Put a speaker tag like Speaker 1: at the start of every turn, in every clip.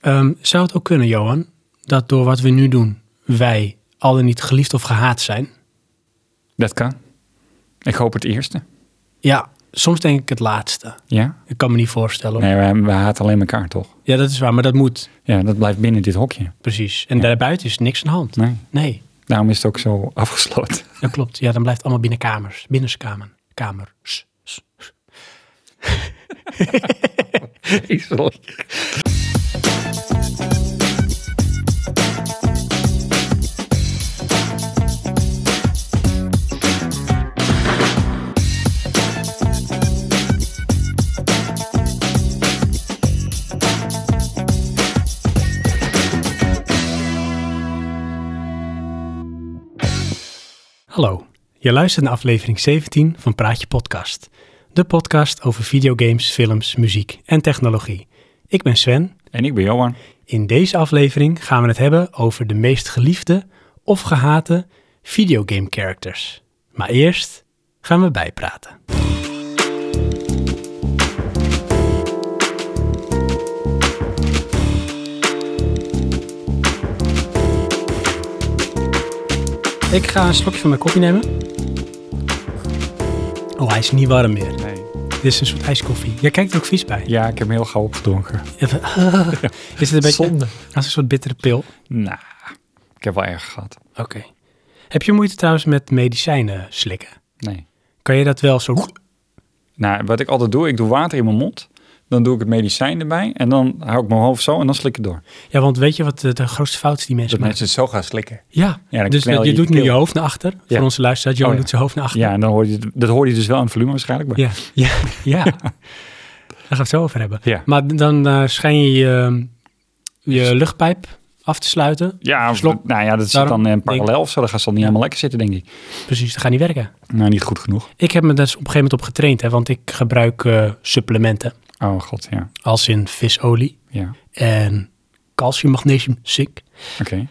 Speaker 1: Ehm, zou het ook kunnen, Johan, dat door wat we nu doen, wij al dan niet geliefd of gehaat zijn?
Speaker 2: Dat kan. Ik hoop het eerste.
Speaker 1: Ja, soms denk ik het laatste.
Speaker 2: Ja?
Speaker 1: Ik kan me niet voorstellen. hoor.
Speaker 2: Nee, we, we haten alleen elkaar toch?
Speaker 1: Ja, dat is waar, maar dat moet.
Speaker 2: Ja, dat blijft binnen dit hokje.
Speaker 1: Precies. En daarbuiten is niks aan de hand.
Speaker 2: Nee.
Speaker 1: Nee,
Speaker 2: Daarom is het ook zo afgesloten.
Speaker 1: dat klopt. Ja, dan blijft het allemaal binnen kamers. Binnenskamer. Kamers.
Speaker 2: Vreselijk.
Speaker 1: Hallo, je luistert naar aflevering 17 van Praatje Podcast. De podcast over videogames, films, muziek en technologie. Ik ben Sven.
Speaker 2: En ik ben Johan.
Speaker 1: In deze aflevering gaan we het hebben over de meest geliefde of gehate videogame characters. Maar eerst gaan we bijpraten. Ik ga een slokje van mijn koffie nemen. Oh, hij is niet warm meer.
Speaker 2: Nee.
Speaker 1: Dit is een soort ijskoffie. Jij kijkt er ook vies bij.
Speaker 2: Ja, ik heb hem heel gauw opgedronken.
Speaker 1: Even- Is het een beetje als een soort bittere pil?
Speaker 2: Nou, ik heb wel erg gehad.
Speaker 1: Oké. Heb je moeite trouwens met medicijnen slikken?
Speaker 2: Nee.
Speaker 1: Kan je dat wel zo...
Speaker 2: Nou, wat ik altijd doe, ik doe water in mijn mond. Dan doe ik het medicijn erbij. En dan hou ik mijn hoofd zo en dan slik ik door.
Speaker 1: Ja, want weet je wat de, de grootste fout is die mensen
Speaker 2: Dus Dat
Speaker 1: maken?
Speaker 2: mensen het zo gaan slikken.
Speaker 1: Ja,
Speaker 2: Ja, dan
Speaker 1: dus
Speaker 2: knel
Speaker 1: dat,
Speaker 2: je
Speaker 1: je
Speaker 2: je
Speaker 1: doet nu
Speaker 2: keel.
Speaker 1: je hoofd naar achter.
Speaker 2: Ja.
Speaker 1: Voor onze luisteraars, Johan
Speaker 2: Oh ja.
Speaker 1: doet zijn hoofd naar achter.
Speaker 2: Ja, en dan hoor je, het- dat hoor je dus wel aan het volume waarschijnlijk.
Speaker 1: ja, ja. ja. Daar gaan we het zo over hebben.
Speaker 2: Ja.
Speaker 1: Maar dan eh, schijn je je,
Speaker 2: Dus-
Speaker 1: je luchtpijp af te sluiten.
Speaker 2: Ja, of-
Speaker 1: Slok.
Speaker 2: nou ja, dat zit
Speaker 1: Daarom
Speaker 2: dan in
Speaker 1: denk-
Speaker 2: parallel of zo. Dan gaat ze dan niet helemaal lekker zitten, denk ik.
Speaker 1: Precies, dat gaat niet werken.
Speaker 2: Nou, niet goed genoeg.
Speaker 1: Ik heb me daar dus op een gegeven moment op getraind, hè, want ik gebruik eh, supplementen.
Speaker 2: Oh god, ja.
Speaker 1: Als in visolie
Speaker 2: Ja,
Speaker 1: en calcium, magnesium, zink.
Speaker 2: oké.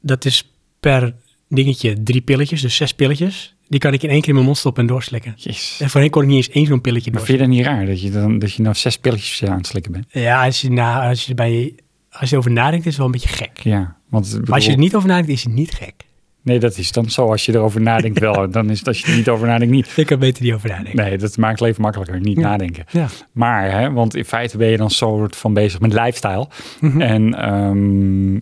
Speaker 1: Dat is per dingetje drie pilletjes, dus zes pilletjes. Die kan ik in één keer in mijn mond stoppen en doorslikken.
Speaker 2: Jezus.
Speaker 1: En voorheen kon ik niet eens één zo'n pilletje
Speaker 2: Maar
Speaker 1: doorslikken.
Speaker 2: vind je dat niet raar dat je, dan, dat je nou zes pilletjes aan het slikken bent?
Speaker 1: Ja, als je, na, als, je bij, als je erover nadenkt, is het wel een beetje gek.
Speaker 2: Ja, want ik
Speaker 1: Maar als je
Speaker 2: bedoel-
Speaker 1: er niet over nadenkt, is het niet gek.
Speaker 2: Nee, dat is dan zo. Als je erover nadenkt wel, dan is het als je er niet over nadenkt niet.
Speaker 1: Ik kan beter niet over nadenken.
Speaker 2: Nee, dat maakt het leven makkelijker, niet
Speaker 1: Ja.
Speaker 2: nadenken.
Speaker 1: Ja.
Speaker 2: Maar, hè, want in feite ben je dan soort van bezig met lifestyle.
Speaker 1: Mhm.
Speaker 2: En ehm,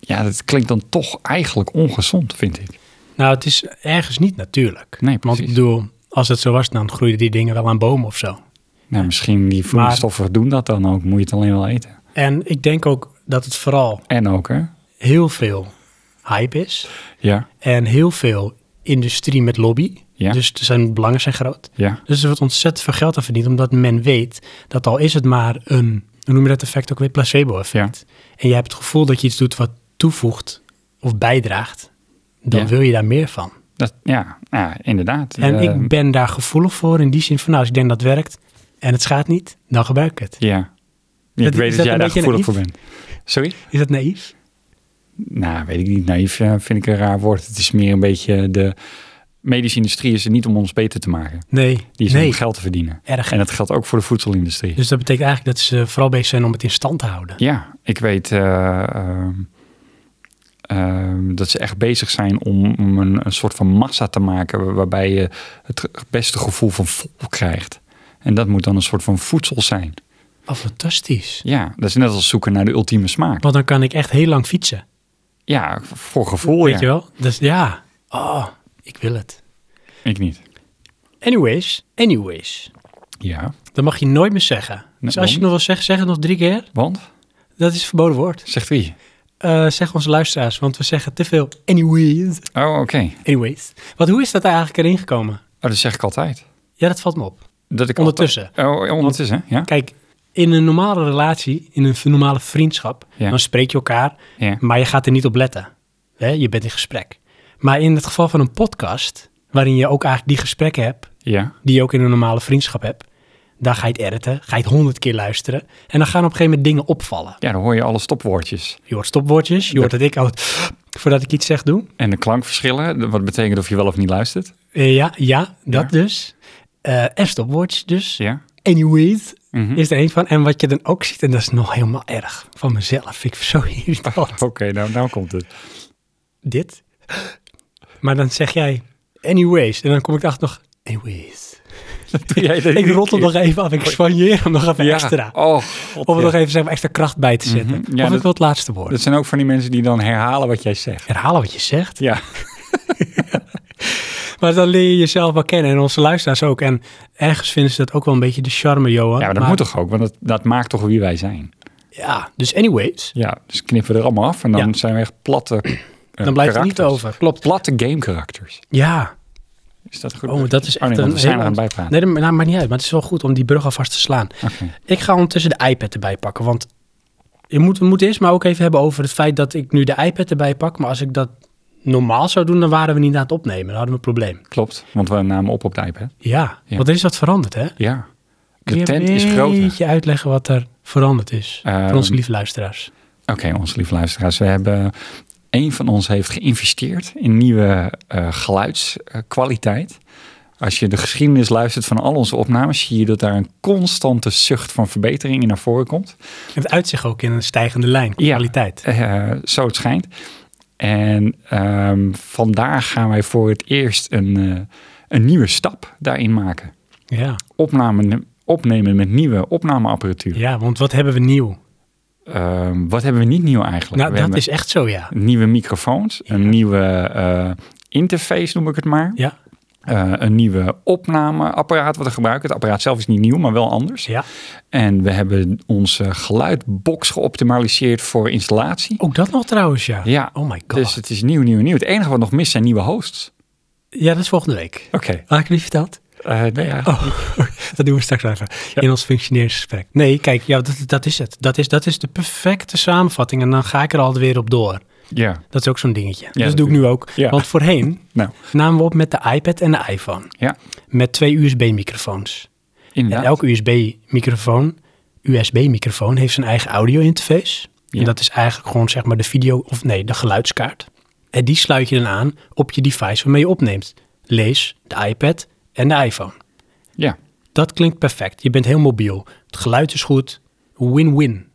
Speaker 2: ja, dat klinkt dan toch eigenlijk ongezond, vind ik.
Speaker 1: Nou, het is ergens niet natuurlijk.
Speaker 2: Nee,
Speaker 1: Want ik
Speaker 2: precies.
Speaker 1: bedoel, als dat zo was, dan groeiden die dingen wel aan bomen of zo.
Speaker 2: Nou, misschien die voedingsstoffen doen dat dan ook. Moet je het alleen wel eten.
Speaker 1: En ik denk ook dat het vooral
Speaker 2: En ook, hè?
Speaker 1: heel veel hype is.
Speaker 2: Ja,
Speaker 1: En heel veel industrie met lobby.
Speaker 2: Ja.
Speaker 1: Dus zijn belangen zijn groot.
Speaker 2: ja.
Speaker 1: Dus er wordt ontzettend veel geld aan verdiend, omdat men weet dat al is het maar een, hoe noem je dat effect ook weer, placebo-effect. En je hebt het gevoel dat je iets doet wat toevoegt of bijdraagt, dan
Speaker 2: Ja.
Speaker 1: wil je daar meer van.
Speaker 2: Dat, ja, ja, inderdaad.
Speaker 1: En
Speaker 2: Eh,
Speaker 1: ik ben daar gevoelig voor in die zin van, nou, als ik denk dat het werkt en het schaadt niet, dan gebruik ik het.
Speaker 2: Ja. Ik
Speaker 1: Dat- is
Speaker 2: weet dat,
Speaker 1: dat
Speaker 2: jij
Speaker 1: een
Speaker 2: daar
Speaker 1: beetje
Speaker 2: gevoelig voor bent. Sorry?
Speaker 1: Is dat naïef?
Speaker 2: Nou, weet ik niet. Naïef eh, vind ik een raar woord. Het is meer een beetje de medische industrie is er niet om ons beter te maken.
Speaker 1: Nee,
Speaker 2: Die is er
Speaker 1: nee,
Speaker 2: om geld te verdienen.
Speaker 1: erg.
Speaker 2: En dat geldt ook voor de voedselindustrie.
Speaker 1: Dus dat betekent eigenlijk dat ze vooral bezig zijn om het in stand te houden.
Speaker 2: Ja, ik weet eh, ehm, ehm, dat ze echt bezig zijn om, om een, een soort van massa te maken waar- waarbij je het beste gevoel van vol krijgt. En dat moet dan een soort van voedsel zijn.
Speaker 1: Oh, fantastisch.
Speaker 2: Ja, dat is net als zoeken naar de ultieme smaak.
Speaker 1: Want dan kan ik echt heel lang fietsen,
Speaker 2: Ja, voor gevoel.
Speaker 1: weet
Speaker 2: Oh ja.
Speaker 1: je wel? Dus ja, oh, ik wil het.
Speaker 2: Ik niet.
Speaker 1: Anyways, anyways.
Speaker 2: Ja,
Speaker 1: Dat mag je nooit meer zeggen. Dus als je
Speaker 2: waarom?
Speaker 1: het nog wil zeggen, zeg het nog drie keer.
Speaker 2: want?
Speaker 1: Dat is een verboden woord.
Speaker 2: Zegt wie?
Speaker 1: Eh, zeg onze luisteraars, want we zeggen te veel anyways.
Speaker 2: Oh, oké.
Speaker 1: Anyways. Want hoe is dat eigenlijk erin gekomen?
Speaker 2: Oh, dat zeg ik altijd.
Speaker 1: Ja, dat valt me op.
Speaker 2: Dat ik
Speaker 1: Ondertussen.
Speaker 2: altijd- Oh, ja, ondertussen, ja?
Speaker 1: Kijk, in een normale relatie, in een normale vriendschap,
Speaker 2: Ja.
Speaker 1: dan spreek je elkaar,
Speaker 2: Ja.
Speaker 1: maar je gaat er niet op letten. Hè, je bent in gesprek. Maar in het geval van een podcast, waarin je ook eigenlijk die gesprekken hebt,
Speaker 2: Ja.
Speaker 1: die je ook in een normale vriendschap hebt, daar ga je het editen, ga je het honderd keer luisteren. En dan gaan op een gegeven moment dingen opvallen.
Speaker 2: Ja, dan hoor je alle stopwoordjes.
Speaker 1: Je hoort stopwoordjes. Je hoort dat ik altijd voordat ik iets zeg doe.
Speaker 2: En de klankverschillen, de- wat betekent of je wel of niet luistert.
Speaker 1: Eh, ja, ja, dat
Speaker 2: Ja.
Speaker 1: dus. Eh, en stopwoordjes dus.
Speaker 2: Ja.
Speaker 1: anyways,
Speaker 2: Mhm.
Speaker 1: is er één van. En wat je dan ook ziet, en dat is nog helemaal erg van mezelf, vind ik zo irritant.
Speaker 2: Oké, nou, nou komt het.
Speaker 1: Dit. Maar dan zeg jij, anyways. En dan kom ik erachter nog, anyways.
Speaker 2: Doe jij dat
Speaker 1: Ik
Speaker 2: iedere
Speaker 1: rot hem
Speaker 2: keer?
Speaker 1: nog even af, ik spanjeer hem nog even
Speaker 2: Ja.
Speaker 1: extra.
Speaker 2: Oh, god,
Speaker 1: Om er
Speaker 2: ja.
Speaker 1: nog even zeg maar, extra kracht bij te zetten.
Speaker 2: Mhm. Ja,
Speaker 1: of
Speaker 2: dat-
Speaker 1: ik wil het laatste woord.
Speaker 2: Dat zijn ook van die mensen die dan herhalen wat jij zegt.
Speaker 1: Herhalen wat je zegt.
Speaker 2: Ja,
Speaker 1: Maar dan leer je jezelf wel kennen en onze luisteraars ook. En ergens vinden ze dat ook wel een beetje de charme, Johan.
Speaker 2: ja maar dat moet toch ook, want dat, dat maakt toch wie wij zijn.
Speaker 1: Ja, dus anyways.
Speaker 2: Ja, dus knippen we er allemaal af en dan
Speaker 1: Ja.
Speaker 2: zijn we echt platte eh,
Speaker 1: Dan blijft het niet
Speaker 2: karakters.
Speaker 1: over. Klopt.
Speaker 2: Platte game karakters.
Speaker 1: Ja.
Speaker 2: Is dat goed?
Speaker 1: Oh, dat is
Speaker 2: nee,
Speaker 1: echt
Speaker 2: want
Speaker 1: een...
Speaker 2: we zijn er aan
Speaker 1: heel-
Speaker 2: het bijpraten.
Speaker 1: Nee, dat ma- nou, maakt niet uit. Maar het is wel goed om die brug alvast te slaan.
Speaker 2: Oké.
Speaker 1: Ik ga ondertussen de iPad erbij pakken. Want je moet, we moeten eerst maar ook even hebben over het feit dat ik nu de iPad erbij pak. Maar als ik dat normaal zou doen, dan waren we niet aan het opnemen. Dan hadden we een probleem.
Speaker 2: Klopt, want we namen op op de iPad.
Speaker 1: Ja,
Speaker 2: Ja.
Speaker 1: want er is wat veranderd, hè?
Speaker 2: Ja.
Speaker 1: Kun
Speaker 2: De
Speaker 1: je
Speaker 2: tent is
Speaker 1: Een
Speaker 2: groter.
Speaker 1: beetje uitleggen wat er veranderd is
Speaker 2: Ehm,
Speaker 1: voor onze lieve luisteraars.
Speaker 2: Oké, onze lieve luisteraars. We hebben, een van ons heeft geïnvesteerd in nieuwe eh, geluidskwaliteit. Als je de geschiedenis luistert van al onze opnames, zie je dat daar een constante zucht van verbetering in naar voren komt.
Speaker 1: Het uitzicht ook in een stijgende lijn, qua
Speaker 2: Ja.
Speaker 1: kwaliteit.
Speaker 2: Eh, zo het schijnt. En ehm, vandaag gaan wij voor het eerst een, eh, een nieuwe stap daarin maken.
Speaker 1: Ja.
Speaker 2: Opname, opnemen met nieuwe opnameapparatuur.
Speaker 1: ja, want wat hebben we nieuw?
Speaker 2: Ehm, wat hebben we niet nieuw eigenlijk?
Speaker 1: Nou,
Speaker 2: we
Speaker 1: dat
Speaker 2: hebben
Speaker 1: is echt zo, ja.
Speaker 2: nieuwe microfoons, een nieuwe eh, interface noem ik het maar.
Speaker 1: Ja,
Speaker 2: Eh, een nieuwe opnameapparaat wat we gebruiken. Het apparaat zelf is niet nieuw, maar wel anders.
Speaker 1: ja.
Speaker 2: En we hebben onze geluidbox geoptimaliseerd voor installatie.
Speaker 1: Ook dat nog trouwens, ja.
Speaker 2: Ja,
Speaker 1: Oh my god.
Speaker 2: Dus het is nieuw, nieuw, nieuw. Het enige wat nog mist zijn nieuwe hosts.
Speaker 1: Ja, dat is volgende week.
Speaker 2: Oké.
Speaker 1: Had ik het niet verteld?
Speaker 2: Eh, nee, ja.
Speaker 1: Oh, dat doen we straks wel even. In ons functioneringsgesprek. Nee, kijk, ja, dat, dat is het. Dat is, dat is de perfecte samenvatting. En dan ga ik er altijd weer op door.
Speaker 2: ja.
Speaker 1: Dat is ook zo'n dingetje. dus dat doe ik
Speaker 2: natuurlijk.
Speaker 1: nu ook.
Speaker 2: Ja.
Speaker 1: Want voorheen
Speaker 2: Nou,
Speaker 1: namen we op met de iPad en de iPhone.
Speaker 2: ja.
Speaker 1: Met twee USB-microfoons.
Speaker 2: Inderdaad.
Speaker 1: En elke USB-microfoon, USB-microfoon heeft zijn eigen audio-interface.
Speaker 2: Ja.
Speaker 1: En dat is eigenlijk gewoon zeg maar de video, of nee, de geluidskaart. En die sluit je dan aan op je device waarmee je opneemt. Lees de iPad en de iPhone.
Speaker 2: Ja.
Speaker 1: Dat klinkt perfect. Je bent heel mobiel. Het geluid is goed. Win-win.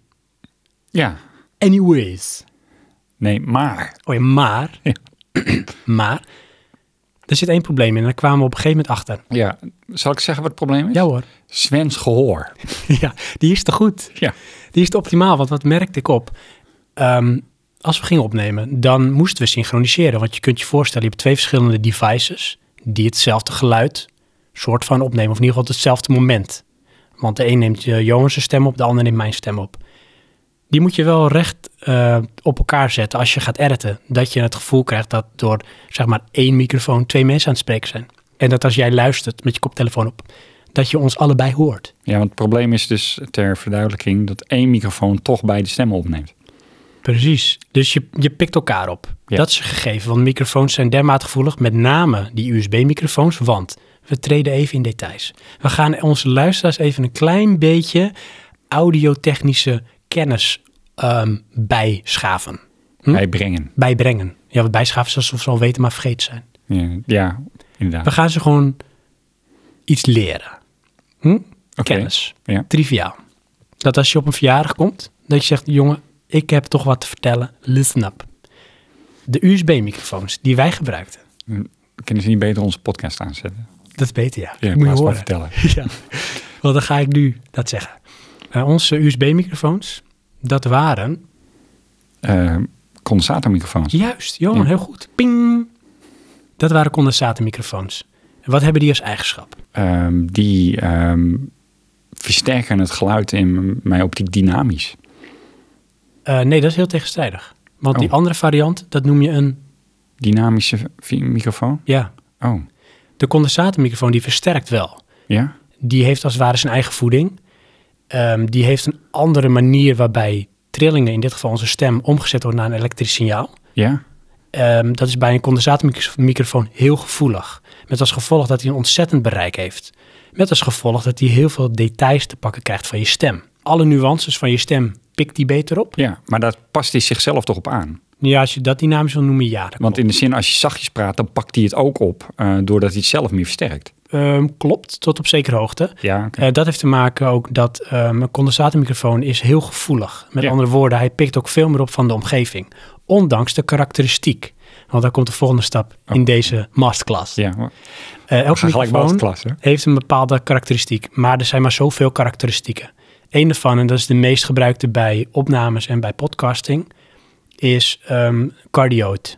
Speaker 2: Ja.
Speaker 1: Anyways.
Speaker 2: Nee, maar.
Speaker 1: Oh ja, maar,
Speaker 2: Ja.
Speaker 1: maar, er zit één probleem in. En daar kwamen we op een gegeven moment achter.
Speaker 2: ja. Zal ik zeggen wat het probleem is?
Speaker 1: Ja hoor.
Speaker 2: Sven's gehoor.
Speaker 1: ja, die is te goed.
Speaker 2: Ja.
Speaker 1: Die is te optimaal, want wat merkte ik op? Ehm, als we gingen opnemen, dan moesten we synchroniseren. Want je kunt je voorstellen, je hebt twee verschillende devices die hetzelfde geluid soort van opnemen. Of in ieder geval hetzelfde moment. Want de een neemt eh, Johan zijn stem op, de ander neemt mijn stem op. Die moet je wel recht eh, op elkaar zetten als je gaat editen. Dat je het gevoel krijgt dat door zeg maar één microfoon twee mensen aan het spreken zijn. En dat als jij luistert met je koptelefoon op, dat je ons allebei hoort.
Speaker 2: Ja, want het probleem is dus ter verduidelijking dat één microfoon toch beide stemmen opneemt.
Speaker 1: Precies. Dus je, je pikt elkaar op.
Speaker 2: Ja.
Speaker 1: Dat is een gegeven, want microfoons zijn dermate gevoelig, met name die USB-microfoons, want we treden even in details. We gaan onze luisteraars even een klein beetje audiotechnische kennis ehm, bijschaven, Hm?
Speaker 2: Bijbrengen.
Speaker 1: bijbrengen. Ja, wat bijschaven is alsof ze al weten, maar vergeten zijn.
Speaker 2: Ja, ja
Speaker 1: We
Speaker 2: inderdaad.
Speaker 1: gaan ze gewoon iets leren. Hm? Kennis.
Speaker 2: Ja.
Speaker 1: Triviaal. Dat als je op een verjaardag komt, dat je zegt, jongen, ik heb toch wat te vertellen. Listen up. De USB-microfoons die wij gebruikten,
Speaker 2: Kunnen ze niet beter onze podcast aanzetten?
Speaker 1: dat is beter, ja.
Speaker 2: Ja,
Speaker 1: Moet
Speaker 2: in
Speaker 1: je
Speaker 2: plaats van
Speaker 1: horen.
Speaker 2: vertellen.
Speaker 1: ja. Want dan ga ik nu dat zeggen. Eh, onze USB-microfoons, dat waren
Speaker 2: Eh, condensatormicrofoons.
Speaker 1: Juist, Johan,
Speaker 2: Ja.
Speaker 1: heel goed. Ping! Dat waren condensatormicrofoons. En wat hebben die als eigenschap?
Speaker 2: Ehm, die ehm, versterken het geluid in mijn optiek dynamisch.
Speaker 1: Eh, nee, dat is heel tegenstrijdig. Want die
Speaker 2: Oh.
Speaker 1: andere variant, dat noem je een...
Speaker 2: Dynamische vi- microfoon?
Speaker 1: Ja,
Speaker 2: Oh,
Speaker 1: de condensatormicrofoon die versterkt wel.
Speaker 2: ja?
Speaker 1: Die heeft als het ware zijn eigen voeding. Ehm, die heeft een andere manier waarbij trillingen, in dit geval onze stem, omgezet worden naar een elektrisch signaal.
Speaker 2: Ja?
Speaker 1: Ehm, dat is bij een condensatormicrofoon heel gevoelig. Met als gevolg dat hij een ontzettend bereik heeft. Met als gevolg dat hij heel veel details te pakken krijgt van je stem. Alle nuances van je stem pikt hij beter op.
Speaker 2: Ja, maar daar past hij zichzelf toch op aan?
Speaker 1: Ja, als je dat dynamisch wil noemen, ja. dat
Speaker 2: Want
Speaker 1: klopt.
Speaker 2: in de zin, als je zachtjes praat, dan pakt hij het ook op, eh, doordat hij het zelf meer versterkt.
Speaker 1: ehm, klopt tot op zekere hoogte.
Speaker 2: Ja, oké.
Speaker 1: Eh, dat heeft te maken ook dat ehm een condensatormicrofoon is heel gevoelig. Met
Speaker 2: Ja.
Speaker 1: andere woorden, hij pikt ook veel meer op van de omgeving. Ondanks de karakteristiek. Want daar komt de volgende stap in
Speaker 2: Oh.
Speaker 1: deze masterclass.
Speaker 2: ja. we
Speaker 1: Eh, elke
Speaker 2: gaan gelijk
Speaker 1: microfoon
Speaker 2: masterclass, hè?
Speaker 1: heeft een bepaalde karakteristiek. Maar er zijn maar zoveel karakteristieken. Eén daarvan, en dat is de meest gebruikte bij opnames en bij podcasting, is ehm cardioid.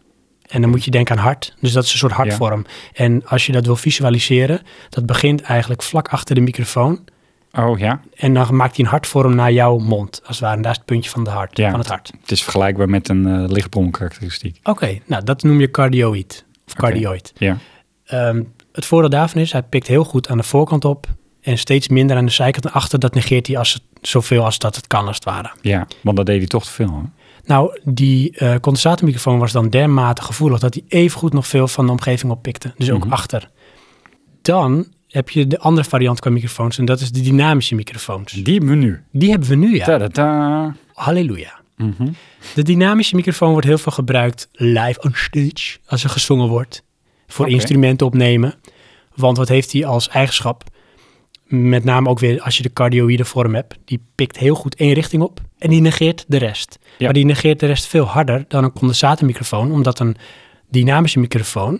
Speaker 1: En dan moet je denken aan hart. Dus dat is een soort hartvorm. En als je dat wil visualiseren, dat begint eigenlijk vlak achter de microfoon.
Speaker 2: Oh ja,
Speaker 1: En dan maakt hij een hartvorm naar jouw mond, als het ware. En daar is het puntje van, de hart,
Speaker 2: Ja.
Speaker 1: van het hart.
Speaker 2: het is vergelijkbaar met een eh, lichtbronkarakteristiek.
Speaker 1: Oké, nou dat noem je cardioïd. Of cardioid.
Speaker 2: Ja,
Speaker 1: Ehm, het voordeel daarvan is, hij pikt heel goed aan de voorkant op en steeds minder aan de zijkant en achter. Dat negeert hij als het, zoveel als dat het kan, als het ware.
Speaker 2: ja, want dat deed hij toch te veel. Hè?
Speaker 1: Nou, die eh, condensatormicrofoon was dan dermate gevoelig dat hij evengoed nog veel van de omgeving oppikte. Dus ook
Speaker 2: Mhm.
Speaker 1: achter. Dan heb je de andere variant qua microfoons en dat is de dynamische microfoons.
Speaker 2: Die menu.
Speaker 1: Die hebben we nu, ja.
Speaker 2: Ta-da-da.
Speaker 1: Halleluja.
Speaker 2: Mhm.
Speaker 1: De dynamische microfoon wordt heel veel gebruikt live on stage, als er gezongen wordt, voor
Speaker 2: Oké.
Speaker 1: instrumenten opnemen. Want wat heeft hij als eigenschap? Met name ook weer als je de cardioïde vorm hebt. Die pikt heel goed één richting op en die negeert de rest.
Speaker 2: Ja.
Speaker 1: Maar die negeert de rest veel harder dan een condensatormicrofoon, omdat een dynamische microfoon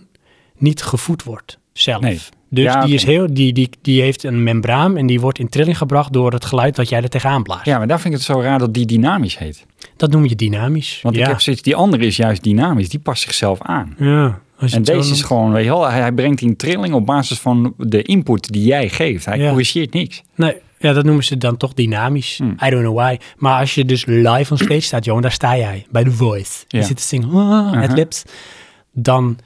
Speaker 1: niet gevoed wordt zelf.
Speaker 2: Nee.
Speaker 1: Dus
Speaker 2: Ja,
Speaker 1: die,
Speaker 2: oké.
Speaker 1: is heel, die, die, die heeft een membraan en die wordt in trilling gebracht door het geluid dat jij er tegenaan blaast.
Speaker 2: Ja, maar daar vind ik het zo raar dat die dynamisch heet.
Speaker 1: Dat noem je dynamisch.
Speaker 2: Want
Speaker 1: ja.
Speaker 2: ik heb zoiets, die andere is juist dynamisch. Die past zichzelf aan.
Speaker 1: Ja, als je
Speaker 2: En
Speaker 1: het zo
Speaker 2: deze is
Speaker 1: noemt.
Speaker 2: gewoon, weet je wel, hij, hij brengt in trilling op basis van de input die jij geeft. Hij
Speaker 1: Ja.
Speaker 2: corrigeert niks.
Speaker 1: Nee, ja, dat noemen ze dan toch dynamisch.
Speaker 2: Hmm.
Speaker 1: I don't know why. Maar als je dus live on stage staat, Johan, daar sta jij bij The Voice.
Speaker 2: Ja.
Speaker 1: Je zit te zingen, ah,
Speaker 2: Uh-huh.
Speaker 1: het lips. Dan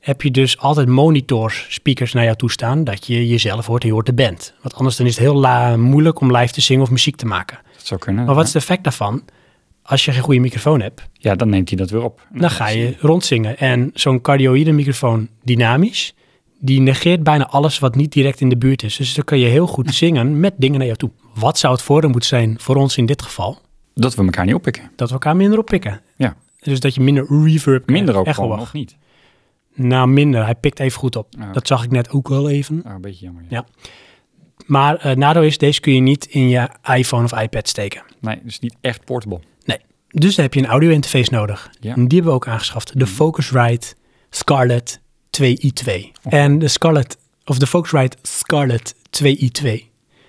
Speaker 1: heb je dus altijd monitors, speakers naar jou toe staan, dat je jezelf hoort en je hoort de band. Want anders dan is het heel la- moeilijk om live te zingen of muziek te maken.
Speaker 2: Dat zou kunnen.
Speaker 1: Maar wat is het effect daarvan? Als je geen goede microfoon hebt,
Speaker 2: Ja, dan neemt hij dat weer op.
Speaker 1: dan ga je rondzingen. En zo'n cardioïde microfoon, dynamisch, die negeert bijna alles wat niet direct in de buurt is. Dus dan kan je heel goed zingen met dingen naar jou toe. Wat zou het voordeel moeten zijn voor ons in dit geval?
Speaker 2: Dat we elkaar niet oppikken.
Speaker 1: Dat we elkaar minder oppikken.
Speaker 2: Ja.
Speaker 1: Dus dat je minder reverb krijgt,
Speaker 2: Minder ook
Speaker 1: echo
Speaker 2: gewoon,
Speaker 1: wacht.
Speaker 2: nog niet.
Speaker 1: Nou, minder. Hij pikt even goed op.
Speaker 2: oké.
Speaker 1: Dat zag ik net ook wel even.
Speaker 2: Ah, een beetje jammer. Ja.
Speaker 1: Ja. Maar eh nadeel is, deze kun je niet in je iPhone of iPad steken.
Speaker 2: Nee, dus niet echt portable.
Speaker 1: Nee. Dus daar heb je een audio interface nodig.
Speaker 2: Ja. Mhm.
Speaker 1: En die hebben we ook aangeschaft. De Focusrite Scarlett 2i2. En de Scarlett, of de Focusrite Scarlett 2i2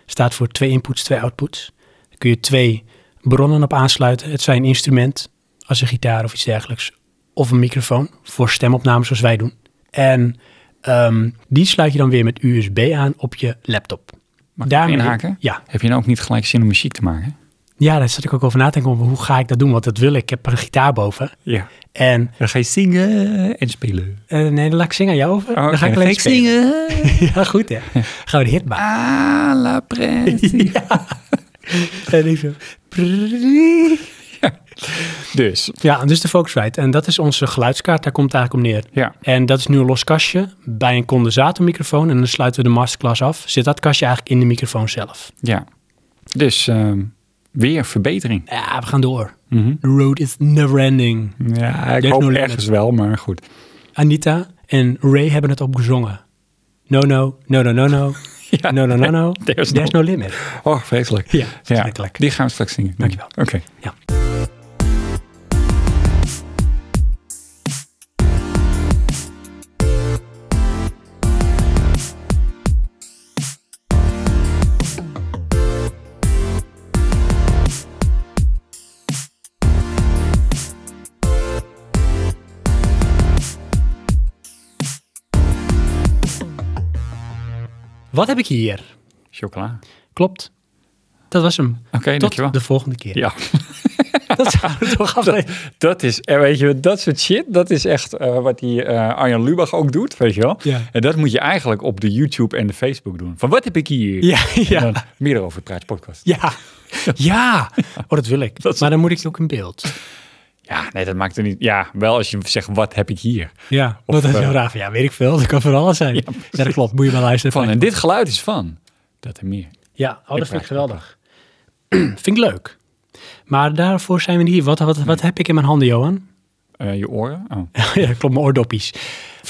Speaker 1: staat voor twee inputs, twee outputs. Daar kun je twee bronnen op aansluiten. Het zijn een instrument, als een gitaar of iets dergelijks. Of een microfoon voor stemopnames zoals wij doen. En ehm, die sluit je dan weer met USB aan op je laptop.
Speaker 2: Mag ik
Speaker 1: Daarmee-
Speaker 2: inhaken?
Speaker 1: Ja.
Speaker 2: Heb je nou ook niet gelijk zin om muziek te maken?
Speaker 1: ja, daar zat ik ook over na te denken. over Hoe ga ik dat doen? Want dat wil ik. Ik heb er een gitaar boven.
Speaker 2: Ja.
Speaker 1: En
Speaker 2: Dan ga je zingen en spelen.
Speaker 1: Eh, nee, dan laat ik zingen aan jou over.
Speaker 2: Oh,
Speaker 1: dan ga ik alleen spelen.
Speaker 2: zingen.
Speaker 1: Ja, goed hè. Gaan we de hit maken.
Speaker 2: Ah, la presse.
Speaker 1: En ik zo, prrrrie.
Speaker 2: Dus,
Speaker 1: Ja, dus de Focusrite. En dat is onze geluidskaart. Daar komt het eigenlijk om neer.
Speaker 2: ja.
Speaker 1: En dat is nu een los kastje bij een condensatormicrofoon. En dan sluiten we de masterclass af. Zit dat kastje eigenlijk in de microfoon zelf.
Speaker 2: Ja. Dus ehm, weer verbetering.
Speaker 1: Ja, we gaan door.
Speaker 2: Mhm.
Speaker 1: The road is never ending.
Speaker 2: Ja, ik
Speaker 1: There's
Speaker 2: hoop
Speaker 1: no limit.
Speaker 2: ergens wel, maar goed.
Speaker 1: Anita en Ray hebben het opgezongen. No, no, no, no, no, no.
Speaker 2: Ja.
Speaker 1: No, no, no, no.
Speaker 2: There's
Speaker 1: There's no limit.
Speaker 2: Oh, vreselijk.
Speaker 1: Ja, verschrikkelijk.
Speaker 2: die gaan we straks zingen.
Speaker 1: Dankjewel.
Speaker 2: Oké.
Speaker 1: Ja. Wat heb ik hier?
Speaker 2: Chocola.
Speaker 1: Klopt. Dat was hem.
Speaker 2: Oké, dankjewel.
Speaker 1: Tot de volgende keer.
Speaker 2: Ja,
Speaker 1: Dat zouden we toch afleveren.
Speaker 2: dat is, en weet je, dat soort shit, dat is echt eh, wat die eh, Arjan Lubach ook doet, weet je wel.
Speaker 1: Ja.
Speaker 2: En dat moet je eigenlijk op de YouTube en de Facebook doen. Van wat heb ik hier?
Speaker 1: Ja, ja.
Speaker 2: En dan meer over praat je podcast.
Speaker 1: Ja. Ja. Oh, dat wil ik.
Speaker 2: Dat is-
Speaker 1: maar dan moet ik ook in beeld.
Speaker 2: Ja, nee, dat maakt er niet. Ja, wel als je zegt wat heb ik hier.
Speaker 1: Ja.
Speaker 2: Of,
Speaker 1: Want dat is
Speaker 2: eh,
Speaker 1: heel raar. van, Ja, weet ik veel. Dat kan van alles zijn. Ja, dat klopt. Moet je maar luisteren.
Speaker 2: Van en dit geluid is van. Dat en meer.
Speaker 1: ja, oh,
Speaker 2: Ik
Speaker 1: dat vind ik
Speaker 2: vraag-
Speaker 1: geweldig. vind ik leuk. Maar daarvoor zijn we niet hier. Wat, wat, wat heb ik in mijn handen, Johan?
Speaker 2: Eh, je oren. Oh.
Speaker 1: ja, klopt. Mijn oordoppies.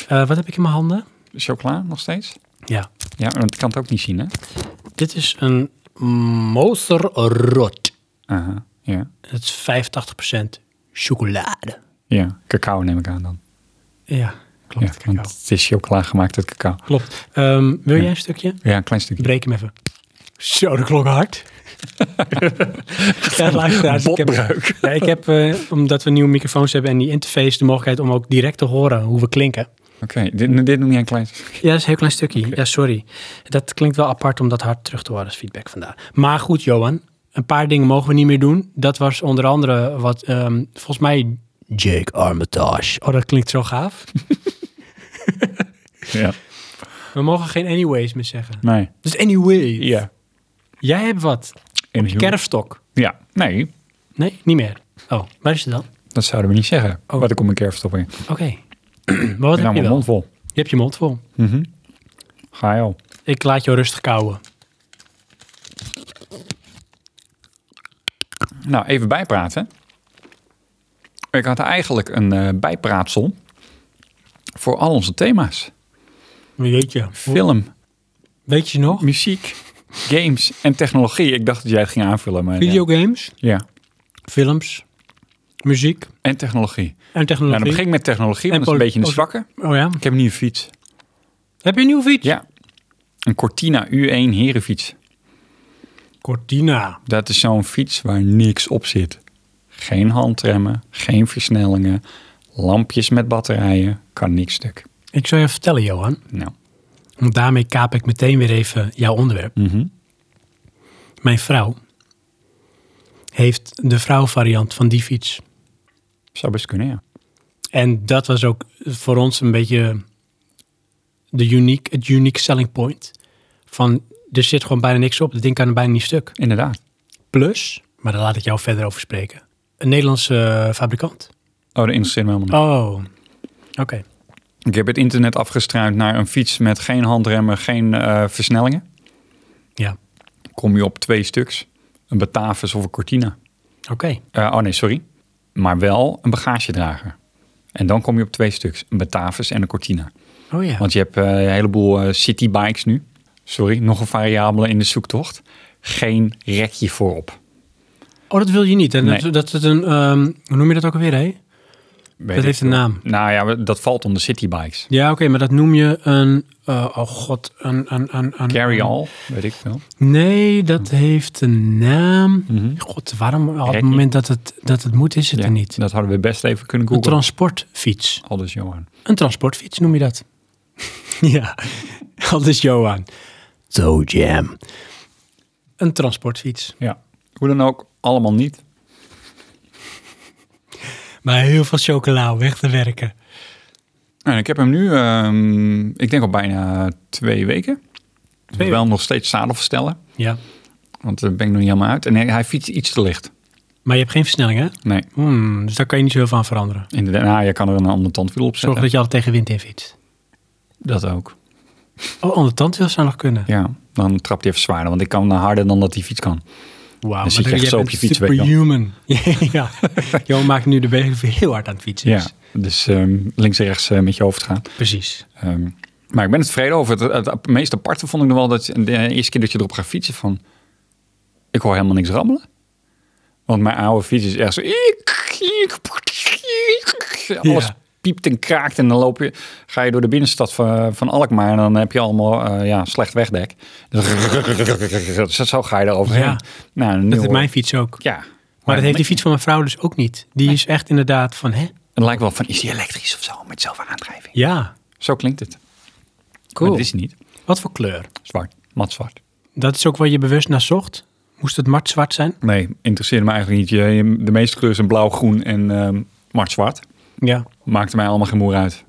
Speaker 1: Eh, wat heb ik in mijn handen?
Speaker 2: Chocola nog steeds?
Speaker 1: Ja.
Speaker 2: Ja, want ik kan het ook niet zien, hè?
Speaker 1: Dit is een Moserrot.
Speaker 2: Aha, ja.
Speaker 1: Dat is 85% chocolade.
Speaker 2: Ja, cacao neem ik aan dan.
Speaker 1: Ja, klopt.
Speaker 2: ja,
Speaker 1: Oh, cacao.
Speaker 2: want het is chocola gemaakt uit cacao.
Speaker 1: Klopt. Ehm, wil jij een stukje?
Speaker 2: Ja, een klein stukje.
Speaker 1: Breek hem even. Zo, de klok hard. ja, luisteraars, ik heb,
Speaker 2: Botbreuk.
Speaker 1: ja, ik heb eh, omdat we nieuwe microfoons hebben en die interface, de mogelijkheid om ook direct te horen hoe we klinken.
Speaker 2: Oké, dit, dit noem je een klein stukje.
Speaker 1: Ja, dat is een heel klein stukje. Ja, sorry. Dat klinkt wel apart om dat hard terug te horen als feedback vandaar. Maar goed, Johan. Een paar dingen mogen we niet meer doen. Dat was onder andere wat, ehm, volgens mij... Jake Armitage. Oh, dat klinkt zo gaaf.
Speaker 2: Ja.
Speaker 1: We mogen geen anyways meer zeggen.
Speaker 2: Nee.
Speaker 1: Dus anyway.
Speaker 2: Ja.
Speaker 1: Jij hebt wat.
Speaker 2: In
Speaker 1: Kerfstok.
Speaker 2: Ja, nee.
Speaker 1: Nee, niet meer. Oh, waar is het dan?
Speaker 2: Dat zouden we niet zeggen.
Speaker 1: Oh.
Speaker 2: Wat ik om mijn kerfstop in.
Speaker 1: Oké. maar wat
Speaker 2: Ik
Speaker 1: heb
Speaker 2: hou
Speaker 1: je
Speaker 2: mijn
Speaker 1: wel?
Speaker 2: mond vol.
Speaker 1: Je hebt je mond vol.
Speaker 2: Ga je al.
Speaker 1: Ik laat jou rustig kouwen.
Speaker 2: Nou, even bijpraten. Ik had eigenlijk een eh, bijpraatsel voor al onze thema's.
Speaker 1: Weet je.
Speaker 2: Film,
Speaker 1: Weet je nog?
Speaker 2: muziek, games en technologie. Ik dacht dat jij het ging aanvullen, maar...
Speaker 1: Videogames,
Speaker 2: Ja, Ja.
Speaker 1: films, muziek
Speaker 2: en technologie.
Speaker 1: en
Speaker 2: Nou,
Speaker 1: technologie.
Speaker 2: dan begin ik met technologie,
Speaker 1: En
Speaker 2: want dat is een
Speaker 1: poli-
Speaker 2: beetje een
Speaker 1: oh,
Speaker 2: zwakke.
Speaker 1: Oh ja.
Speaker 2: Ik heb een nieuwe fiets.
Speaker 1: Heb je een nieuwe fiets?
Speaker 2: Ja, een Cortina U1 herenfiets.
Speaker 1: Cortina.
Speaker 2: Dat is zo'n fiets waar niks op zit. Geen handremmen, geen versnellingen, lampjes met batterijen, kan niks stuk.
Speaker 1: Ik zou je vertellen, Johan.
Speaker 2: Nou,
Speaker 1: Want daarmee kaap ik meteen weer even jouw onderwerp.
Speaker 2: mhm.
Speaker 1: Mijn vrouw heeft de vrouwvariant van die fiets.
Speaker 2: zou best kunnen, ja.
Speaker 1: En dat was ook voor ons een beetje de uniek, het unique selling point. Van, er zit gewoon bijna niks op. Dat ding kan er bijna niet stuk.
Speaker 2: Inderdaad.
Speaker 1: Plus, maar daar laat ik jou verder over spreken. Een Nederlandse eh, fabrikant.
Speaker 2: Oh, dat interesseert me helemaal niet.
Speaker 1: Oh, oké.
Speaker 2: Ik heb het internet afgestruind naar een fiets met geen handremmen, geen eh, versnellingen.
Speaker 1: Ja,
Speaker 2: Kom je op twee stuks. Een Batavus of een Cortina.
Speaker 1: oké.
Speaker 2: Eh, oh nee, sorry. Maar wel een bagagedrager. En dan kom je op twee stuks. Een Batavus en een Cortina.
Speaker 1: Oh ja.
Speaker 2: Want je hebt eh, een heleboel eh, citybikes nu. Sorry, nog een variabele in de zoektocht. Geen rekje voorop.
Speaker 1: Oh, dat wil je niet. En
Speaker 2: Nee.
Speaker 1: dat, dat het een, ehm, hoe noem je dat ook alweer, hè?
Speaker 2: Weet
Speaker 1: dat
Speaker 2: ik
Speaker 1: heeft een
Speaker 2: veel.
Speaker 1: naam.
Speaker 2: Nou ja, we- dat valt onder citybikes.
Speaker 1: Ja, oké, maar dat noem je een, eh, oh god, een... een, een, een
Speaker 2: Carry-all, weet ik veel.
Speaker 1: Nee, dat heeft een naam.
Speaker 2: Mhm.
Speaker 1: God, waarom? Op het
Speaker 2: Rekkie.
Speaker 1: moment dat het, dat het moet, is het
Speaker 2: Ja,
Speaker 1: er niet.
Speaker 2: Dat hadden we best even kunnen
Speaker 1: Een
Speaker 2: googlen.
Speaker 1: transportfiets.
Speaker 2: Al dus Johan.
Speaker 1: Een transportfiets noem je dat. ja, dat is Johan. Zo jam. Een transportfiets.
Speaker 2: Ja. Hoe dan ook, allemaal niet.
Speaker 1: Maar heel veel chocola om weg te werken.
Speaker 2: En ik heb hem nu, ehm, ik denk al bijna twee weken.
Speaker 1: Twee
Speaker 2: wel nog steeds zadelverstellen,
Speaker 1: Ja,
Speaker 2: want daar ben ik nog niet helemaal uit. En hij, hij fietst iets te licht.
Speaker 1: maar je hebt geen versnelling, hè?
Speaker 2: Nee,
Speaker 1: Hmm, dus daar kan je niet zoveel van veranderen.
Speaker 2: inderdaad. Nou, je kan er een ander tandwiel op
Speaker 1: Zorg
Speaker 2: zetten.
Speaker 1: dat je altijd tegen wind in fietst.
Speaker 2: Dat ook.
Speaker 1: Oh, onder tandwiel zou nog kunnen.
Speaker 2: Ja, dan trapt hij even zwaarder, want ik kan eh, harder dan dat die fiets kan.
Speaker 1: Wauw, maar
Speaker 2: Dan zit je echt
Speaker 1: jij
Speaker 2: zo op
Speaker 1: bent
Speaker 2: je fiets weg,
Speaker 1: Superhuman. ja, Jo maakt nu de beweging heel hard aan het fietsen.
Speaker 2: Ja, dus ehm, links en rechts eh, met je hoofd gaan.
Speaker 1: Precies.
Speaker 2: Ehm, maar ik ben het tevreden over. Het, het, het meest aparte vond ik nog wel dat je- de eerste keer dat je erop gaat fietsen van... Ik hoor helemaal niks rammelen. Want mijn oude fiets is echt zo... Alles
Speaker 1: Ja.
Speaker 2: piept en kraakt en dan loop je, ga je door de binnenstad van, van Alkmaar... en dan heb je allemaal eh, ja, slecht wegdek. Dus zo ga je eroverheen.
Speaker 1: Ja.
Speaker 2: Nou, nu
Speaker 1: Dat heeft
Speaker 2: hoor-
Speaker 1: mijn fiets ook.
Speaker 2: Ja. Maar,
Speaker 1: Maar dat heeft die fiets van mijn vrouw dus ook niet. Die is echt inderdaad van, hè?
Speaker 2: Het lijkt wel van, is die elektrisch of zo? Met zoveel aandrijving.
Speaker 1: Ja,
Speaker 2: Zo klinkt het.
Speaker 1: cool.
Speaker 2: Maar het is niet.
Speaker 1: Wat voor kleur?
Speaker 2: Zwart. Mat zwart.
Speaker 1: Dat is ook waar je bewust naar zocht. Moest het mat zwart zijn?
Speaker 2: Nee, interesseerde me eigenlijk niet. Je- je- De meeste kleuren zijn blauw, groen en ehm mart zwart.
Speaker 1: Ja.
Speaker 2: Maakte mij allemaal geen moer uit.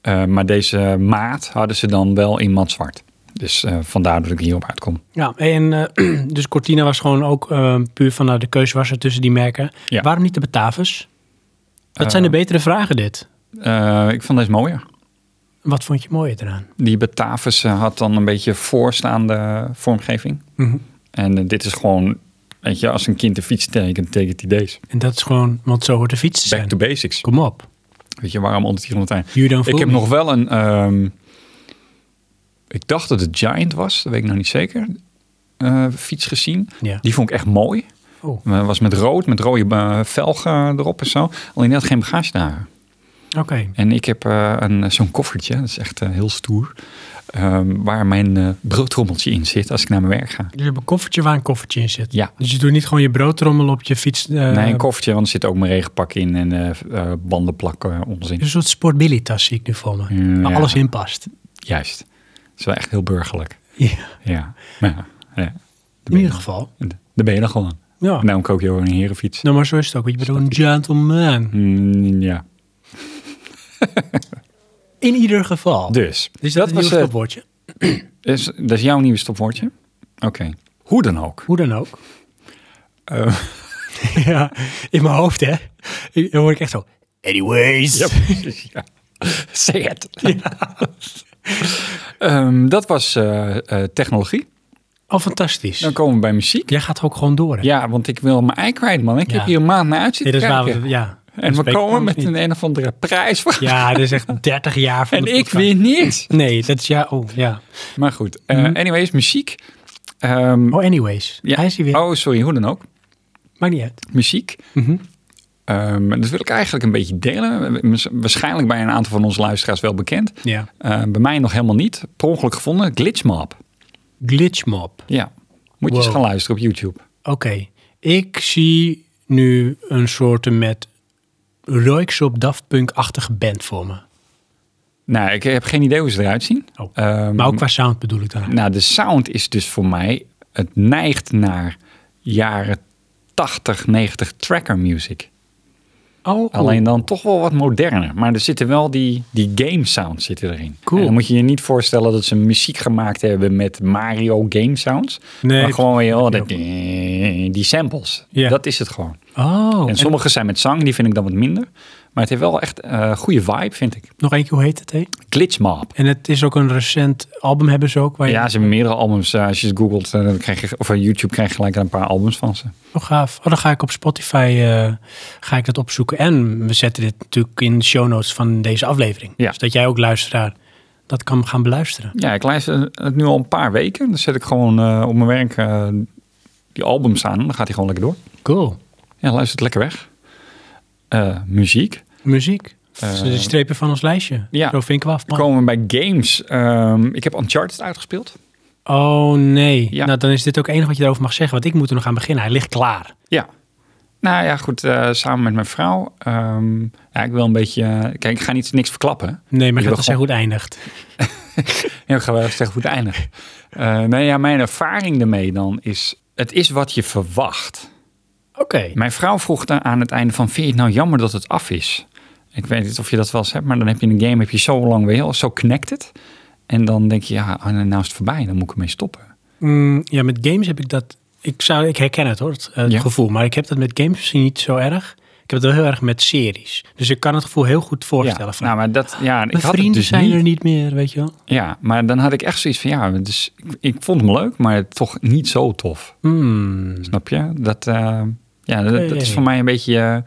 Speaker 2: Eh, maar deze maat hadden ze dan wel in mat zwart. Dus eh, vandaar dat ik hierop uitkom.
Speaker 1: Ja, en eh, dus Cortina was gewoon ook eh, puur van nou, de keuze was er tussen die merken.
Speaker 2: Ja.
Speaker 1: Waarom niet de Batavus? Dat zijn de
Speaker 2: Eh.
Speaker 1: betere vragen dit.
Speaker 2: Eh, ik vond deze mooier.
Speaker 1: Wat vond je mooier eraan?
Speaker 2: Die Batavus eh, had dan een beetje voorstaande vormgeving. En eh, dit is gewoon, weet je, als een kind de fiets tekent, tekent hij deze.
Speaker 1: En dat is gewoon, want zo hoort de fiets te
Speaker 2: Back
Speaker 1: zijn.
Speaker 2: to basics.
Speaker 1: Kom op.
Speaker 2: Weet je, waarom onder 400
Speaker 1: You don't
Speaker 2: Ik
Speaker 1: fool
Speaker 2: heb
Speaker 1: me.
Speaker 2: nog wel een ehm, ik dacht dat het Giant was, dat weet ik nog niet zeker, eh, fiets gezien.
Speaker 1: Ja.
Speaker 2: Die vond ik echt mooi.
Speaker 1: Oh,
Speaker 2: Maar was met rood, met rode eh, velgen erop en zo. Alleen die had geen bagagedrager.
Speaker 1: oké.
Speaker 2: En ik heb eh, een, zo'n koffertje, dat is echt eh, heel stoer, ehm, waar mijn eh, broodtrommeltje in zit als ik naar mijn werk ga.
Speaker 1: Dus je hebt een koffertje waar een koffertje in zit.
Speaker 2: Ja.
Speaker 1: Dus je doet niet gewoon je broodtrommel op je fiets. eh,
Speaker 2: nee, een koffertje, want er zit ook mijn regenpak in en eh, eh, bandenplakken, eh, onzin.
Speaker 1: Een soort sportbilly-tas zie ik nu voor me.
Speaker 2: Ja,
Speaker 1: Waar alles in past.
Speaker 2: Juist. Het is wel echt heel burgerlijk.
Speaker 1: Ja,
Speaker 2: Ja. Maar ja, ja.
Speaker 1: in ieder geval.
Speaker 2: Daar ben je dan gewoon.
Speaker 1: Ja.
Speaker 2: Daarom koop je ook een herenfiets.
Speaker 1: Nou, maar zo is het ook. want Je bent ook een gentleman.
Speaker 2: Mm, ja.
Speaker 1: In ieder geval.
Speaker 2: Dus,
Speaker 1: Dus dat, is
Speaker 2: was
Speaker 1: een
Speaker 2: het.
Speaker 1: stopwoordje.
Speaker 2: is, dat is jouw nieuwe stopwoordje? Oké. Hoe dan ook.
Speaker 1: Hoe dan ook.
Speaker 2: Eh,
Speaker 1: ja, in mijn hoofd, hè. Ik- Dan hoor ik echt zo... Anyways.
Speaker 2: ja, precies, ja. Zeg het. Ehm, dat was eh, eh, technologie.
Speaker 1: Al Oh, fantastisch.
Speaker 2: Dan komen we bij muziek.
Speaker 1: Jij gaat ook gewoon door, hè.
Speaker 2: Ja, want ik wil mijn ei kwijt, man. Ik
Speaker 1: Ja.
Speaker 2: heb hier een maand naar
Speaker 1: Dit
Speaker 2: uit zitten
Speaker 1: is waar we...
Speaker 2: kijken.
Speaker 1: Ja.
Speaker 2: En we
Speaker 1: spreken
Speaker 2: komen
Speaker 1: ons
Speaker 2: met
Speaker 1: niet.
Speaker 2: een een of andere prijs. voor-
Speaker 1: Ja, dit is echt 30 jaar van
Speaker 2: en
Speaker 1: de
Speaker 2: ik
Speaker 1: podcast.
Speaker 2: weer niet.
Speaker 1: Nee, dat is ja... Oh, ja.
Speaker 2: Maar goed. eh,
Speaker 1: Mhm.
Speaker 2: anyways, muziek. Ehm,
Speaker 1: Oh, anyways.
Speaker 2: ja.
Speaker 1: Hij is hier weer.
Speaker 2: Oh, sorry. Hoe dan ook.
Speaker 1: Maakt niet uit.
Speaker 2: Muziek.
Speaker 1: Mhm.
Speaker 2: Ehm, dat wil ik eigenlijk een beetje delen. Waarschijnlijk bij een aantal van onze luisteraars wel bekend.
Speaker 1: Ja.
Speaker 2: Eh, bij mij nog helemaal niet. Per ongeluk gevonden. Glitchmap.
Speaker 1: Glitchmap.
Speaker 2: Ja. Moet je
Speaker 1: Wow.
Speaker 2: eens gaan luisteren op YouTube.
Speaker 1: Oké. Ik zie nu een soort met Royksop Daft Punk-achtige band voor me.
Speaker 2: Ehm, Nou, ik heb geen idee hoe ze eruit zien.
Speaker 1: Oh.
Speaker 2: Ehm,
Speaker 1: Maar ook qua sound bedoel ik dan.
Speaker 2: Nou, de sound is dus voor mij... Het neigt naar jaren 80, 90 tracker music.
Speaker 1: Oh, oh.
Speaker 2: Alleen dan toch wel wat moderner. Maar er zitten wel die, die game sounds zitten erin.
Speaker 1: Cool.
Speaker 2: En dan moet je je niet voorstellen dat ze muziek gemaakt hebben met Mario game sounds.
Speaker 1: Nee,
Speaker 2: maar
Speaker 1: het-
Speaker 2: gewoon weer al dat- die samples.
Speaker 1: Ja.
Speaker 2: Dat is het gewoon.
Speaker 1: Oh, en
Speaker 2: en sommige zijn met zang, die vind ik dan wat minder. Maar het heeft wel echt eh goede vibe, vind ik.
Speaker 1: nog één keer, hoe heet het? Hé?
Speaker 2: Glitchmap.
Speaker 1: En het is ook een recent album hebben ze ook. Waar je...
Speaker 2: Ja, ze hebben meerdere albums. Eh, als je het googelt, eh, dan krijg je, of eh, YouTube krijg je gelijk een paar albums van ze.
Speaker 1: Oh, gaaf. Oh, dan ga ik op Spotify eh, ga ik dat opzoeken. En we zetten dit natuurlijk in de show notes van deze aflevering.
Speaker 2: Ja.
Speaker 1: Dus dat jij ook luisteraar dat kan gaan beluisteren.
Speaker 2: Ja, ik luister het nu al een paar weken. Dan zet ik gewoon eh, op mijn werk eh, die albums aan. Dan gaat hij gewoon lekker door.
Speaker 1: Cool.
Speaker 2: Ja, luistert lekker weg. Eh, muziek.
Speaker 1: Muziek.
Speaker 2: Eh,
Speaker 1: de strepen van ons lijstje.
Speaker 2: ja.
Speaker 1: Zo vinken we af.
Speaker 2: We
Speaker 1: man.
Speaker 2: komen we bij games. Ehm, ik heb Uncharted uitgespeeld.
Speaker 1: Oh nee.
Speaker 2: Ja.
Speaker 1: Nou, dan is dit ook het enige wat je daarover mag zeggen. Want ik moet er nog aan beginnen. Hij ligt klaar.
Speaker 2: Ja. Nou ja, goed. eh, samen met mijn vrouw. Ehm, ja, ik wil een beetje... eh, kijk, ik ga niet, niks verklappen.
Speaker 1: Nee, maar
Speaker 2: Je
Speaker 1: gaat wel zeggen
Speaker 2: wil
Speaker 1: hoe het eindigt.
Speaker 2: Ja, ik ga wel even zeggen hoe het eindigt. Eh nou ja, mijn ervaring ermee dan is... Het is wat je verwacht.
Speaker 1: Oké.
Speaker 2: Mijn vrouw vroeg dan aan het einde van... Vind je het nou jammer dat het af is? Ik weet niet of je dat wel eens hebt, maar dan heb je een game... heb je zo lang weer heel, zo connected. En dan denk je, ja, ah, nou is het voorbij. Dan moet ik ermee stoppen.
Speaker 1: Mm, ja, met games heb ik dat. Ik, zou, ik herken het hoor, het, het
Speaker 2: Ja.
Speaker 1: gevoel. Maar ik heb dat met games misschien niet zo erg. Ik heb het wel heel erg met series. Dus ik kan het gevoel heel goed voorstellen.
Speaker 2: Ja,
Speaker 1: van,
Speaker 2: nou, maar dat, ja, ik
Speaker 1: mijn
Speaker 2: had het
Speaker 1: vrienden
Speaker 2: dus
Speaker 1: zijn
Speaker 2: niet.
Speaker 1: er niet meer, weet je wel.
Speaker 2: Ja, maar dan had ik echt zoiets van, ja, dus ik, ik vond hem leuk, maar toch niet zo tof.
Speaker 1: Hmm.
Speaker 2: Snap je? Dat, eh, ja, dat,
Speaker 1: Ja, ja,
Speaker 2: dat is
Speaker 1: ja.
Speaker 2: voor mij een beetje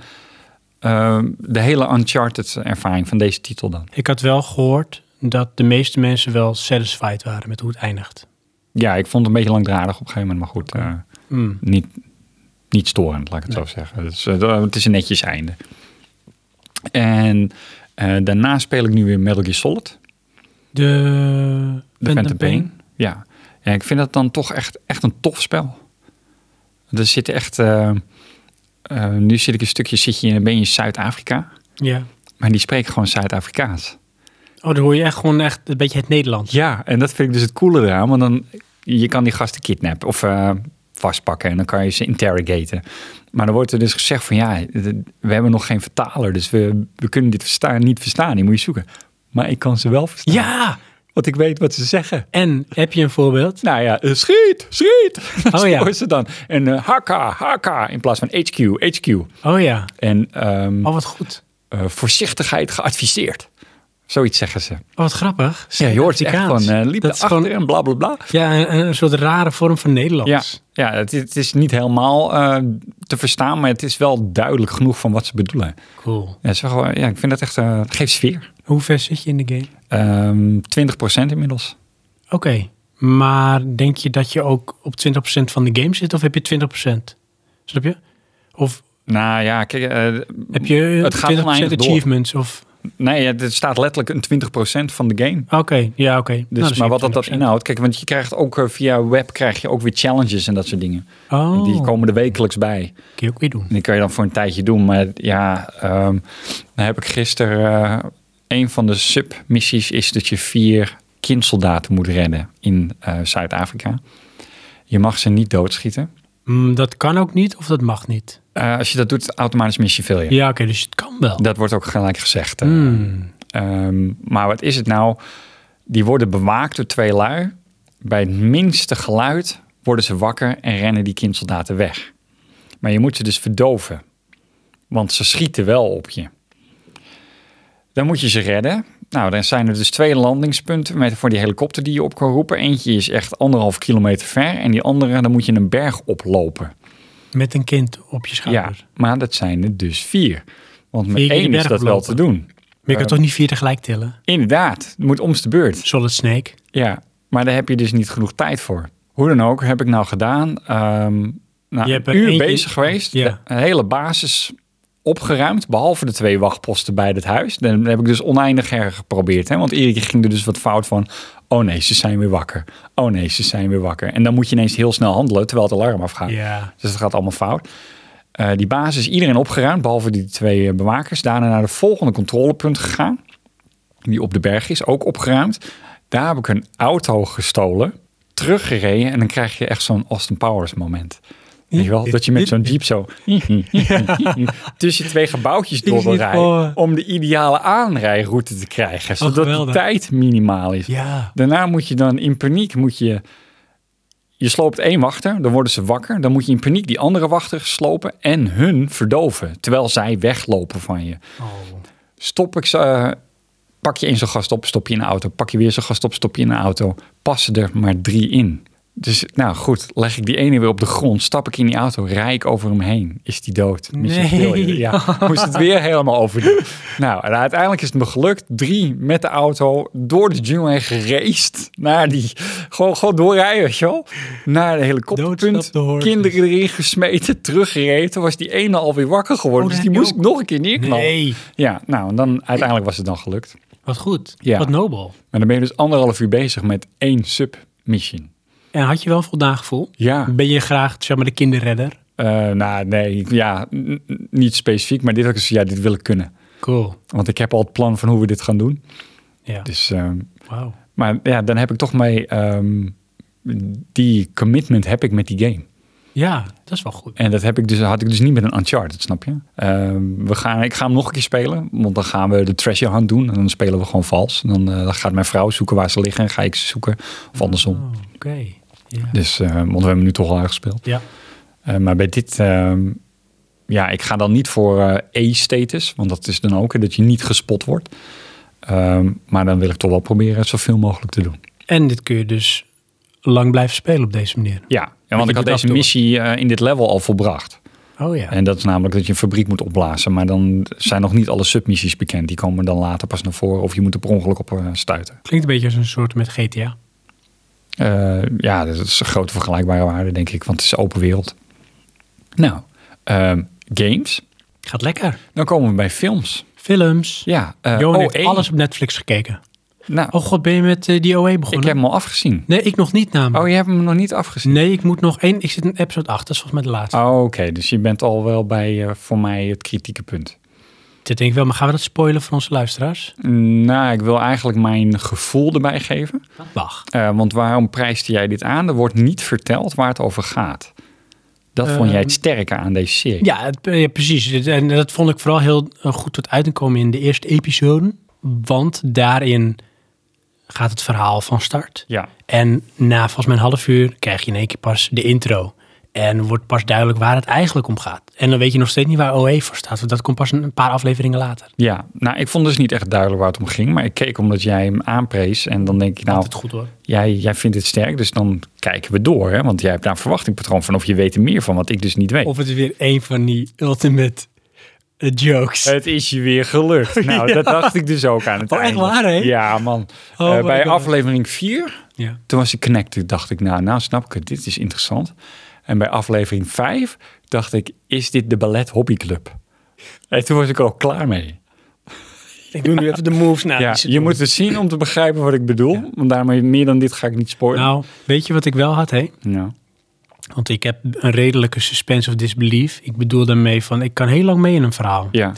Speaker 2: eh, eh, de hele Uncharted ervaring van deze titel dan.
Speaker 1: Ik had wel gehoord dat de meeste mensen wel satisfied waren met hoe het eindigt.
Speaker 2: Ja, ik vond het een beetje langdradig op een gegeven moment, maar goed, eh,
Speaker 1: Hmm.
Speaker 2: niet, niet storend, laat ik het zo zeggen. Dus, eh, dat- het is een netjes einde. En eh, daarna speel ik nu weer Metal Gear Solid.
Speaker 1: De,
Speaker 2: De Phantom Pain. Ja. ja, ik vind dat dan toch echt, echt een tof spel. Er zit echt... eh, eh, nu zit ik een stukje, zit je, in- ben je in Zuid-Afrika.
Speaker 1: Ja.
Speaker 2: Maar die spreken gewoon Zuid-Afrikaans.
Speaker 1: Oh, dan hoor je echt gewoon echt een beetje het Nederlands.
Speaker 2: Ja, en dat vind ik dus het coole eraan. Want dan, je kan die gasten kidnappen of eh, vastpakken. En dan kan je ze interrogaten. Maar dan wordt er dus gezegd van... Ja, de- we hebben nog geen vertaler. Dus we, we kunnen dit verstaan, niet verstaan. Die moet je zoeken. Maar ik kan ze wel verstaan.
Speaker 1: Ja!
Speaker 2: Want ik weet wat ze zeggen.
Speaker 1: En heb je een voorbeeld?
Speaker 2: Nou ja, eh, schiet, schiet. Dat
Speaker 1: Oh ja.
Speaker 2: is ze dan. En eh, haka, haka in plaats van HQ, HQ.
Speaker 1: Oh ja.
Speaker 2: En ehm,
Speaker 1: Oh, wat goed.
Speaker 2: eh, voorzichtigheid geadviseerd. Zoiets zeggen ze.
Speaker 1: Oh, wat grappig.
Speaker 2: Ja, je hoort echt
Speaker 1: Zuid-Afrikaans.
Speaker 2: van eh liep
Speaker 1: Dat is
Speaker 2: erachter
Speaker 1: gewoon
Speaker 2: en bla bla bla.
Speaker 1: Ja, een, een soort rare vorm van
Speaker 2: Ja,
Speaker 1: Nederlands.
Speaker 2: ja het, het is niet helemaal eh, te verstaan, maar het is wel duidelijk genoeg van wat ze bedoelen.
Speaker 1: Cool.
Speaker 2: Ja, het is wel gewoon- ja ik vind dat echt, eh, het geeft sfeer.
Speaker 1: Hoe ver zit je in de game?
Speaker 2: Ehm 20% inmiddels.
Speaker 1: Oké, maar denk je dat je ook op 20% van de game zit of heb je 20%? Snap je? Of
Speaker 2: Nou ja, kijk, eh,
Speaker 1: heb je
Speaker 2: Het gaat
Speaker 1: 20%
Speaker 2: oneindig door.
Speaker 1: achievements? Of Ah,
Speaker 2: nee, het het staat letterlijk een 20% van de game.
Speaker 1: oké, ja oké. Nou,
Speaker 2: Dus,
Speaker 1: dan zit
Speaker 2: maar
Speaker 1: je
Speaker 2: wat dat, dat
Speaker 1: 20%.
Speaker 2: inhoudt, kijk, want je krijgt ook eh, via web krijg je ook weer challenges en dat soort dingen.
Speaker 1: Oh,
Speaker 2: Die komen er wekelijks bij.
Speaker 1: kun je ook weer doen.
Speaker 2: En die kan je dan voor een tijdje doen. Maar ja, ehm, dan heb ik gisteren. eh, een van de submissies is dat je vier kindsoldaten moet redden in eh, Zuid-Afrika. Je mag ze niet doodschieten.
Speaker 1: Mm, dat kan ook niet of dat mag niet?
Speaker 2: Eh, als je dat doet, automatisch missie failure.
Speaker 1: Ja, oké, dus het kan wel.
Speaker 2: Dat wordt ook gelijk gezegd. eh.
Speaker 1: Hmm,
Speaker 2: Ehm, maar wat is het nou? Die worden bewaakt door twee lui. Bij het minste geluid worden ze wakker en rennen die kindsoldaten weg. Maar je moet ze dus verdoven. Want ze schieten wel op je. Dan moet je ze redden. Nou, dan zijn er dus twee landingspunten met, voor die helikopter die je op kan roepen. Eentje is echt anderhalf kilometer ver. En die andere, dan moet je een berg oplopen.
Speaker 1: met een kind op je
Speaker 2: Ja,
Speaker 1: schouder.
Speaker 2: maar dat zijn er dus vier. Want met
Speaker 1: Vier keer die
Speaker 2: één is
Speaker 1: berg
Speaker 2: dat wel te
Speaker 1: oplopen.
Speaker 2: doen.
Speaker 1: Maar je kan
Speaker 2: Eh,
Speaker 1: toch niet vier tegelijk tillen?
Speaker 2: Inderdaad, het moet omste beurt.
Speaker 1: Solid Snake.
Speaker 2: Ja, maar daar heb je dus niet genoeg tijd voor. Hoe dan ook, heb ik nou gedaan. Ehm nou,
Speaker 1: Je hebt
Speaker 2: een
Speaker 1: er
Speaker 2: uur
Speaker 1: eentje-
Speaker 2: bezig geweest.
Speaker 1: Ja.
Speaker 2: De hele basis opgeruimd, behalve de twee wachtposten bij het huis. Dan heb ik dus oneindig her geprobeerd. Hè? Want iedere keer ging er dus wat fout van... oh nee, ze zijn weer wakker. Oh nee, ze zijn weer wakker. En dan moet je ineens heel snel handelen, terwijl het alarm afgaat.
Speaker 1: Ja.
Speaker 2: Dus dat gaat allemaal fout. Eh, die basis, iedereen opgeruimd, behalve die twee eh, bewakers. Daarna naar de volgende controlepunt gegaan. Die op de berg is, ook opgeruimd. Daar heb ik een auto gestolen, teruggereden. En dan krijg je echt zo'n Austin Powers moment. Weet je wel? Dat je met zo'n jeep zo tussen twee gebouwtjes door
Speaker 1: Is
Speaker 2: wil
Speaker 1: niet
Speaker 2: rijden.
Speaker 1: voor- Oh,
Speaker 2: Om de ideale aanrijroute te krijgen. Zodat de
Speaker 1: geweldig.
Speaker 2: tijd minimaal is.
Speaker 1: Ja.
Speaker 2: Daarna moet je dan in paniek, moet je... Je sloopt één wachter, dan worden ze wakker. Dan moet je in paniek die andere wachter slopen en hun verdoven. Terwijl zij weglopen van je.
Speaker 1: Oh.
Speaker 2: Stop ik ze, eh, pak je in zo'n gast op, stop je in een auto. Pak je weer zo'n gast op, stop je in een auto. Passen er maar drie in. Dus nou goed, leg ik die ene weer op de grond, stap ik in die auto, rij ik over hem heen. Is die dood? Mission
Speaker 1: Nee.
Speaker 2: failure. Ja, moest het weer helemaal overdoen. Nou, en uiteindelijk is het me gelukt. Drie met de auto door de jungle heen geraced. Naar die, gewoon, gewoon doorrijden, weet je wel. Naar de helikopterpunt.
Speaker 1: Doodstap dus. de hordes.
Speaker 2: Kinderen erin gesmeten, teruggereden. Toen was die ene alweer wakker geworden.
Speaker 1: Oh,
Speaker 2: dus
Speaker 1: daar
Speaker 2: die
Speaker 1: heb je
Speaker 2: moest ik nog een keer neerknallen.
Speaker 1: Nee,
Speaker 2: Ja, nou, en dan uiteindelijk was het dan gelukt.
Speaker 1: wat goed.
Speaker 2: Ja.
Speaker 1: Wat nobel.
Speaker 2: Maar dan ben je dus anderhalf uur bezig met één submission.
Speaker 1: En had je wel een voldaan gevoel?
Speaker 2: Ja,
Speaker 1: Ben je graag, zeg maar, de kinderredder?
Speaker 2: eh, nou nee, ja, n- n- niet specifiek, maar dit had ik zoiets, ja, dit wil ik kunnen.
Speaker 1: Cool.
Speaker 2: Want ik heb al het plan van hoe we dit gaan doen.
Speaker 1: Ja,
Speaker 2: Dus, ehm,
Speaker 1: wauw.
Speaker 2: maar ja, dan heb ik toch mee, ehm, die commitment heb ik met die game.
Speaker 1: Ja, dat is wel goed.
Speaker 2: En dat heb ik dus, had ik dus niet met een Uncharted, snap je? Ehm, we gaan, ik ga hem nog een keer spelen, want dan gaan we de treasure hunt doen. En dan spelen we gewoon vals. En dan eh, dan gaat mijn vrouw zoeken waar ze liggen en ga ik ze zoeken. Of andersom.
Speaker 1: Oh, Oké. Ja.
Speaker 2: Dus, eh, want we hebben nu toch al uitgespeeld.
Speaker 1: ja.
Speaker 2: Eh, maar bij dit, eh, ja, ik ga dan niet voor eh E-status, want dat is dan ook eh, dat je niet gespot wordt. Ehm, maar dan wil ik toch wel proberen zoveel mogelijk te doen.
Speaker 1: En dit kun je dus lang blijven spelen op deze manier.
Speaker 2: Ja, en
Speaker 1: je
Speaker 2: want ik had
Speaker 1: doet
Speaker 2: deze
Speaker 1: af en toe.
Speaker 2: missie eh, in dit level al volbracht.
Speaker 1: Oh ja.
Speaker 2: En dat is namelijk dat je een fabriek moet opblazen. Maar dan zijn nog niet alle submissies bekend. Die komen dan later pas naar voren. Of je moet er per ongeluk op eh, stuiten.
Speaker 1: Klinkt een beetje als een soort met GTA.
Speaker 2: Eh, ja, dat is een grote vergelijkbare waarde, denk ik. Want het is open wereld. Nou, ehm, games.
Speaker 1: Gaat lekker.
Speaker 2: Dan komen we bij films.
Speaker 1: Films.
Speaker 2: Ja, eh,
Speaker 1: Johan
Speaker 2: OE.
Speaker 1: heeft alles op Netflix gekeken.
Speaker 2: Nou,
Speaker 1: Oh god, ben je met eh, die OE begonnen?
Speaker 2: ik heb hem al afgezien.
Speaker 1: Nee, ik nog niet namelijk.
Speaker 2: Oh, je hebt hem nog niet afgezien?
Speaker 1: Nee, ik moet nog één. Ik zit in episode 8. Dat is volgens mij de laatste.
Speaker 2: Oh, Oké, dus je bent al wel bij eh, voor mij het kritieke punt.
Speaker 1: Dit denk ik wel. Maar gaan we dat spoilen voor onze luisteraars?
Speaker 2: Nou, ik wil eigenlijk mijn gevoel erbij geven.
Speaker 1: Wacht.
Speaker 2: Eh, want waarom prijsde jij dit aan? Er wordt niet verteld waar het over gaat. Dat vond jij het
Speaker 1: Ehm,
Speaker 2: sterke aan deze serie.
Speaker 1: Ja, het- ja, precies. Dit- En dat vond ik vooral heel eh, goed tot uiting komen in de eerste episode. Want daarin gaat het verhaal van start.
Speaker 2: Ja.
Speaker 1: En na volgens mij een half uur krijg je in één keer pas de intro. En wordt pas duidelijk waar het eigenlijk om gaat. En dan weet je nog steeds niet waar OE voor staat. Want dat komt pas een een paar afleveringen later.
Speaker 2: ja, nou, ik vond dus niet echt duidelijk waar het om ging. Maar ik keek omdat jij hem aanprees. En dan denk ik, nou,
Speaker 1: Altijd goed hoor.
Speaker 2: jij, jij vindt het sterk. Dus dan kijken we door. Hè? Want jij hebt daar een verwachtingpatroon van. Of je weet er meer van, wat ik dus niet weet.
Speaker 1: Of het is weer een van die ultimate eh, jokes.
Speaker 2: Het is je weer gelukt. Nou, dat dacht ik dus ook aan het
Speaker 1: Oh, echt
Speaker 2: einde.
Speaker 1: waar, hè?
Speaker 2: Ja, man.
Speaker 1: Oh
Speaker 2: Eh,
Speaker 1: my
Speaker 2: bij
Speaker 1: God.
Speaker 2: aflevering 4
Speaker 1: Ja.
Speaker 2: Toen was die connected, dacht ik, nou, nou snap ik het, dit is interessant. En bij aflevering 5 dacht ik, is dit de Ballet Hobbyclub? En toen was ik ook klaar mee.
Speaker 1: Ik doe nu even de moves na.
Speaker 2: ja,
Speaker 1: die ze
Speaker 2: je
Speaker 1: doen.
Speaker 2: moet het zien om te begrijpen wat ik bedoel. Want daarmee meer dan dit ga ik niet spoilen.
Speaker 1: Nou, weet je wat ik wel had, hè?
Speaker 2: Nou.
Speaker 1: Want ik heb een redelijke suspense of disbelief. Ik bedoel daarmee van, ik kan heel lang mee in een verhaal.
Speaker 2: Ja,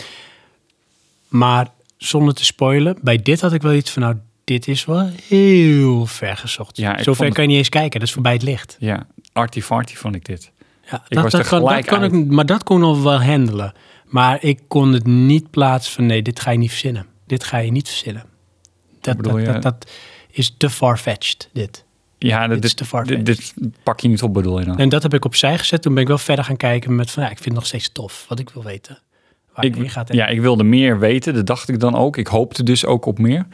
Speaker 1: Maar zonder te spoilen, bij dit had ik wel iets van, nou, dit is wel heel ver gezocht.
Speaker 2: Ja, ik
Speaker 1: Zo ver
Speaker 2: vond het-
Speaker 1: kan je niet eens kijken, dat is voorbij het licht.
Speaker 2: ja. Artifarty vond ik dit.
Speaker 1: Ja,
Speaker 2: was er
Speaker 1: kan,
Speaker 2: gelijk
Speaker 1: kan ik,
Speaker 2: uit.
Speaker 1: maar dat kon nog wel handelen. Maar ik kon het niet plaatsen van, nee, dit ga je niet verzinnen. Dit ga je niet verzinnen. Dat,
Speaker 2: bedoel
Speaker 1: dat,
Speaker 2: je?
Speaker 1: dat, dat is te far-fetched, dit.
Speaker 2: Ja,
Speaker 1: Dit
Speaker 2: dit,
Speaker 1: is te
Speaker 2: dit,
Speaker 1: far-fetched.
Speaker 2: dit, pak je niet op, bedoel je dan?
Speaker 1: En dat heb ik opzij gezet. Toen ben ik wel verder gaan kijken met van, ja, ik vind het nog steeds tof wat ik wil weten. Waar ik,
Speaker 2: Ik,
Speaker 1: heen gaat en
Speaker 2: ja, ik wilde meer weten, dat dacht ik dan ook. Ik hoopte dus ook op meer.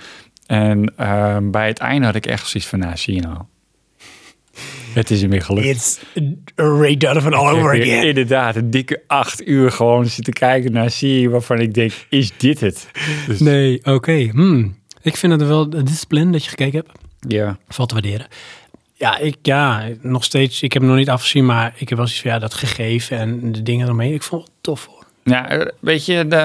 Speaker 2: En ehm, bij het einde had ik echt zoiets van, nou, zie je nou. Het is hem weer gelukt.
Speaker 1: It's Ray Donovan all
Speaker 2: Ik heb
Speaker 1: over
Speaker 2: weer
Speaker 1: again.
Speaker 2: Inderdaad, een dikke acht uur gewoon zitten kijken naar serie waarvan ik denk, is dit het? Dus-
Speaker 1: Nee, oké. hmm. Ik vind het wel de discipline dat je gekeken hebt.
Speaker 2: Ja.
Speaker 1: Valt te waarderen. Ja, ik, ja, nog steeds. Ik heb hem nog niet afgezien, maar ik heb wel zoiets van, ja, dat gegeven en de dingen eromheen. Ik vond het tof hoor.
Speaker 2: Ja, eh, weet je, de,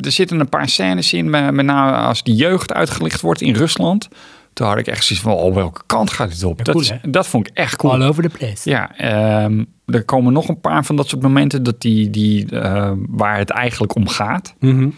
Speaker 2: er zitten een paar scènes in, met met name als de jeugd uitgelicht wordt in Rusland. Toen had ik echt zoiets van, oh, welke kant gaat dit op?
Speaker 1: Ja,
Speaker 2: dat,
Speaker 1: cool,
Speaker 2: is-
Speaker 1: hè?
Speaker 2: dat vond ik echt cool.
Speaker 1: All over the place.
Speaker 2: Ja, ehm, er komen nog een paar van dat soort momenten dat die, die, eh, waar het eigenlijk om gaat,
Speaker 1: Mhm.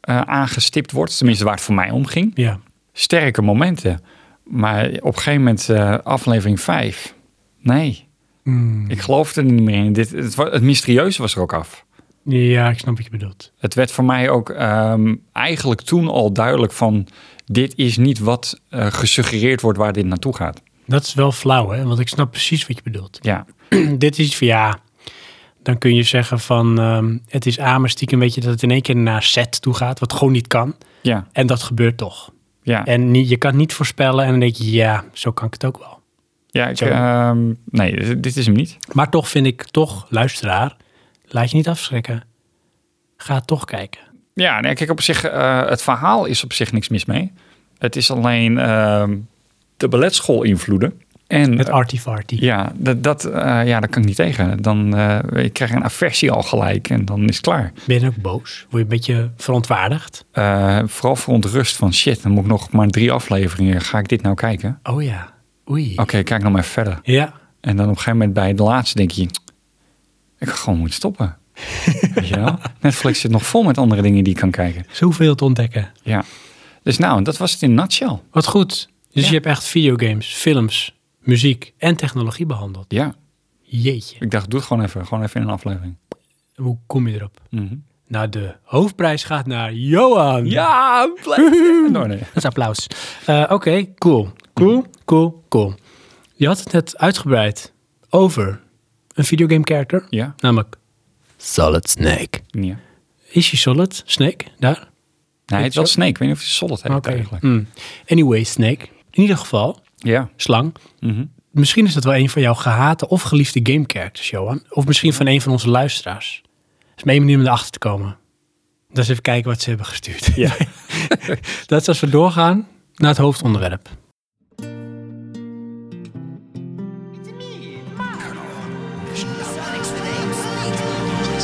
Speaker 2: eh, aangestipt wordt. Tenminste, waar het voor mij om ging.
Speaker 1: ja.
Speaker 2: Sterke momenten. Maar op een gegeven moment, eh, aflevering 5. Nee,
Speaker 1: Hmm.
Speaker 2: ik geloofde er niet meer in. Dit, het, wa- het mysterieuze was er ook af.
Speaker 1: ja, ik snap wat je bedoelt.
Speaker 2: Het werd voor mij ook ehm, eigenlijk toen al duidelijk van... dit is niet wat eh, gesuggereerd wordt waar dit naartoe gaat.
Speaker 1: Dat is wel flauw, hè? Want ik snap precies wat je bedoelt.
Speaker 2: Ja,
Speaker 1: dit is iets van ja. Dan kun je zeggen van ehm, het is A, maar stiekem weet je dat het in één keer naar Z toe gaat, wat gewoon niet kan.
Speaker 2: ja,
Speaker 1: En dat gebeurt toch.
Speaker 2: ja.
Speaker 1: En niet, je kan het niet voorspellen en dan denk je, ja, zo kan ik het ook wel.
Speaker 2: ja ik,
Speaker 1: Zo.
Speaker 2: ehm, nee, dit- dit is hem niet.
Speaker 1: Maar toch vind ik, toch, luisteraar, laat je niet afschrikken. Ga toch kijken.
Speaker 2: Ja, nee, kijk, op zich, eh, het verhaal is op zich niks mis mee. Het is alleen ehm, de balletschool invloeden. En
Speaker 1: Met
Speaker 2: eh,
Speaker 1: Artifarty.
Speaker 2: ja, dat, dat, eh, ja, daar kan ik niet tegen. Dan eh ik krijg een aversie al gelijk en dan is het klaar.
Speaker 1: Ben je dan ook boos? Word je een beetje verontwaardigd?
Speaker 2: Eh, vooral verontrust van shit, dan moet ik nog maar drie afleveringen. Ga ik dit nou kijken? Oké,
Speaker 1: Oh ja, oei.
Speaker 2: kijk nog maar even verder.
Speaker 1: Ja,
Speaker 2: En dan op een gegeven moment bij de laatste denk je... Ik ga gewoon moeten stoppen. Weet je wel? Netflix zit nog vol met andere dingen die ik kan kijken.
Speaker 1: zoveel te ontdekken.
Speaker 2: Ja. Dus nou, dat was het in een nutshell.
Speaker 1: Wat goed. Dus
Speaker 2: Ja.
Speaker 1: je hebt echt videogames, films, muziek en technologie behandeld.
Speaker 2: Ja.
Speaker 1: Jeetje.
Speaker 2: Ik dacht, doe het gewoon even. Gewoon even in een aflevering. Mhm.
Speaker 1: Hoe kom je erop? Nou, de hoofdprijs gaat naar Johan.
Speaker 2: Ja,
Speaker 1: Hmm.
Speaker 2: nee, nee.
Speaker 1: Dat is applaus. Eh, Oké, cool. Cool, cool, cool. Je had het net uitgebreid over een videogame character,
Speaker 2: Ja,
Speaker 1: namelijk Solid Snake.
Speaker 2: ja.
Speaker 1: Is hij Solid Snake daar?
Speaker 2: Nee, het is wel Snake. Ik weet niet of je Solid heet eigenlijk.
Speaker 1: Hmm. Anyway, Snake. In ieder geval,
Speaker 2: Ja.
Speaker 1: slang.
Speaker 2: Mhm.
Speaker 1: Misschien is dat wel een van jouw gehate of geliefde game characters, Johan. Of misschien van een van onze luisteraars. Dat is mijn manier om erachter te komen. Dat is even kijken wat ze hebben gestuurd.
Speaker 2: Ja.
Speaker 1: dat is als we doorgaan naar het hoofdonderwerp.
Speaker 3: Sonic's the name.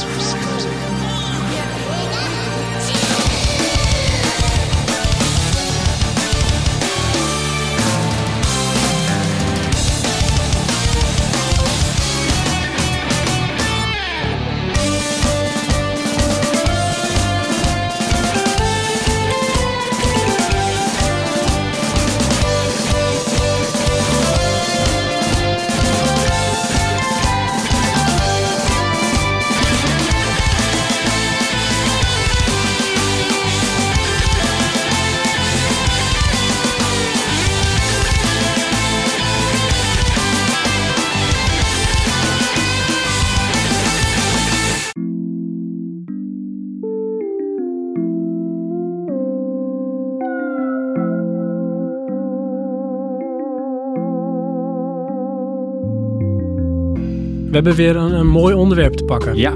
Speaker 1: We hebben weer een, een mooi onderwerp te pakken.
Speaker 2: Ja,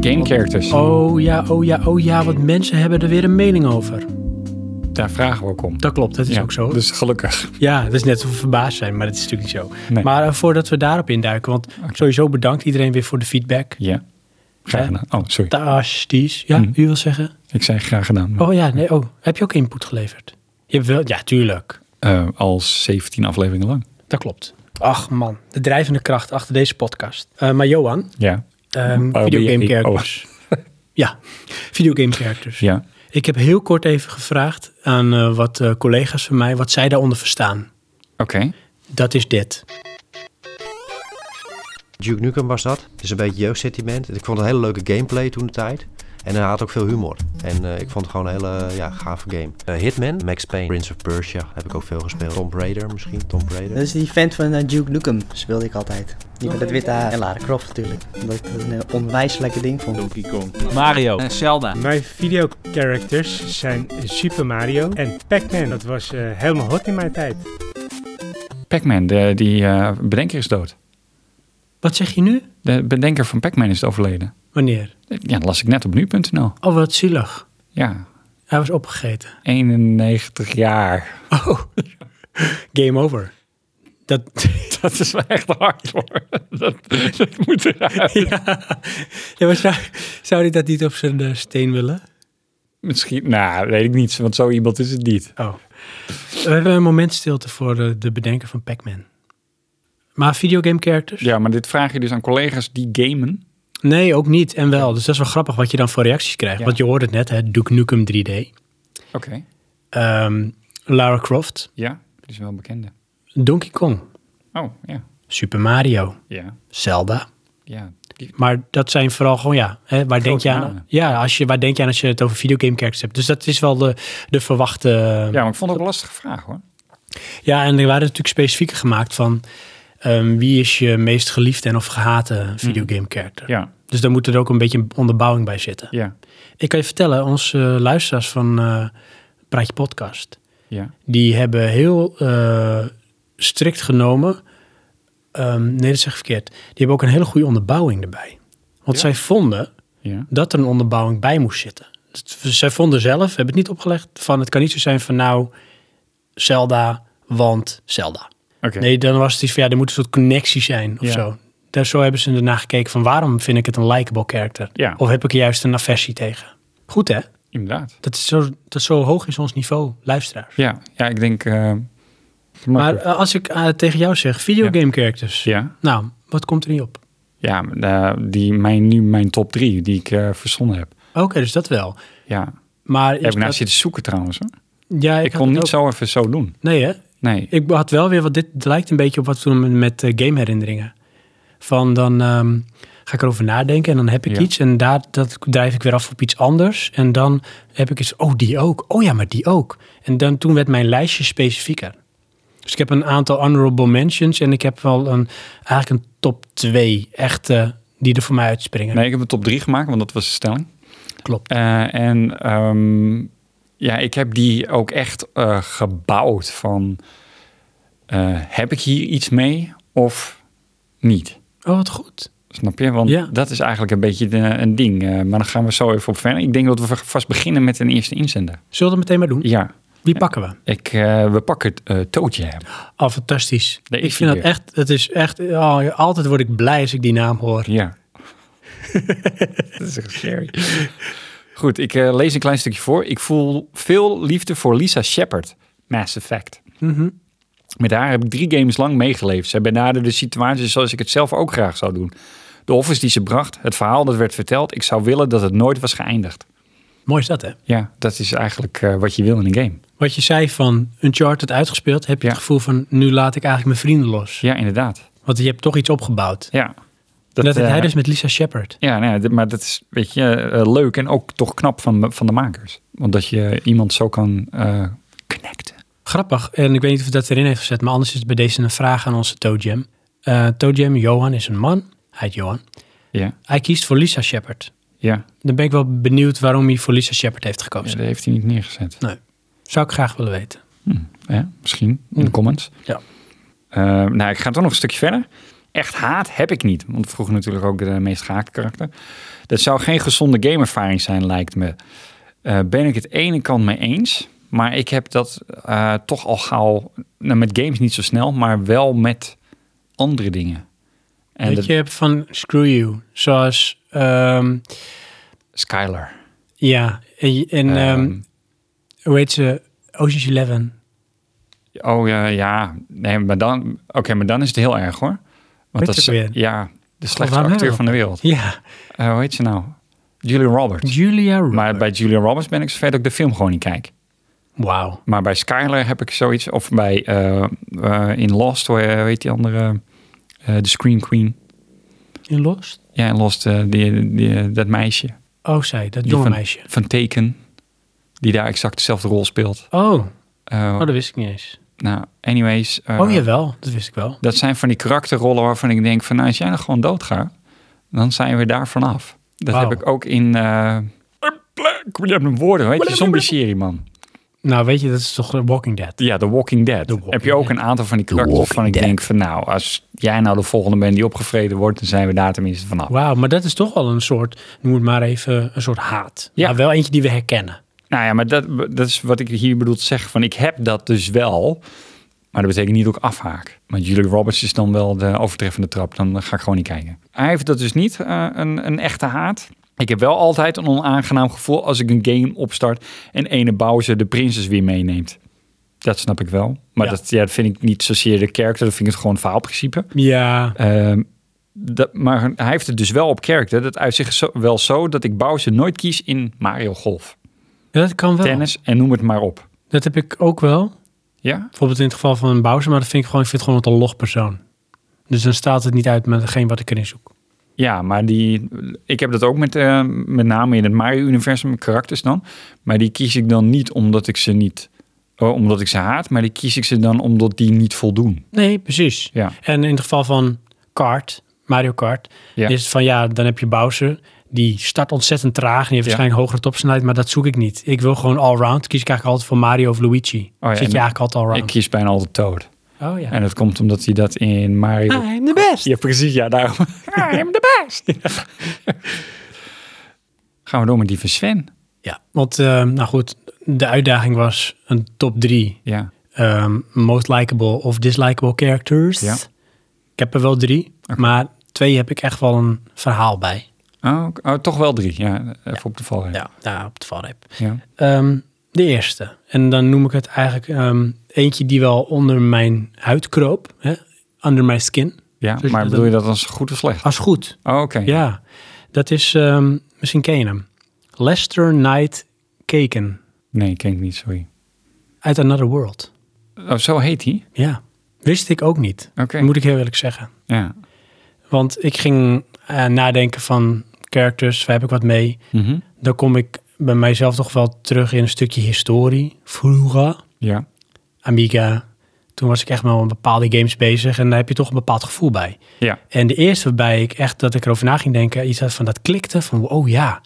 Speaker 2: game characters.
Speaker 1: Oh ja, oh ja, oh ja, want mensen hebben er weer een mening over.
Speaker 2: daar vragen we ook om.
Speaker 1: Dat klopt, dat is
Speaker 2: Ja,
Speaker 1: ook zo.
Speaker 2: Dus gelukkig.
Speaker 1: Ja, dat is net alsof we verbaasd zijn, maar dat is natuurlijk niet zo.
Speaker 2: Nee.
Speaker 1: Maar eh, voordat we daarop induiken, want sowieso bedankt iedereen weer voor de feedback.
Speaker 2: Ja. Graag
Speaker 1: Hè?
Speaker 2: gedaan. Oh, sorry.
Speaker 1: Fantastisch. Ja,
Speaker 2: Mm.
Speaker 1: u wil zeggen?
Speaker 2: Ik zei graag gedaan. maar,
Speaker 1: Oh ja, nee, oh, heb je ook input geleverd? Je hebt wel, ja, tuurlijk.
Speaker 2: eh, al 17 afleveringen lang.
Speaker 1: Dat klopt. Ach man, de drijvende kracht achter deze podcast. Eh, maar Johan,
Speaker 2: Ja.
Speaker 1: ehm
Speaker 2: Oh,
Speaker 1: videogame
Speaker 2: die- oh.
Speaker 1: characters. Ja, dus. videogame characters.
Speaker 2: Ja.
Speaker 1: Ik heb heel kort even gevraagd aan eh, wat eh, collega's van mij wat zij daaronder verstaan.
Speaker 2: Oké.
Speaker 1: Dat is dit.
Speaker 4: Duke Nukem was dat. Het is een beetje jeugdsentiment. Ik vond het een hele leuke gameplay toen de tijd. En hij had ook veel humor. En eh, ik vond het gewoon een hele ja, gave game. Eh, Hitman, Max Payne, Prince of Persia heb ik ook veel gespeeld. Tomb Raider misschien, Tomb Raider.
Speaker 5: Dat is die vent van eh, Duke Nukem, speelde ik altijd. Die met het witte haar. En Lara Croft natuurlijk. Omdat ik dat een eh, onwijs lekker ding vond.
Speaker 6: Mario. Zelda.
Speaker 7: Mijn videocharacters zijn Super Mario en Pac-Man. Dat was eh, helemaal hot in mijn tijd.
Speaker 2: Pac-Man, de- die eh, bedenker is dood.
Speaker 1: Wat zeg je nu?
Speaker 2: De bedenker van Pac-Man is overleden. Eh,
Speaker 1: Wanneer?
Speaker 2: Ja, dat las ik net op nu.nl.
Speaker 1: Oh, wat zielig.
Speaker 2: Ja,
Speaker 1: Hij was opgegeten.
Speaker 2: 91 jaar.
Speaker 1: Oh, game over. Dat,
Speaker 2: Dat is wel echt hard hoor. Dat, dat moet eruit.
Speaker 1: ja. Ja, maar zou, zou hij dat niet op zijn eh, steen willen?
Speaker 2: Misschien, nou, weet ik niet, want zo iemand is het niet.
Speaker 1: Oh. We hebben een moment stilte voor eh, de bedenker van Pac-Man. Maar videogame characters?
Speaker 2: Ja, maar dit vraag je dus aan collega's die gamen.
Speaker 1: Nee, ook niet en wel. Dus dat is wel grappig wat je dan voor reacties krijgt.
Speaker 2: Ja.
Speaker 1: Want je hoort het net, hè? Duke Nukem 3D.
Speaker 2: Oké,
Speaker 1: Ehm, Lara Croft.
Speaker 2: ja, dat is wel een bekende.
Speaker 1: Donkey Kong.
Speaker 2: Oh, ja,
Speaker 1: Super Mario.
Speaker 2: ja,
Speaker 1: Zelda.
Speaker 2: ja. Die,
Speaker 1: Maar dat zijn vooral gewoon, ja, hè, waar, denk je aan,
Speaker 2: namen.
Speaker 1: ja als je, waar denk je aan als je het over videogame characters hebt? Dus dat is wel de, de verwachte...
Speaker 2: ja, maar ik vond het ook een lastige vraag hoor.
Speaker 1: Ja, en er waren natuurlijk specifieke gemaakt van ehm, wie is je meest geliefde en of gehate videogame character.
Speaker 2: Mhm. Ja,
Speaker 1: Dus daar moet er ook een beetje een onderbouwing bij zitten.
Speaker 2: ja,
Speaker 1: Ik kan je vertellen, onze eh, luisteraars van eh Praatje Podcast,
Speaker 2: ja.
Speaker 1: die hebben heel eh, strikt genomen, ehm, nee dat zeg ik verkeerd, die hebben ook een hele goede onderbouwing erbij. Want zij vonden
Speaker 2: ja.
Speaker 1: dat er een onderbouwing bij moest zitten. Dus zij vonden zelf, hebben het niet opgelegd, van het kan niet zo zijn van nou, Zelda, want Zelda.
Speaker 2: Oké,
Speaker 1: Nee, dan was het iets van, ja, er moet een soort connectie zijn of
Speaker 2: Ja.
Speaker 1: zo. Daar, zo hebben ze ernaar gekeken van, waarom vind ik het een likable character?
Speaker 2: Ja.
Speaker 1: Of heb ik er juist een aversie tegen? Goed, hè?
Speaker 2: inderdaad.
Speaker 1: Dat is zo, dat is zo hoog is ons niveau, luisteraars.
Speaker 2: Ja, ja, ik denk... eh,
Speaker 1: Maar
Speaker 2: Marco.
Speaker 1: eh, als ik eh, tegen jou zeg, videogame characters.
Speaker 2: ja,
Speaker 1: Nou, wat komt er niet op?
Speaker 2: ja maar, eh, die, mijn, nu mijn top drie die ik eh, verzonnen heb.
Speaker 1: Oké, dus dat wel.
Speaker 2: Ja,
Speaker 1: Maar is
Speaker 2: heb ik
Speaker 1: dat-
Speaker 2: naast zitten zoeken trouwens. Hoor.
Speaker 1: ja, ik,
Speaker 2: Ik
Speaker 1: had
Speaker 2: kon
Speaker 1: het
Speaker 2: niet
Speaker 1: ook-
Speaker 2: zo even zo doen.
Speaker 1: Nee, hè?
Speaker 2: Nee,
Speaker 1: Ik had wel weer wat dit het lijkt een beetje op wat we doen met eh, gameherinneringen. Van dan ehm, ga ik erover nadenken en dan heb ik
Speaker 2: Ja.
Speaker 1: iets en daar dat drijf ik weer af op iets anders en dan heb ik iets. Oh die ook. Oh ja, maar die ook. En dan toen werd mijn lijstje specifieker. Dus ik heb een aantal honorable mentions en ik heb wel een eigenlijk een top 2 echte eh, die er voor mij uitspringen.
Speaker 2: nee ik heb een top drie gemaakt, want dat was de stelling.
Speaker 1: Klopt.
Speaker 2: Eh, en ehm, ja, ik heb die ook echt eh, gebouwd van... eh, heb ik hier iets mee of niet?
Speaker 1: Oh wat goed.
Speaker 2: Snap je? Want
Speaker 1: Ja.
Speaker 2: dat is eigenlijk een beetje de- een ding. Eh, maar dan gaan we zo even op verder. Ik denk dat we vast beginnen met een eerste inzender.
Speaker 1: Zullen we dat meteen maar doen?
Speaker 2: Ja,
Speaker 1: Wie pakken we?
Speaker 2: ik, eh, we pakken het eh, Tootje hebben.
Speaker 1: Oh fantastisch.
Speaker 2: Daar is
Speaker 1: ik vind
Speaker 2: hij
Speaker 1: dat
Speaker 2: weer.
Speaker 1: echt. Het is echt. oh, altijd word ik blij als ik die naam hoor.
Speaker 2: Ja. dat is echt scary. Goed, ik eh, lees een klein stukje voor. Ik voel veel liefde voor Lisa Shepard, Mass Effect. Met haar heb ik drie games lang meegeleefd. Zij benaderde de situatie zoals ik het zelf ook graag zou doen. De offers die ze bracht, het verhaal dat werd verteld. Ik zou willen dat het nooit was geëindigd.
Speaker 1: Mooi is dat hè?
Speaker 2: Ja, dat is eigenlijk eh, wat je wil in een game.
Speaker 1: Wat je zei van Uncharted uitgespeeld, heb je
Speaker 2: Ja.
Speaker 1: het gevoel van nu laat ik eigenlijk mijn vrienden los.
Speaker 2: Ja, inderdaad.
Speaker 1: Want je hebt toch iets opgebouwd.
Speaker 2: Ja.
Speaker 1: Dat, dat
Speaker 2: eh,
Speaker 1: hij dus met Lisa Shepard.
Speaker 2: Ja, nou ja, dit- maar dat is, weet je, eh, leuk en ook toch knap van, van de makers. Want dat je iemand zo kan eh, connecten.
Speaker 1: Grappig, en ik weet niet of hij dat erin heeft gezet, maar anders is het bij deze een vraag aan onze Toe Jam. Eh, Toe Jam, Johan is een man. Hij heet Johan.
Speaker 2: Ja,
Speaker 1: Hij kiest voor Lisa Shepard.
Speaker 2: ja.
Speaker 1: Dan ben ik wel benieuwd waarom hij voor Lisa Shepard heeft
Speaker 2: ja
Speaker 1: gekozen.
Speaker 2: dat heeft hij niet neergezet.
Speaker 1: Zou ik graag willen weten.
Speaker 2: Ja, misschien in de
Speaker 1: Hmm.
Speaker 2: comments.
Speaker 1: Ja.
Speaker 2: Eh, nou, ik ga toch nog een stukje verder. Echt haat heb ik niet. Want vroeger natuurlijk ook de meest gehaakte karakter. Dat zou geen gezonde gameervaring zijn, lijkt me. Eh, ben ik het ene kant mee eens. Maar ik heb dat eh, toch al gauw, nou, met games niet zo snel, maar wel met andere dingen. En
Speaker 1: Weet
Speaker 2: dat,
Speaker 1: je, hebt van Screw You, zoals... ehm,
Speaker 2: Skylar.
Speaker 1: ja, en, en ehm,
Speaker 2: Ehm,
Speaker 1: hoe heet ze? Ocean's Eleven.
Speaker 2: oh ja, ja. Nee, maar dan, oké, maar dan is het heel erg hoor.
Speaker 1: Weet
Speaker 2: Want dat is,
Speaker 1: je ook weer?
Speaker 2: ja, de slechtste
Speaker 1: waarom
Speaker 2: acteur
Speaker 1: hebben
Speaker 2: van de wereld.
Speaker 1: Ja,
Speaker 2: Eh, hoe heet ze nou? Julia Roberts.
Speaker 1: Julia
Speaker 2: Maar
Speaker 1: Roberts.
Speaker 2: bij Julia Roberts ben ik zover dat ik de film gewoon niet kijk.
Speaker 1: Wauw.
Speaker 2: Maar bij Skyler heb ik zoiets. Of bij eh, eh, in Lost, hoe eh, heet die andere? Eh, de Scream Queen.
Speaker 1: In Lost?
Speaker 2: Ja, in Lost, eh, die, die, eh, dat meisje.
Speaker 1: Oh, zij, dat
Speaker 2: Die
Speaker 1: jonge
Speaker 2: van,
Speaker 1: meisje.
Speaker 2: Van Teken. Die daar exact dezelfde rol speelt.
Speaker 1: Oh, oh,
Speaker 2: Eh,
Speaker 1: dat wist ik niet eens.
Speaker 2: Nou, anyways. eh,
Speaker 1: oh, jawel, dat wist ik wel.
Speaker 2: Dat zijn van die karakterrollen waarvan ik denk van... Nou, als jij nog gewoon doodgaat, dan zijn we daar vanaf. Dat
Speaker 1: Wauw.
Speaker 2: heb ik ook in... eh ik heb een woorden, weet je? Zombie serie, man.
Speaker 1: Nou, weet je, dat is toch Walking Dead?
Speaker 2: Ja, The Walking Dead.
Speaker 1: The Walking
Speaker 2: heb je ook
Speaker 1: Dead.
Speaker 2: een aantal van die karakters waarvan ik denk van... nou, als jij nou de volgende bent die opgevreden wordt... dan zijn we daar tenminste vanaf.
Speaker 1: Wauw, maar dat is toch wel een soort, noem het maar even, een soort haat.
Speaker 2: Ja.
Speaker 1: Maar wel eentje die we herkennen.
Speaker 2: Nou ja, maar dat, dat is wat ik hier bedoel te zeggen. Van, ik heb dat dus wel, maar dat betekent niet dat ik afhaak. Want Julie Roberts is dan wel de overtreffende trap. Dan ga ik gewoon niet kijken. Hij heeft dat dus niet, eh, een, een echte haat. Ik heb wel altijd een onaangenaam gevoel als ik een game opstart... en ene Bowser de prinses weer meeneemt. Dat snap ik wel. Maar
Speaker 1: Ja.
Speaker 2: Dat, ja, dat vind ik niet zozeer de character. Dat vind ik het gewoon faalprincipe.
Speaker 1: Ja,
Speaker 2: Ehm, dat, maar hij heeft het dus wel op character. Dat uit zich zo, wel zo dat ik Bowser nooit kies in Mario Golf,
Speaker 1: dat kan wel.
Speaker 2: tennis en noem het maar op.
Speaker 1: Dat heb ik ook wel.
Speaker 2: Ja?
Speaker 1: Bijvoorbeeld in het geval van Bowser, maar dat vind ik gewoon, ik vind het gewoon wat een log persoon. Dus dan staat het niet uit met degene wat ik erin zoek.
Speaker 2: Ja, maar die, ik heb dat ook met, eh, met name in het Mario-universum, karakters dan. Maar die kies ik dan niet omdat ik ze niet, oh, omdat ik ze haat. Maar die kies ik ze dan omdat die niet voldoen.
Speaker 1: Nee, precies.
Speaker 2: Ja.
Speaker 1: En in het geval van Kart, Mario Kart,
Speaker 2: Ja.
Speaker 1: is het van ja, dan heb je Bowser. Die start ontzettend traag en die heeft
Speaker 2: Ja.
Speaker 1: waarschijnlijk hogere topsnelheid, maar dat zoek ik niet. Ik wil gewoon allround. Kies ik eigenlijk altijd voor Mario of Luigi.
Speaker 2: Oh, ja,
Speaker 1: Zit je
Speaker 2: en-
Speaker 1: eigenlijk altijd
Speaker 2: Ik
Speaker 1: allround.
Speaker 2: kies bijna altijd Toad.
Speaker 1: oh ja.
Speaker 2: En dat komt omdat Ah, hij Ah, dat in Mario...
Speaker 1: I'm the best.
Speaker 2: Ja, precies. Ja, daarom. I'm the best. Gaan we door met die van Sven.
Speaker 1: Ja, want eh, nou goed, de uitdaging was een top drie.
Speaker 2: Ja,
Speaker 1: ehm, most likable of dislikable characters.
Speaker 2: Ja.
Speaker 1: Ik heb er wel drie, maar twee heb ik echt wel een verhaal bij.
Speaker 2: Oh, oké. Oh, toch wel drie. Ja, even op de valreep.
Speaker 1: Ja, daar op de valreep.
Speaker 2: Ja.
Speaker 1: Ehm, de eerste. En dan noem ik het eigenlijk ehm, eentje die wel onder mijn huid kroop. Hè? Under my skin.
Speaker 2: Ja,
Speaker 1: Dus
Speaker 2: maar
Speaker 1: dat-
Speaker 2: bedoel je dat als goed of slecht?
Speaker 1: Als goed.
Speaker 2: Oh, Oké.
Speaker 1: Ja. Dat is, ehm, misschien ken je hem. Lester Knight Kaken.
Speaker 2: Nee, ken ik niet, sorry.
Speaker 1: Uit Another World.
Speaker 2: Oh, zo heet hij?
Speaker 1: Ja. Wist ik ook niet.
Speaker 2: Oké.
Speaker 1: Moet ik heel eerlijk zeggen.
Speaker 2: Ja.
Speaker 1: Want ik ging eh, nadenken van characters, waar heb ik wat mee?
Speaker 2: Mhm.
Speaker 1: Dan kom ik bij mijzelf toch wel terug in een stukje historie. Vroeger.
Speaker 2: Ja.
Speaker 1: Amiga. Toen was ik echt wel met bepaalde games bezig en daar heb je toch een bepaald gevoel bij.
Speaker 2: Ja.
Speaker 1: En de eerste waarbij ik echt dat ik erover na ging denken, iets had van dat klikte van oh ja.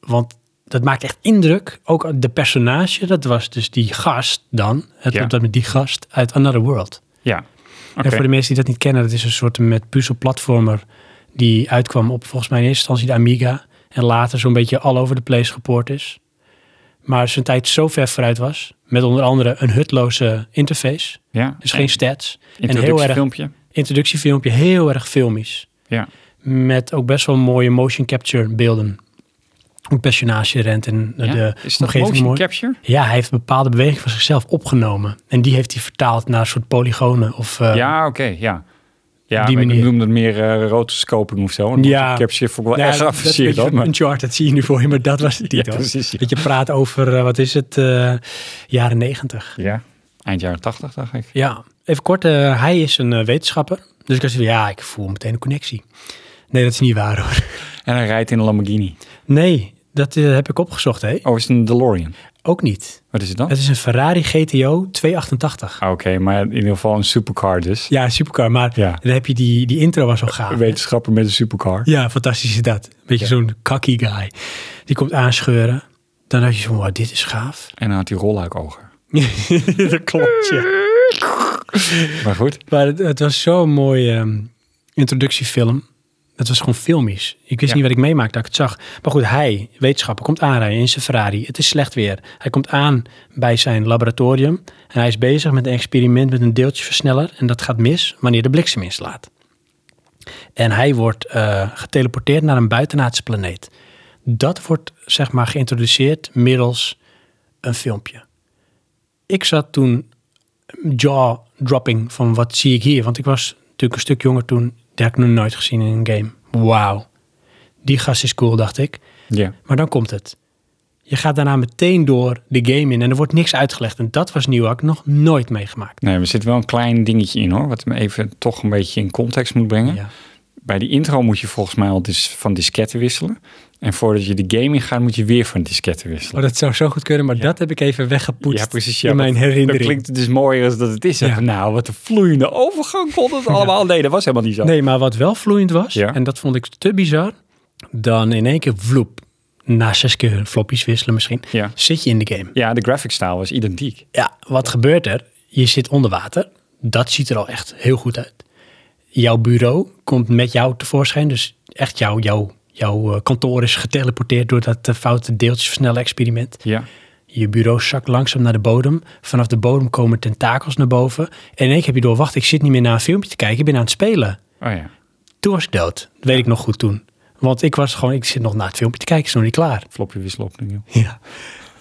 Speaker 1: Want dat maakt echt indruk. Ook de personage, dat was dus die gast dan. Het
Speaker 2: Ja.
Speaker 1: loopt dat met die gast uit Another World.
Speaker 2: Ja. Oké.
Speaker 1: En voor de mensen die dat niet kennen, dat is een soort met puzzelplatformer die uitkwam op volgens mij in eerste instantie de Amiga en later zo'n beetje all over the place gepoord is. Maar zijn tijd zo ver vooruit was, met onder andere een hutloze interface,
Speaker 2: Ja.
Speaker 1: dus geen stats. En heel erg
Speaker 2: Introductiefilmpje.
Speaker 1: introductiefilmpje, heel erg filmisch.
Speaker 2: Ja.
Speaker 1: Met ook best wel mooie motion capture beelden. Hoe het personage rent en eh,
Speaker 2: Ja?
Speaker 1: de
Speaker 2: Is dat
Speaker 1: omgeving
Speaker 2: motion
Speaker 1: mooi.
Speaker 2: capture?
Speaker 1: ja, hij heeft bepaalde bewegingen van zichzelf opgenomen. En die heeft hij vertaald naar een soort polygonen of eh,
Speaker 2: ja, oké. ja. Ja,
Speaker 1: die
Speaker 2: maar ik
Speaker 1: manier.
Speaker 2: noem dat meer eh rotoscoping of zo. Want
Speaker 1: Ja.
Speaker 2: motion capture vond ik wel
Speaker 1: Ja,
Speaker 2: erg
Speaker 1: Nou, dat is een
Speaker 2: geavanceerd.
Speaker 1: beetje
Speaker 2: hoor, maar-
Speaker 1: van Uncharted zie je nu voor je, maar dat was het
Speaker 2: Ja,
Speaker 1: niet. hoor.
Speaker 2: precies. Ja.
Speaker 1: Dat je praat over, eh, wat is het, eh, jaren negentig.
Speaker 2: ja. Eind jaren tachtig, dacht ik.
Speaker 1: Ja, even kort, eh, hij is een eh, wetenschapper. Dus ik dacht, van, ja, ik voel meteen een connectie. Nee, dat is niet waar hoor.
Speaker 2: En hij rijdt in een Lamborghini.
Speaker 1: Nee, dat eh, heb ik opgezocht, hè.
Speaker 2: Oh, is het een DeLorean?
Speaker 1: Ook niet.
Speaker 2: Wat is het dan?
Speaker 1: Het is een Ferrari GTO 288.
Speaker 2: Ah, Oké, maar in ieder geval een supercar dus.
Speaker 1: Ja, een supercar, maar
Speaker 2: Ja.
Speaker 1: dan heb je die, die intro was al gaaf.
Speaker 2: Een wetenschapper met een supercar.
Speaker 1: Ja, fantastisch is dat. Beetje zo'n kakkie guy. Die komt aanscheuren. Dan had je zo, wow, dit is gaaf.
Speaker 2: En dan had hij rolluikogen.
Speaker 1: dat klopt, ja.
Speaker 2: Maar goed.
Speaker 1: Maar het, het was zo'n mooie ehm, introductiefilm. Het was gewoon filmisch. Ik wist
Speaker 2: Ja.
Speaker 1: niet wat ik meemaakte dat ik het zag. Maar goed, hij, wetenschapper, komt aanrijden in zijn Ferrari. Het is slecht weer. Hij komt aan bij zijn laboratorium. En hij is bezig met een experiment met een deeltjesversneller. En dat gaat mis wanneer de bliksem inslaat. En hij wordt eh, geteleporteerd naar een buitenaardse planeet. Dat wordt, zeg maar, geïntroduceerd middels een filmpje. Ik zat toen jaw-dropping van wat zie ik hier. Want ik was natuurlijk een stuk jonger toen. Die had ik nog nooit gezien in een game. Wauw. Die gast is cool, dacht ik.
Speaker 2: Ja.
Speaker 1: Maar dan komt het. Je gaat daarna meteen door de game in en er wordt niks uitgelegd. En dat was nieuw, had ik nog nooit meegemaakt.
Speaker 2: Nee, er zit wel een klein dingetje in hoor, wat me even toch een beetje in context moet brengen.
Speaker 1: Ja.
Speaker 2: Bij die intro moet je volgens mij al dis van disketten wisselen. En voordat je de game ingaat, moet je weer van disketten wisselen.
Speaker 1: Maar Oh, dat zou zo goed kunnen, maar dat heb ik even weggepoetst
Speaker 2: Ja, precies. Ja,
Speaker 1: in mijn
Speaker 2: dat-
Speaker 1: herinnering.
Speaker 2: Dat klinkt dus mooier als dat het is.
Speaker 1: Ja.
Speaker 2: Even, nou, wat een vloeiende overgang vond het allemaal. Nee, dat was helemaal niet zo.
Speaker 1: Nee, maar wat wel vloeiend was,
Speaker 2: Ja.
Speaker 1: en dat vond ik te bizar, dan in één keer vloep, na zes keer floppies wisselen misschien,
Speaker 2: Ja.
Speaker 1: zit je in de game.
Speaker 2: ja, de graphic style was identiek.
Speaker 1: Ja, wat gebeurt er? Je zit onder water. Dat ziet er al echt heel goed uit. Jouw bureau komt met jou tevoorschijn. Dus echt jouw, jouw, jouw eh, kantoor is geteleporteerd door dat eh, foute deeltjesversnellen experiment.
Speaker 2: Ja.
Speaker 1: Je bureau zakt langzaam naar de bodem. Vanaf de bodem komen tentakels naar boven. En in één keer heb je door, wacht, ik zit niet meer naar een filmpje te kijken. Ik ben aan het spelen.
Speaker 2: Oh ja.
Speaker 1: Toen was ik dood. Dat weet ik nog goed toen. Want ik was gewoon, ik zit nog naar het filmpje te kijken. Is nog niet klaar.
Speaker 2: Flopje wisselopning. joh.
Speaker 1: Ja.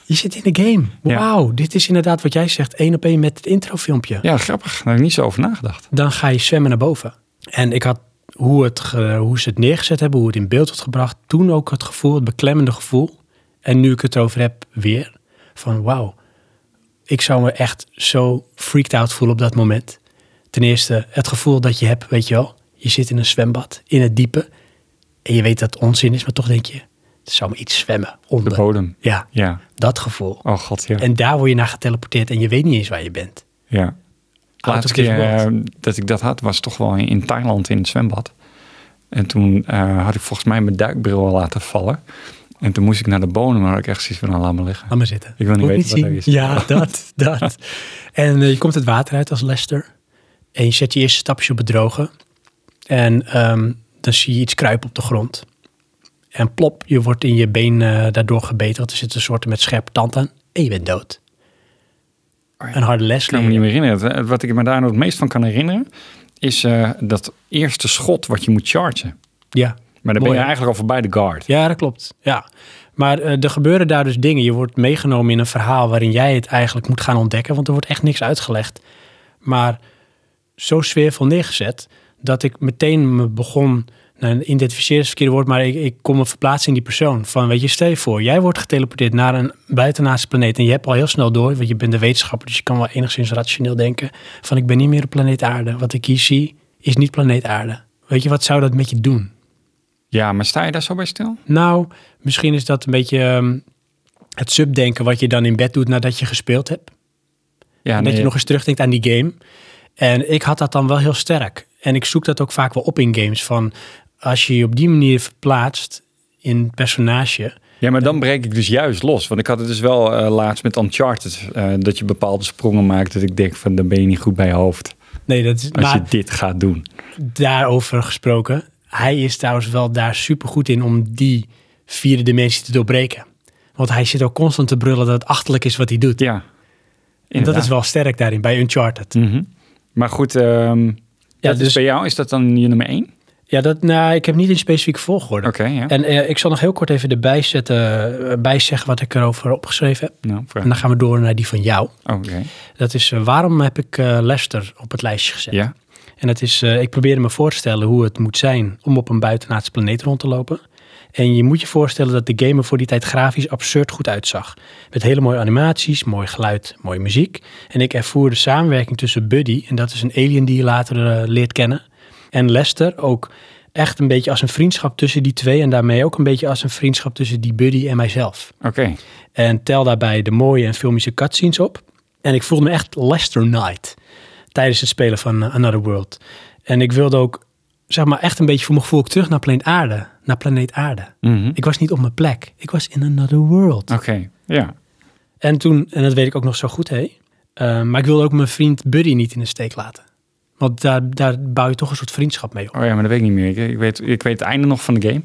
Speaker 1: Je zit in de game.
Speaker 2: Ja.
Speaker 1: Wauw, dit is inderdaad wat jij zegt. één op één met het introfilmpje.
Speaker 2: Ja, grappig. Daar heb ik niet zo over nagedacht.
Speaker 1: dan ga je zwemmen naar boven. En ik had hoe, het ge- hoe ze het neergezet hebben, hoe het in beeld wordt gebracht, toen ook het gevoel, het beklemmende gevoel. En nu ik het erover heb, weer van wauw, ik zou me echt zo freaked out voelen op dat moment. Ten eerste het gevoel dat je hebt, weet je wel, je zit in een zwembad, in het diepe. En je weet dat het onzin is, maar toch denk je, er zou me iets zwemmen
Speaker 2: De
Speaker 1: onder.
Speaker 2: bodem.
Speaker 1: Ja,
Speaker 2: Ja.
Speaker 1: dat gevoel.
Speaker 2: Oh god, ja.
Speaker 1: En daar word je naar geteleporteerd en je weet niet eens waar je bent.
Speaker 2: ja. De
Speaker 1: Out
Speaker 2: laatste
Speaker 1: of this
Speaker 2: keer
Speaker 1: world.
Speaker 2: eh, dat ik dat had, was toch wel in, in Thailand in het zwembad. En toen eh, had ik volgens mij mijn duikbril al laten vallen. En toen moest ik naar de bodem, maar had ik echt zoiets van, nou, laat me liggen.
Speaker 1: Laat maar zitten.
Speaker 2: Ik wil niet
Speaker 1: Moet
Speaker 2: weten wat er is.
Speaker 1: Ja, dat, dat. En eh, je komt het water uit als Lester. En je zet je eerste stapjes op het droge. En ehm, dan zie je iets kruipen op de grond. En plop, je wordt in je been eh, daardoor gebeten. Want er zit een soort met scherp tand aan. En je bent dood.
Speaker 2: Oh ja.
Speaker 1: Een harde les
Speaker 2: Ik kan me niet
Speaker 1: leren.
Speaker 2: meer herinneren. Het- Wat ik me daar nou het meest van kan herinneren, is eh, dat eerste schot wat je moet chargen.
Speaker 1: Ja.
Speaker 2: Maar
Speaker 1: Mooi,
Speaker 2: dan ben je
Speaker 1: hè?
Speaker 2: eigenlijk al voorbij de guard.
Speaker 1: Ja, dat klopt. Ja. Maar eh, er gebeuren daar dus dingen. Je wordt meegenomen in een verhaal waarin jij het eigenlijk moet gaan ontdekken, want er wordt echt niks uitgelegd. Maar zo sfeervol neergezet dat ik meteen me begon. Nou, identificeren is het verkeerde woord, maar ik, ik kon me verplaatsen in die persoon. Van, weet je, stel je voor, jij wordt geteleporteerd naar een buitenaardse planeet. En je hebt al heel snel door, want je bent de wetenschapper, dus je kan wel enigszins rationeel denken. Van, ik ben niet meer op planeet aarde. Wat ik hier zie, is niet planeet aarde. Weet je, wat zou dat met je doen?
Speaker 2: Ja, maar sta je daar zo bij stil?
Speaker 1: Nou, misschien is dat een beetje ehm, het subdenken wat je dan in bed doet nadat je gespeeld hebt.
Speaker 2: Ja,
Speaker 1: dat
Speaker 2: nee,
Speaker 1: je nog eens terugdenkt aan die game. En ik had dat dan wel heel sterk. En ik zoek dat ook vaak wel op in games. Van als je je op die manier verplaatst in het personage.
Speaker 2: ja, maar dan breek ik dus juist los. Want ik had het dus wel eh, laatst met Uncharted, eh, dat je bepaalde sprongen maakt. Dat ik denk van, dan ben je niet goed bij je hoofd
Speaker 1: Nee, dat is.
Speaker 2: als
Speaker 1: maar
Speaker 2: je dit gaat doen.
Speaker 1: daarover gesproken. Hij is trouwens wel daar supergoed in om die vierde dimensie te doorbreken. Want hij zit ook constant te brullen dat het achterlijk is wat hij doet.
Speaker 2: Ja,
Speaker 1: en dat
Speaker 2: inderdaad.
Speaker 1: is wel sterk daarin bij Uncharted.
Speaker 2: Mhm. Maar goed, ehm, dat is
Speaker 1: dus-
Speaker 2: bij jou is dat dan je nummer één?
Speaker 1: Ja, dat, nou, ik heb niet in specifieke volgorde.
Speaker 2: Oké, ja.
Speaker 1: En eh, ik zal nog heel kort even erbij zetten, eh, bijzeggen wat ik erover opgeschreven heb.
Speaker 2: Nou, vraag. Oh,
Speaker 1: En dan gaan we door naar die van jou.
Speaker 2: Oké,
Speaker 1: Dat is eh, waarom heb ik eh Lester op het lijstje gezet?
Speaker 2: ja.
Speaker 1: En dat is, eh, ik probeerde me voor te stellen hoe het moet zijn om op een buitenaardse planeet rond te lopen. En je moet je voorstellen dat de game er voor die tijd grafisch absurd goed uitzag. Met hele mooie animaties, mooi geluid, mooie muziek. En ik ervoer de samenwerking tussen Buddy, en dat is een alien die je later eh, leert kennen, en Lester ook echt een beetje als een vriendschap tussen die twee. En daarmee ook een beetje als een vriendschap tussen die Buddy en mijzelf.
Speaker 2: Oké,
Speaker 1: En tel daarbij de mooie en filmische cutscenes op. En ik voelde me echt Lester Knight tijdens het spelen van eh, Another World. En ik wilde ook, zeg maar, echt een beetje voor mijn gevoel ook terug naar planeet Aarde. Naar planeet Aarde.
Speaker 2: Mhm.
Speaker 1: Ik was niet op mijn plek. Ik was in Another World.
Speaker 2: oké, ja.
Speaker 1: En toen, en dat weet ik ook nog zo goed, hé. eh, maar ik wilde ook mijn vriend Buddy niet in de steek laten. Want daar, daar bouw je toch een soort vriendschap mee op.
Speaker 2: Oh ja, maar dat weet ik niet meer. Ik, ik weet, ik weet het einde nog van de game.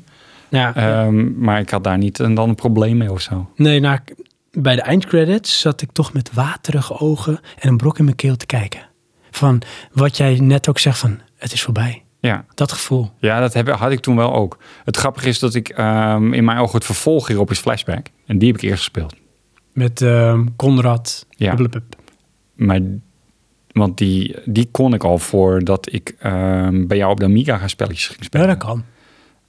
Speaker 1: Ja,
Speaker 2: Ehm, maar ik had daar niet een, dan een probleem mee of zo.
Speaker 1: nee, nou, ik- bij de eindcredits zat ik toch met waterige ogen en een brok in mijn keel te kijken. Van wat jij net ook zegt van, het is voorbij.
Speaker 2: Ja,
Speaker 1: Dat gevoel.
Speaker 2: ja dat heb, had ik toen wel ook. Het grappige is dat ik ehm, in mijn ogen het vervolg hierop is Flashback. En die heb ik eerst gespeeld.
Speaker 1: Met ehm, Conrad.
Speaker 2: Ja.
Speaker 1: blubblub.
Speaker 2: Maar, want die, die kon ik al voordat ik ehm, bij jou op de Amiga gaan spelletjes ging
Speaker 1: Ja,
Speaker 2: spelen.
Speaker 1: dat kan.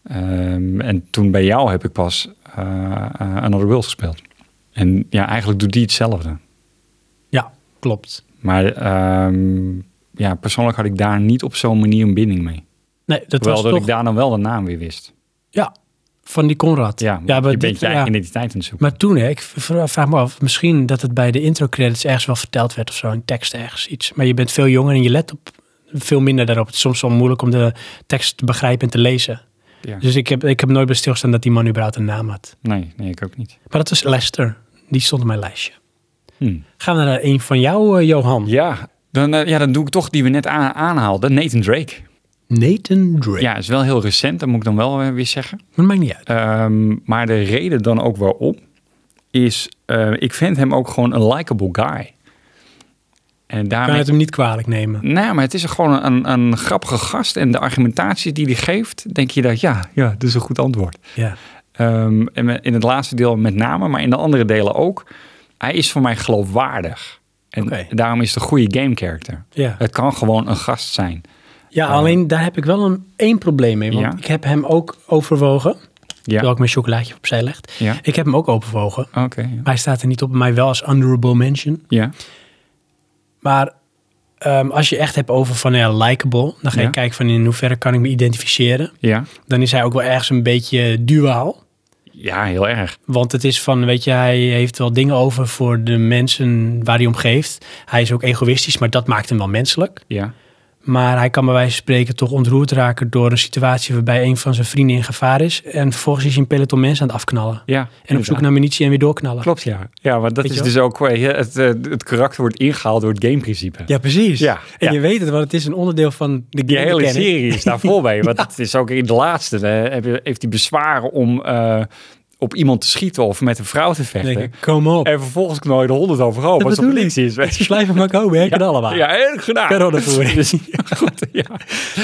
Speaker 2: Ehm, en toen bij jou heb ik pas eh eh, Another World gespeeld. En ja, eigenlijk doet die hetzelfde.
Speaker 1: Ja, klopt.
Speaker 2: Maar ehm, ja, persoonlijk had ik daar niet op zo'n manier een binding mee.
Speaker 1: Nee, dat
Speaker 2: Terwijl
Speaker 1: was
Speaker 2: dat
Speaker 1: toch...
Speaker 2: ik daar dan wel de naam weer wist.
Speaker 1: Ja, van die Conrad.
Speaker 2: Ja,
Speaker 1: maar,
Speaker 2: je
Speaker 1: dit-
Speaker 2: bent je
Speaker 1: ja.
Speaker 2: eigen identiteit aan het zoeken.
Speaker 1: maar toen, hè, ik v- vraag me af, misschien dat het bij de intro-credits ergens wel verteld werd of zo, in tekst ergens iets. Maar je bent veel jonger en je let op veel minder daarop. Het is soms wel moeilijk om de tekst te begrijpen en te lezen.
Speaker 2: Ja.
Speaker 1: Dus ik heb, ik heb nooit bij stilgestaan dat die man überhaupt een naam had.
Speaker 2: Nee, nee, ik ook niet.
Speaker 1: Maar dat was Lester. Die stond op mijn lijstje.
Speaker 2: Hm.
Speaker 1: Gaan we naar een van jou, eh, Johan?
Speaker 2: Ja, dan, eh, ja, dan doe ik toch die we net aan, aanhaalden. Nathan Drake.
Speaker 1: Nathan Drake.
Speaker 2: Ja, is wel heel recent, dat moet ik dan wel eh, weer zeggen.
Speaker 1: Maar dat maakt niet uit.
Speaker 2: Ehm, maar de reden dan ook waarom is, eh, ik vind hem ook gewoon een likable guy. En
Speaker 1: Kan
Speaker 2: daarmee...
Speaker 1: je het hem niet kwalijk nemen.
Speaker 2: Nou, maar het is gewoon een, een grappige gast. En de argumentatie die hij geeft, denk je dat ja, ja, dat is een goed antwoord.
Speaker 1: Ja.
Speaker 2: Ehm, en me- in het laatste deel met name, maar in de andere delen ook. Hij is voor mij geloofwaardig. En
Speaker 1: Oké.
Speaker 2: daarom is het een goede game character.
Speaker 1: Ja.
Speaker 2: Het kan gewoon een gast zijn.
Speaker 1: Ja, alleen daar heb ik wel een, één probleem mee. Want
Speaker 2: Ja.
Speaker 1: ik heb hem ook overwogen. Terwijl
Speaker 2: Ja,
Speaker 1: ik mijn chocolaatje opzij leg.
Speaker 2: Ja.
Speaker 1: Ik heb hem ook overwogen.
Speaker 2: oké. ja.
Speaker 1: Maar hij staat er niet op. bij Mij wel als honorable mention.
Speaker 2: ja.
Speaker 1: Maar ehm, als je echt hebt over van ja, likable. Dan ga je
Speaker 2: Ja.
Speaker 1: kijken van in hoeverre kan ik me identificeren.
Speaker 2: Ja,
Speaker 1: Dan is hij ook wel ergens een beetje duaal.
Speaker 2: ja, heel erg.
Speaker 1: Want het is van, weet je, hij heeft wel dingen over voor de mensen waar hij om geeft. Hij is ook egoïstisch, maar dat maakt hem wel menselijk.
Speaker 2: Ja,
Speaker 1: Maar hij kan bij wijze van spreken toch ontroerd raken door een situatie waarbij een van zijn vrienden in gevaar is. En vervolgens is hij een peloton mensen aan het afknallen.
Speaker 2: ja.
Speaker 1: En op
Speaker 2: inderdaad.
Speaker 1: zoek naar munitie en weer doorknallen.
Speaker 2: Klopt, ja. Ja, want dat
Speaker 1: Weet
Speaker 2: is
Speaker 1: je wel?
Speaker 2: dus ook... eh, Het, eh, het karakter wordt ingehaald door het gameprincipe.
Speaker 1: Ja, precies.
Speaker 2: Ja,
Speaker 1: en
Speaker 2: ja.
Speaker 1: je weet het, want het is een onderdeel van de
Speaker 2: Die
Speaker 1: game
Speaker 2: hele
Speaker 1: mechanic.
Speaker 2: serie is daar vol mee. Want het is ook in de laatste. hè, heb je- heeft hij bezwaren om eh, op iemand te schieten of met een vrouw te
Speaker 1: Dan
Speaker 2: vechten.
Speaker 1: denk ik, kom op.
Speaker 2: En vervolgens knooien de honderd overhoop
Speaker 1: Dat
Speaker 2: als er
Speaker 1: bedoel
Speaker 2: politie is. Weet je.
Speaker 1: Slijven maar komen, hè? Kunnen allemaal.
Speaker 2: Ja, heel gedaan.
Speaker 1: Coronavoering.
Speaker 2: Dus, ja, goed, ja.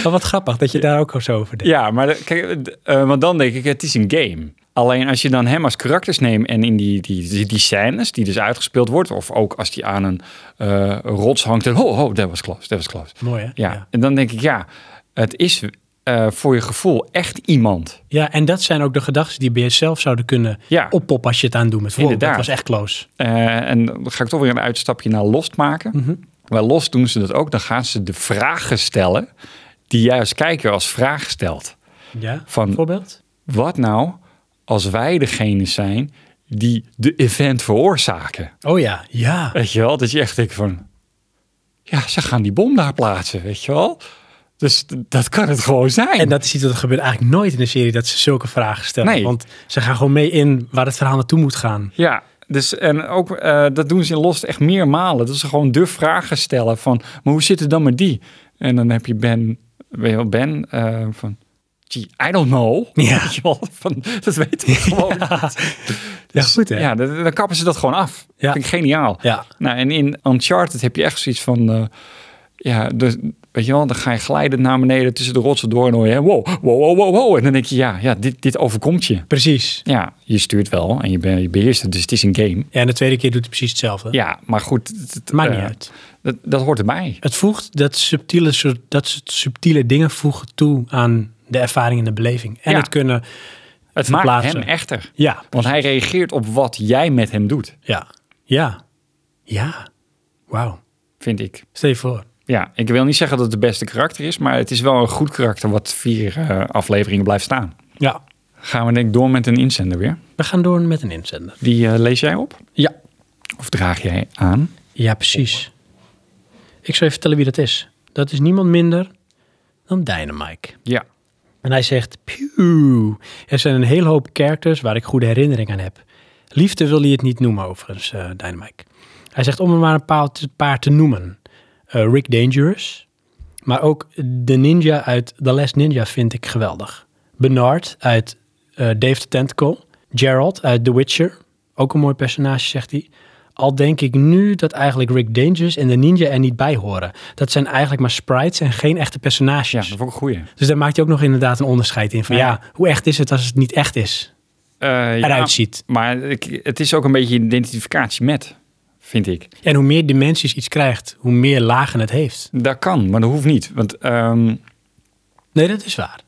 Speaker 1: Maar wat grappig dat je daar ook zo over denkt.
Speaker 2: ja, maar de- kijk, d- eh, want dan denk ik, het is een game. Alleen als je dan hem als karakters neemt en in die, die, die, die scènes die dus uitgespeeld wordt, of ook als die aan een eh, rots hangt en oh, oh, dat was close, dat was close.
Speaker 1: Mooi, hè?
Speaker 2: Ja.
Speaker 1: ja.
Speaker 2: en dan denk ik, ja, het is eh, voor je gevoel echt iemand.
Speaker 1: Ja, en dat zijn ook de gedachten die bij jezelf zouden kunnen
Speaker 2: Ja.
Speaker 1: oppoppen als je het aan doet met voorbeeld. Dat
Speaker 2: Inderdaad.
Speaker 1: was echt close.
Speaker 2: Eh, en dan ga ik toch weer een uitstapje naar Lost maken. Bij Lost doen ze dat ook. Dan gaan ze de vragen stellen die jij als kijker als vraag stelt.
Speaker 1: Ja,
Speaker 2: Van-
Speaker 1: voorbeeld?
Speaker 2: Wat nou als wij degene zijn die de event veroorzaken?
Speaker 1: Oh ja, ja.
Speaker 2: Weet je wel, dat je echt denkt van... Ja, ze gaan die bom daar plaatsen, weet je wel? Dus d- dat kan het gewoon zijn.
Speaker 1: En dat is iets wat er gebeurt eigenlijk nooit in een serie dat ze zulke vragen stellen.
Speaker 2: Nee.
Speaker 1: Want ze gaan gewoon mee in waar het verhaal naartoe moet gaan.
Speaker 2: Ja, dus en ook eh, dat doen ze in Lost echt meermalen. Dat ze gewoon de vragen stellen van, maar hoe zit het dan met die? En dan heb je Ben, weet je wel, Ben eh, van, gee, I don't know.
Speaker 1: Ja.
Speaker 2: Weet je wel, van, dat weet ik gewoon niet.
Speaker 1: Ja,
Speaker 2: Dus,
Speaker 1: goed hè?
Speaker 2: Ja, dan, dan kappen ze dat gewoon af.
Speaker 1: Ja.
Speaker 2: Vind ik geniaal.
Speaker 1: Ja.
Speaker 2: Nou, en in Uncharted heb je echt zoiets van, eh, ja, dus, weet je wel, dan ga je glijden naar beneden tussen de rotsen door en hoor je, wow, wow, wow, wow, wow. En dan denk je, ja, ja dit, dit overkomt je.
Speaker 1: Precies.
Speaker 2: Ja, je stuurt wel en je, ben, je beheerst het, dus het is een game.
Speaker 1: Ja, en de tweede keer doet hij precies hetzelfde.
Speaker 2: Ja, maar goed. het- het,
Speaker 1: Maakt niet
Speaker 2: eh,
Speaker 1: uit.
Speaker 2: Dat, dat hoort erbij.
Speaker 1: Het voegt dat subtiele, soort- dat soort subtiele dingen voegen toe aan de ervaring en de beleving. En
Speaker 2: Ja.
Speaker 1: het kunnen,
Speaker 2: Het maakt
Speaker 1: verplaatsen.
Speaker 2: hem echter.
Speaker 1: ja,
Speaker 2: Want hij reageert op wat jij met hem doet,
Speaker 1: ja, ja, ja. Wauw.
Speaker 2: vind ik.
Speaker 1: Stel je voor.
Speaker 2: Ja, ik wil niet zeggen dat het de beste karakter is, maar het is wel een goed karakter wat vier eh, afleveringen blijft staan.
Speaker 1: Ja,
Speaker 2: Gaan we denk ik door met een inzender weer.
Speaker 1: we gaan door met een inzender.
Speaker 2: Die eh, lees jij op?
Speaker 1: Ja.
Speaker 2: Of draag jij aan?
Speaker 1: Ja, precies. Ik zal je vertellen wie dat is. Dat is niemand minder dan Dynamike.
Speaker 2: Ja.
Speaker 1: En hij zegt, "Pew, er zijn een hele hoop characters waar ik goede herinnering aan heb. Liefde wil hij het niet noemen overigens, eh Dynamite. Hij zegt om er maar een paar te, paar te noemen. Eh, Rick Dangerous, Maar ook de ninja uit The Last Ninja vind ik geweldig. Bernard uit eh, Dave the Tentacle. Gerald uit The Witcher. Ook een mooi personage, zegt hij. Al denk ik nu dat eigenlijk Rick Dangerous en de ninja er niet bij horen. Dat zijn eigenlijk maar sprites en geen echte
Speaker 2: Ja,
Speaker 1: personages.
Speaker 2: dat vond ik een goeie.
Speaker 1: Dus daar maakt hij ook nog inderdaad een onderscheid in. Van ja,
Speaker 2: Ja.
Speaker 1: hoe echt is het als het niet echt is?
Speaker 2: Eh, ja,
Speaker 1: Eruit ziet.
Speaker 2: Maar ik, het is ook een beetje een identificatie met, vind ik.
Speaker 1: En hoe meer dimensies iets krijgt, hoe meer lagen het heeft.
Speaker 2: Dat kan, maar dat hoeft niet. Want, ehm,
Speaker 1: Nee, dat is waar.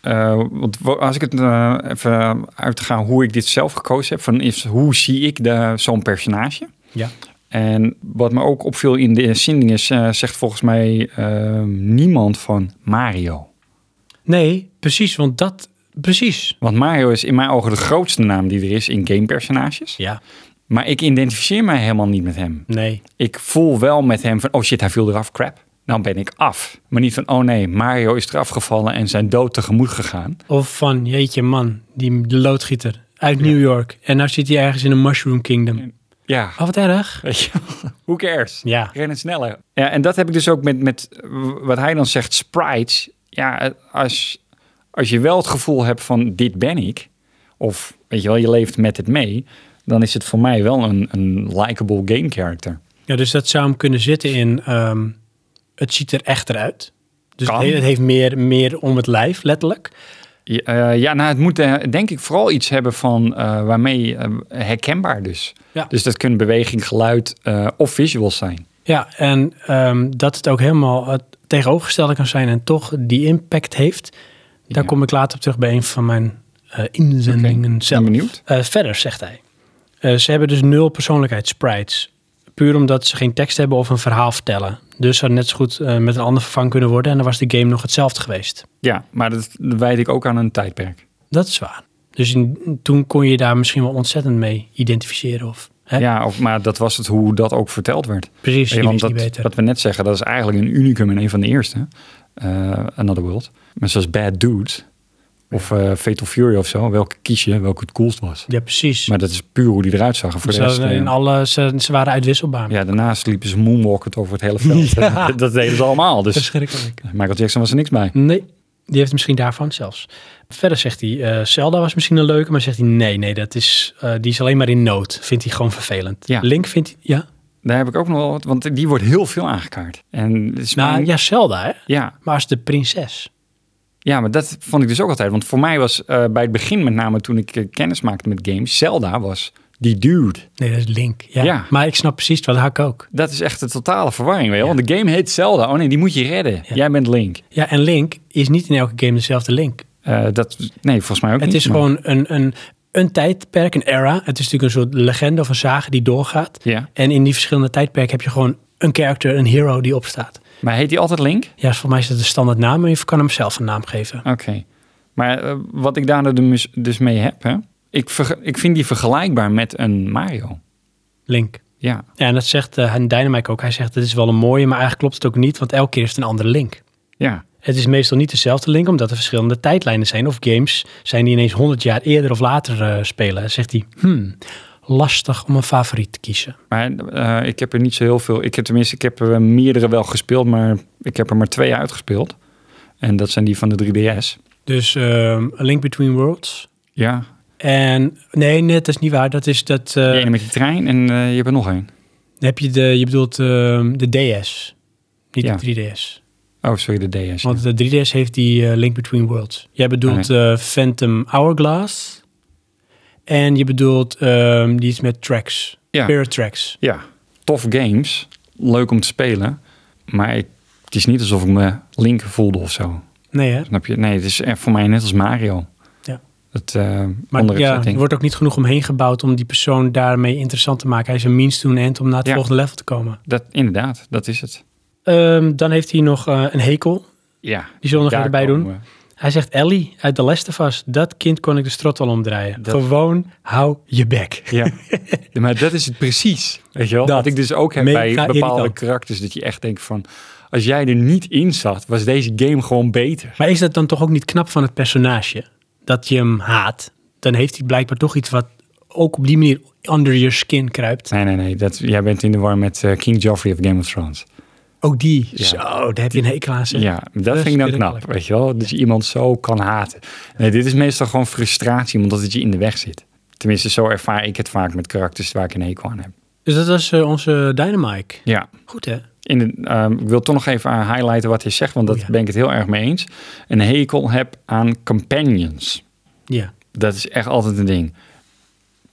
Speaker 2: eh, want wo- als ik het eh, even uitga hoe ik dit zelf gekozen heb, van is, hoe zie ik de- zo'n personage?
Speaker 1: Ja.
Speaker 2: En wat me ook opviel in de zending is, eh, zegt volgens mij ehm, niemand van Mario.
Speaker 1: Nee, precies, want dat... Precies.
Speaker 2: Want Mario is in mijn ogen de grootste naam die er is in gamepersonages.
Speaker 1: Ja,
Speaker 2: Maar ik identificeer mij helemaal niet met hem.
Speaker 1: nee.
Speaker 2: ik voel wel met hem van, oh shit, hij viel eraf, crap. Dan ben ik af. Maar niet van, oh nee, Mario is eraf gevallen en zijn dood tegemoet gegaan.
Speaker 1: Of van, jeetje man, die de loodgieter uit New York. En nou zit hij ergens in een Mushroom Kingdom.
Speaker 2: Ja,
Speaker 1: Oh, wat erg.
Speaker 2: weet je, wel. who cares?
Speaker 1: Ja.
Speaker 2: Rennen sneller. Ja, en dat heb ik dus ook met, met eh, wat hij dan zegt, sprites. Ja, als, als je wel het gevoel hebt van, dit ben ik. Of, weet je wel, je leeft met het mee. Dan is het voor mij wel een, een likable game character.
Speaker 1: Ja, dus dat zou hem kunnen zitten in, ehm, het ziet er echter uit. Dus het
Speaker 2: Kan.
Speaker 1: he- het heeft meer, meer om het lijf, letterlijk.
Speaker 2: Ja, eh, ja, nou, het moet eh, denk ik vooral iets hebben van eh, waarmee eh, herkenbaar dus.
Speaker 1: Ja.
Speaker 2: Dus dat kunnen beweging, geluid eh, of visuals zijn.
Speaker 1: Ja, en ehm, dat het ook helemaal het tegenovergestelde kan zijn en toch die impact heeft. Daar
Speaker 2: Ja.
Speaker 1: kom ik later op terug bij een van mijn eh, inzendingen
Speaker 2: Ben
Speaker 1: zelf.
Speaker 2: benieuwd.
Speaker 1: Eh, verder zegt hij. eh, ze hebben dus nul persoonlijkheidssprites. Puur omdat ze geen tekst hebben of een verhaal vertellen. Dus zou net zo goed eh, met een ander vervangen kunnen worden. En dan was de game nog hetzelfde geweest.
Speaker 2: Ja, maar dat wijd ik ook aan een tijdperk.
Speaker 1: Dat is waar. Dus in- toen kon je daar misschien wel ontzettend mee identificeren. Of, hè? Dus
Speaker 2: Ja, of, maar dat was het hoe dat ook verteld werd.
Speaker 1: Precies,
Speaker 2: Weet je,
Speaker 1: je
Speaker 2: want
Speaker 1: wist niet
Speaker 2: dat,
Speaker 1: beter.
Speaker 2: wat we net zeggen, dat is eigenlijk een unicum en een van de eerste. eh, Another World. Maar zoals Bad Dude of eh, Fatal Fury of zo. Welke kies je, welke het coolst was.
Speaker 1: ja, precies. Dus
Speaker 2: Maar dat is puur hoe die eruit zag. En Voor de
Speaker 1: ze,
Speaker 2: rest,
Speaker 1: hadden
Speaker 2: eh,
Speaker 1: in alle, ze, ze waren uitwisselbaar.
Speaker 2: ja, daarnaast liepen ze moonwalkend over het hele veld. Dat, dat deden ze allemaal. Dus
Speaker 1: Verschrikkelijk.
Speaker 2: Michael Jackson was er niks bij.
Speaker 1: Nee, die heeft misschien daarvan zelfs. Verder zegt hij, eh, Zelda was misschien een leuke, maar zegt hij nee, nee, dat is, eh, die is alleen maar in nood. Vindt hij gewoon vervelend.
Speaker 2: Ja.
Speaker 1: Link vindt hij, ja.
Speaker 2: Daar heb ik ook nog wel wat, want die wordt heel veel aangekaart. En het is
Speaker 1: Nou
Speaker 2: mijn-
Speaker 1: ja, Zelda hè,
Speaker 2: ja,
Speaker 1: maar als de prinses.
Speaker 2: ja, maar dat vond ik dus ook altijd. Want voor mij was eh, bij het begin, met name toen ik eh, kennis maakte met games, Zelda was die dude.
Speaker 1: Nee, dat is Link. Ja.
Speaker 2: Ja.
Speaker 1: Maar ik snap precies wat hak ook.
Speaker 2: Dat is echt de totale verwarring, weet je wel. Want de game heet Zelda. Oh nee, die moet je redden. Jij bent Link.
Speaker 1: Ja, en Link is niet in elke game dezelfde Link.
Speaker 2: Eh, dat, nee, volgens mij ook
Speaker 1: Het
Speaker 2: niet.
Speaker 1: is
Speaker 2: maar-
Speaker 1: gewoon een, een, een tijdperk, een era. Het is natuurlijk een soort legende of een zagen die doorgaat.
Speaker 2: Ja,
Speaker 1: En in die verschillende tijdperken heb je gewoon een character, een hero die opstaat.
Speaker 2: maar heet die altijd Link?
Speaker 1: Ja, voor mij is dat de standaard naam, maar je kan hem zelf een naam geven.
Speaker 2: Oké. Maar eh, wat ik daar nou dus- dus mee heb, hè? Ik, verge- ik vind die vergelijkbaar met een Mario.
Speaker 1: Link.
Speaker 2: Ja,
Speaker 1: Ja, en dat zegt eh Dynamite ook. Hij zegt, het is wel een mooie, maar eigenlijk klopt het ook niet, want elke keer heeft het een andere link.
Speaker 2: ja.
Speaker 1: Het is meestal niet dezelfde link, omdat er verschillende tijdlijnen zijn of games zijn die ineens 100 jaar eerder of later eh, spelen. Dan Zegt hij, hmm, lastig om een favoriet te kiezen.
Speaker 2: Maar eh, ik heb er niet zo heel veel. Ik heb tenminste, ik heb er meerdere wel gespeeld, maar ik heb er maar twee uitgespeeld. En dat zijn die van de 3DS.
Speaker 1: Dus ehm, A Link Between Worlds.
Speaker 2: Ja,
Speaker 1: En nee, nee, dat is niet waar. Dat is dat. eh,
Speaker 2: de ene met die trein en eh, je hebt er nog één.
Speaker 1: heb je de, je bedoelt ehm, de DS, niet
Speaker 2: Ja.
Speaker 1: de 3DS.
Speaker 2: Oh, sorry, de DS.
Speaker 1: Want de 3DS heeft die eh, Link Between Worlds. Jij bedoelt eh, Phantom Hourglass. En je bedoelt ehm, die iets met tracks.
Speaker 2: Ja.
Speaker 1: Spirit tracks.
Speaker 2: ja, tof games. Leuk om te spelen. Maar ik- het is niet alsof ik me linker voelde of zo.
Speaker 1: Nee hè?
Speaker 2: Snap je? Nee, het is echt voor mij net als Mario.
Speaker 1: Ja.
Speaker 2: Het eh
Speaker 1: Maar
Speaker 2: andere
Speaker 1: ja, er
Speaker 2: setting.
Speaker 1: wordt ook niet genoeg omheen gebouwd om die persoon daarmee interessant te maken. Hij is een means to an end om naar het
Speaker 2: Ja.
Speaker 1: volgende level te komen.
Speaker 2: Dat, inderdaad, dat is het.
Speaker 1: Ehm, dan heeft hij nog eh, een hekel.
Speaker 2: Ja.
Speaker 1: Die zullen we nog
Speaker 2: Daar
Speaker 1: erbij
Speaker 2: komen
Speaker 1: doen.
Speaker 2: we.
Speaker 1: Hij zegt Ellie uit The Last of Us. Dat kind kon ik de strot wel omdraaien.
Speaker 2: Dat-
Speaker 1: Gewoon hou je bek.
Speaker 2: Ja. Ja, maar dat is het precies. Weet je wel?
Speaker 1: Dat.
Speaker 2: Dat, ik dus ook heb
Speaker 1: Mega
Speaker 2: bij bepaalde
Speaker 1: irritant.
Speaker 2: karakters. Dat je echt denkt van, als jij er niet in zat, was deze game gewoon beter.
Speaker 1: Maar is dat dan toch ook niet knap van het personage? Dat je hem haat. Dan heeft hij blijkbaar toch iets wat ook op die manier under your skin kruipt.
Speaker 2: Nee, nee, nee. Dat, jij bent in de war met eh, King Joffrey of Game of Thrones.
Speaker 1: Ook die.
Speaker 2: Ja.
Speaker 1: Zo, daar heb je een hekel aan. zeg.
Speaker 2: Ja, dat vind ik dan knap,
Speaker 1: Verschrikkelijk.
Speaker 2: weet je wel. Dat je iemand zo kan haten. Nee, dit is meestal gewoon frustratie, omdat het je in de weg zit. Tenminste, zo ervaar ik het vaak met karakters waar ik een hekel aan heb.
Speaker 1: Dus dat was eh, onze Dynamite.
Speaker 2: Ja,
Speaker 1: Goed hè?
Speaker 2: in de, ehm, ik wil toch nog even eh, highlighten wat hij zegt, want
Speaker 1: Oh,
Speaker 2: daar
Speaker 1: ja.
Speaker 2: ben ik het heel erg mee eens. Een hekel heb aan companions.
Speaker 1: Ja.
Speaker 2: Dat is echt altijd een ding.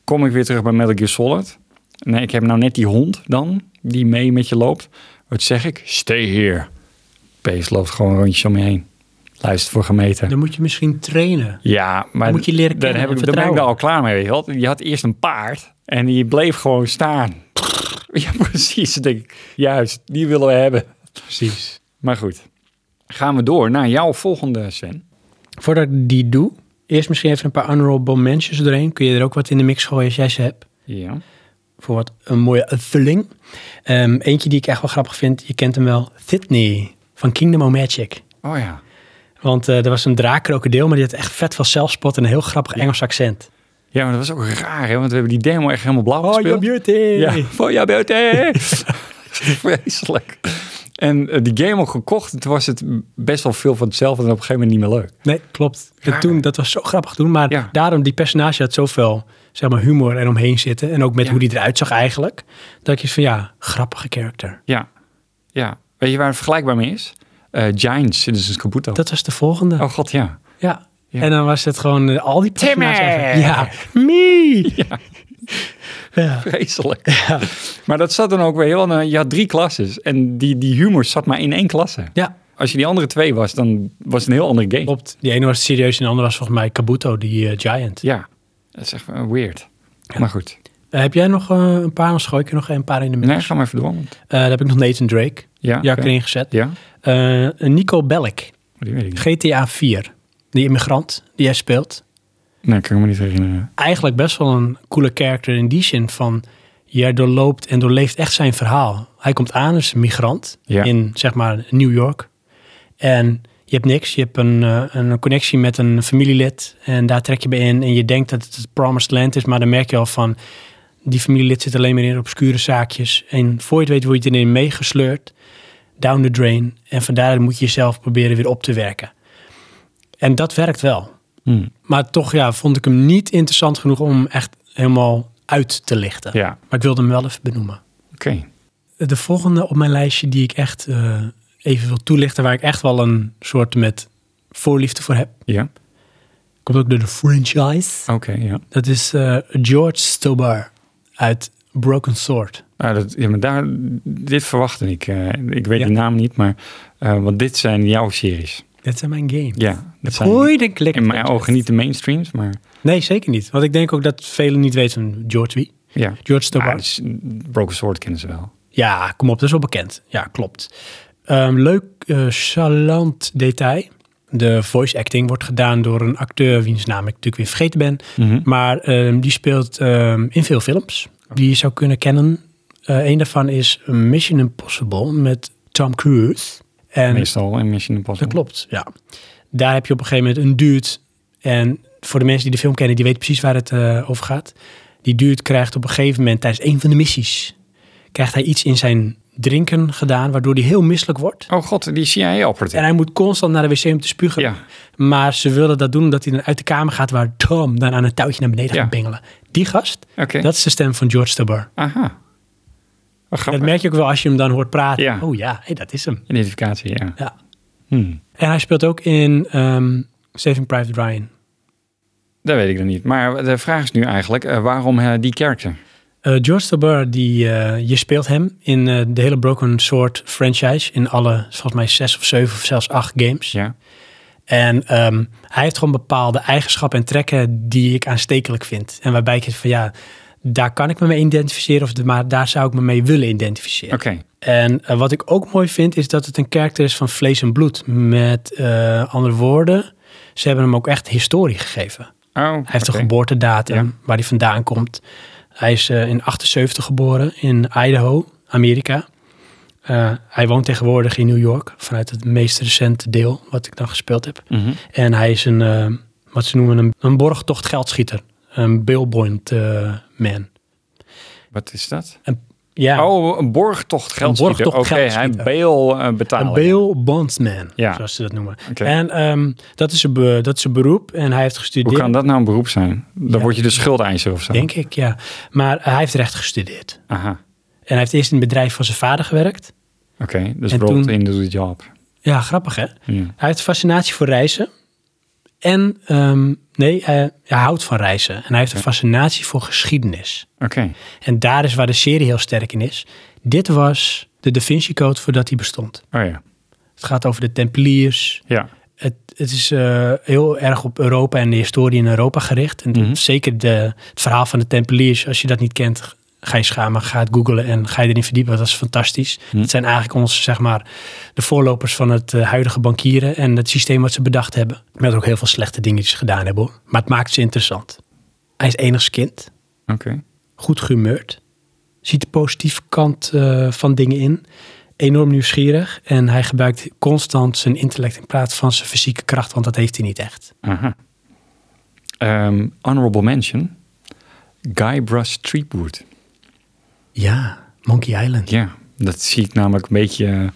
Speaker 2: Kom ik weer terug bij Metal Gear Solid? Nee, ik heb nou net die hond dan, die mee met je loopt. Wat zeg ik? Stay here. Beest loopt gewoon rondjes om je heen. Luistert voor gemeten.
Speaker 1: Dan moet je misschien trainen.
Speaker 2: Ja, maar
Speaker 1: Dan moet je leren
Speaker 2: daar,
Speaker 1: kennen
Speaker 2: heb
Speaker 1: en
Speaker 2: ik, daar ben ik
Speaker 1: vertrouwen.
Speaker 2: daar al klaar mee. Weet je, wel. je had eerst een paard en die bleef gewoon staan. Ja, precies. Dan denk ik, juist, die willen we hebben.
Speaker 1: Precies.
Speaker 2: Maar goed, gaan we door naar jouw volgende, Sven.
Speaker 1: Voordat ik die doe, eerst misschien even een paar honorable mentions erheen. Kun je er ook wat in de mix gooien als jij ze hebt.
Speaker 2: Ja.
Speaker 1: Voor wat een mooie vulling. Ehm, eentje die ik echt wel grappig vind, je kent hem wel. Sydney van Kingdom of Magic.
Speaker 2: Oh ja.
Speaker 1: Want eh, er was een draak-krokodil, maar die had echt vet veel zelfspot en een heel grappig Engels accent.
Speaker 2: Ja, maar dat was ook raar, hè? want we hebben die demo echt helemaal blauw gespeeld.
Speaker 1: Oh, beauty!
Speaker 2: Ja, voor jouw beauty. Vreselijk. En eh, die game al gekocht, toen was het best wel veel van hetzelfde en op een gegeven moment niet meer leuk.
Speaker 1: Nee, klopt.
Speaker 2: Raar.
Speaker 1: En toen, dat was zo grappig toen, maar
Speaker 2: Ah. Ja.
Speaker 1: daarom, die personage had zoveel zeg maar, humor en omheen zitten. En ook met
Speaker 2: Ja.
Speaker 1: hoe die eruit zag eigenlijk. Dat ik iets van, ja, grappige character.
Speaker 2: Ja, ja. Weet je waar het vergelijkbaar mee is? Eh Giants, Citizens Kabuto.
Speaker 1: Dat was de volgende.
Speaker 2: Oh god, ja.
Speaker 1: Ja.
Speaker 2: Ja.
Speaker 1: En dan was het gewoon eh, al die personages.
Speaker 2: Timmy!
Speaker 1: eigenlijk. Ja, me! Ja.
Speaker 2: Vreselijk. Maar dat zat dan ook weer heel... aan- Je had drie klasses en die, die humor zat maar in één klasse.
Speaker 1: Ja,
Speaker 2: Als je die andere twee was, dan was het een heel andere game.
Speaker 1: klopt. Die ene was serieus en de andere was volgens mij Kabuto, die eh, giant.
Speaker 2: Ja, dat is echt eh, weird. Maar goed.
Speaker 1: Eh, heb jij nog eh, een paar? Dan gooi ik er nog een paar in de mix.
Speaker 2: Nee, ga maar even door. want-
Speaker 1: Eh, daar heb ik nog Nathan Drake.
Speaker 2: Ja,
Speaker 1: Ja,
Speaker 2: oké.
Speaker 1: erin gezet.
Speaker 2: Ja, Oh,
Speaker 1: Eh, Nico Bellic,
Speaker 2: die weet ik niet.
Speaker 1: GTA 4. Die immigrant die jij speelt.
Speaker 2: Nee, kan ik me niet herinneren.
Speaker 1: eigenlijk best wel een coole character in die zin van... jij doorloopt en doorleeft echt zijn verhaal. Hij komt aan als migrant
Speaker 2: Ja.
Speaker 1: in, zeg maar, New York. En je hebt niks. Je hebt een, eh, een connectie met een familielid en daar trek je bij in. En je denkt dat het het promised land is, maar dan merk je al van... die familielid zit alleen maar in obscure zaakjes. En voor je het weet word je erin meegesleurd, down the drain. En vandaar moet je jezelf proberen weer op te werken. En dat werkt wel.
Speaker 2: Hm.
Speaker 1: Maar toch ja, vond ik hem niet interessant genoeg om hem echt helemaal uit te lichten.
Speaker 2: Ja,
Speaker 1: Maar ik wilde hem wel even benoemen.
Speaker 2: oké.
Speaker 1: De volgende op mijn lijstje die ik echt eh, even wil toelichten, waar ik echt wel een soort met voorliefde voor heb,
Speaker 2: Ja,
Speaker 1: komt ook door de franchise.
Speaker 2: oké, ja.
Speaker 1: Dat is eh, George Stobar uit Broken Sword.
Speaker 2: Ah, dat, ja, maar daar, dit verwachtte ik. eh, ik weet
Speaker 1: Ja.
Speaker 2: de naam niet, maar... eh, want dit zijn jouw series.
Speaker 1: Dat zijn mijn games.
Speaker 2: Ja, dat zijn
Speaker 1: Gooi de klik.
Speaker 2: in mijn ogen niet de mainstreams, maar...
Speaker 1: Nee, zeker niet. Want ik denk ook dat velen niet weten van George wie.
Speaker 2: Ja.
Speaker 1: George
Speaker 2: Ah,
Speaker 1: Stobar.
Speaker 2: het is- Broken Sword kennen ze wel.
Speaker 1: Ja, kom op, dat is wel bekend. Ja, klopt. Ehm, leuk, eh chalant detail. De voice acting wordt gedaan door een acteur wiens naam ik natuurlijk weer vergeten ben. Maar ehm, die speelt ehm, in veel films die je zou kunnen kennen. Eh een daarvan is Mission Impossible met Tom Cruise. En
Speaker 2: Meestal in Mission Impossible.
Speaker 1: dat klopt, ja. Daar heb je op een gegeven moment een dude. En voor de mensen die de film kennen, die weten precies waar het eh, over gaat. Die dude krijgt op een gegeven moment tijdens een van de missies... krijgt hij iets in zijn drinken gedaan, waardoor hij heel misselijk wordt.
Speaker 2: Oh god, die CIA-operative.
Speaker 1: En hij moet constant naar de wc om te spugen.
Speaker 2: Ja.
Speaker 1: Maar ze willen dat doen omdat hij dan uit de kamer gaat... waar Tom dan aan een touwtje naar beneden
Speaker 2: Ja.
Speaker 1: gaat bengelen. Die gast,
Speaker 2: Oké.
Speaker 1: dat is de stem van George Stubber.
Speaker 2: Aha. Wat
Speaker 1: Dat
Speaker 2: grappig.
Speaker 1: merk je ook wel als je hem dan hoort praten.
Speaker 2: Ja.
Speaker 1: Oh ja, hey, dat is hem.
Speaker 2: Identificatie, ja.
Speaker 1: Ja.
Speaker 2: Hmm.
Speaker 1: En hij speelt ook in ehm, Saving Private Ryan.
Speaker 2: Dat weet ik dan niet. Maar de vraag is nu eigenlijk, eh, waarom eh, die character?
Speaker 1: Eh, George Tabor, die, eh, je speelt hem in eh, de hele Broken Sword franchise. In alle, volgens mij, zes of zeven of zelfs acht games.
Speaker 2: Ja.
Speaker 1: En ehm, hij heeft gewoon bepaalde eigenschappen en trekken die ik aanstekelijk vind. En waarbij ik het van, ja, daar kan ik me mee identificeren. Of de, maar daar zou ik me mee willen identificeren.
Speaker 2: Oké.
Speaker 1: En eh, wat ik ook mooi vind, is dat het een karakter is van vlees en bloed. Met eh, andere woorden, ze hebben hem ook echt historie gegeven.
Speaker 2: Oh,
Speaker 1: Hij heeft
Speaker 2: oké.
Speaker 1: een geboortedatum
Speaker 2: Ja.
Speaker 1: waar hij vandaan komt. Hij is eh, in 78 geboren in Idaho, Amerika. Eh, hij woont tegenwoordig in New York, vanuit het meest recente deel wat ik dan gespeeld heb.
Speaker 2: Mhm.
Speaker 1: En hij is een, eh, wat ze noemen, een, een borgtocht geldschieter. Een billboard eh, man.
Speaker 2: Wat is dat?
Speaker 1: Ja,
Speaker 2: Oh, een borgtocht geldschieter. Oké,
Speaker 1: borgtocht
Speaker 2: hij
Speaker 1: geldschieter.
Speaker 2: bail eh, betalen.
Speaker 1: een bail bondsman,
Speaker 2: Ja.
Speaker 1: zoals ze dat noemen.
Speaker 2: Oké.
Speaker 1: En ehm, dat, is een be- dat is een beroep en hij heeft
Speaker 2: Hoe
Speaker 1: gestudeerd.
Speaker 2: kan dat nou een beroep zijn? Dan word je de schuldeiser of zo.
Speaker 1: Denk ik, ja. Maar hij heeft recht gestudeerd.
Speaker 2: Aha,
Speaker 1: En hij heeft eerst in het bedrijf van zijn vader gewerkt.
Speaker 2: oké. Dus
Speaker 1: En
Speaker 2: rolled
Speaker 1: toen-
Speaker 2: in the job.
Speaker 1: Ja, grappig hè?
Speaker 2: Ja.
Speaker 1: Hij heeft fascinatie voor reizen. En, ehm, nee, hij, hij houdt van reizen. En hij heeft een fascinatie voor geschiedenis.
Speaker 2: Oké,
Speaker 1: En daar is waar de serie heel sterk in is. Dit was de Da Vinci Code voordat hij bestond.
Speaker 2: oh ja.
Speaker 1: Het gaat over de Tempeliers.
Speaker 2: Ja,
Speaker 1: Het, het is eh, heel erg op Europa en de historie in Europa gericht. En
Speaker 2: Mhm.
Speaker 1: zeker de, het verhaal van de Tempeliers, als je dat niet kent, g- ga je schamen, ga het googlen en ga je erin verdiepen. want Dat is fantastisch.
Speaker 2: Mhm.
Speaker 1: Het zijn eigenlijk onze, zeg maar, de voorlopers van het eh, huidige bankieren en het systeem wat ze bedacht hebben. Met ook heel veel slechte dingetjes gedaan hebben hoor. Maar het maakt ze interessant. Hij is enigskind,
Speaker 2: oké.
Speaker 1: goed gehumeurd, ziet de positieve kant eh, van dingen in. Enorm nieuwsgierig en hij gebruikt constant zijn intellect in plaats van zijn fysieke kracht, want dat heeft hij niet echt.
Speaker 2: Aha. Ehm, honorable mention. Guybrush Threepwood.
Speaker 1: Ja, Monkey Island.
Speaker 2: Ja, dat zie ik namelijk een beetje eh,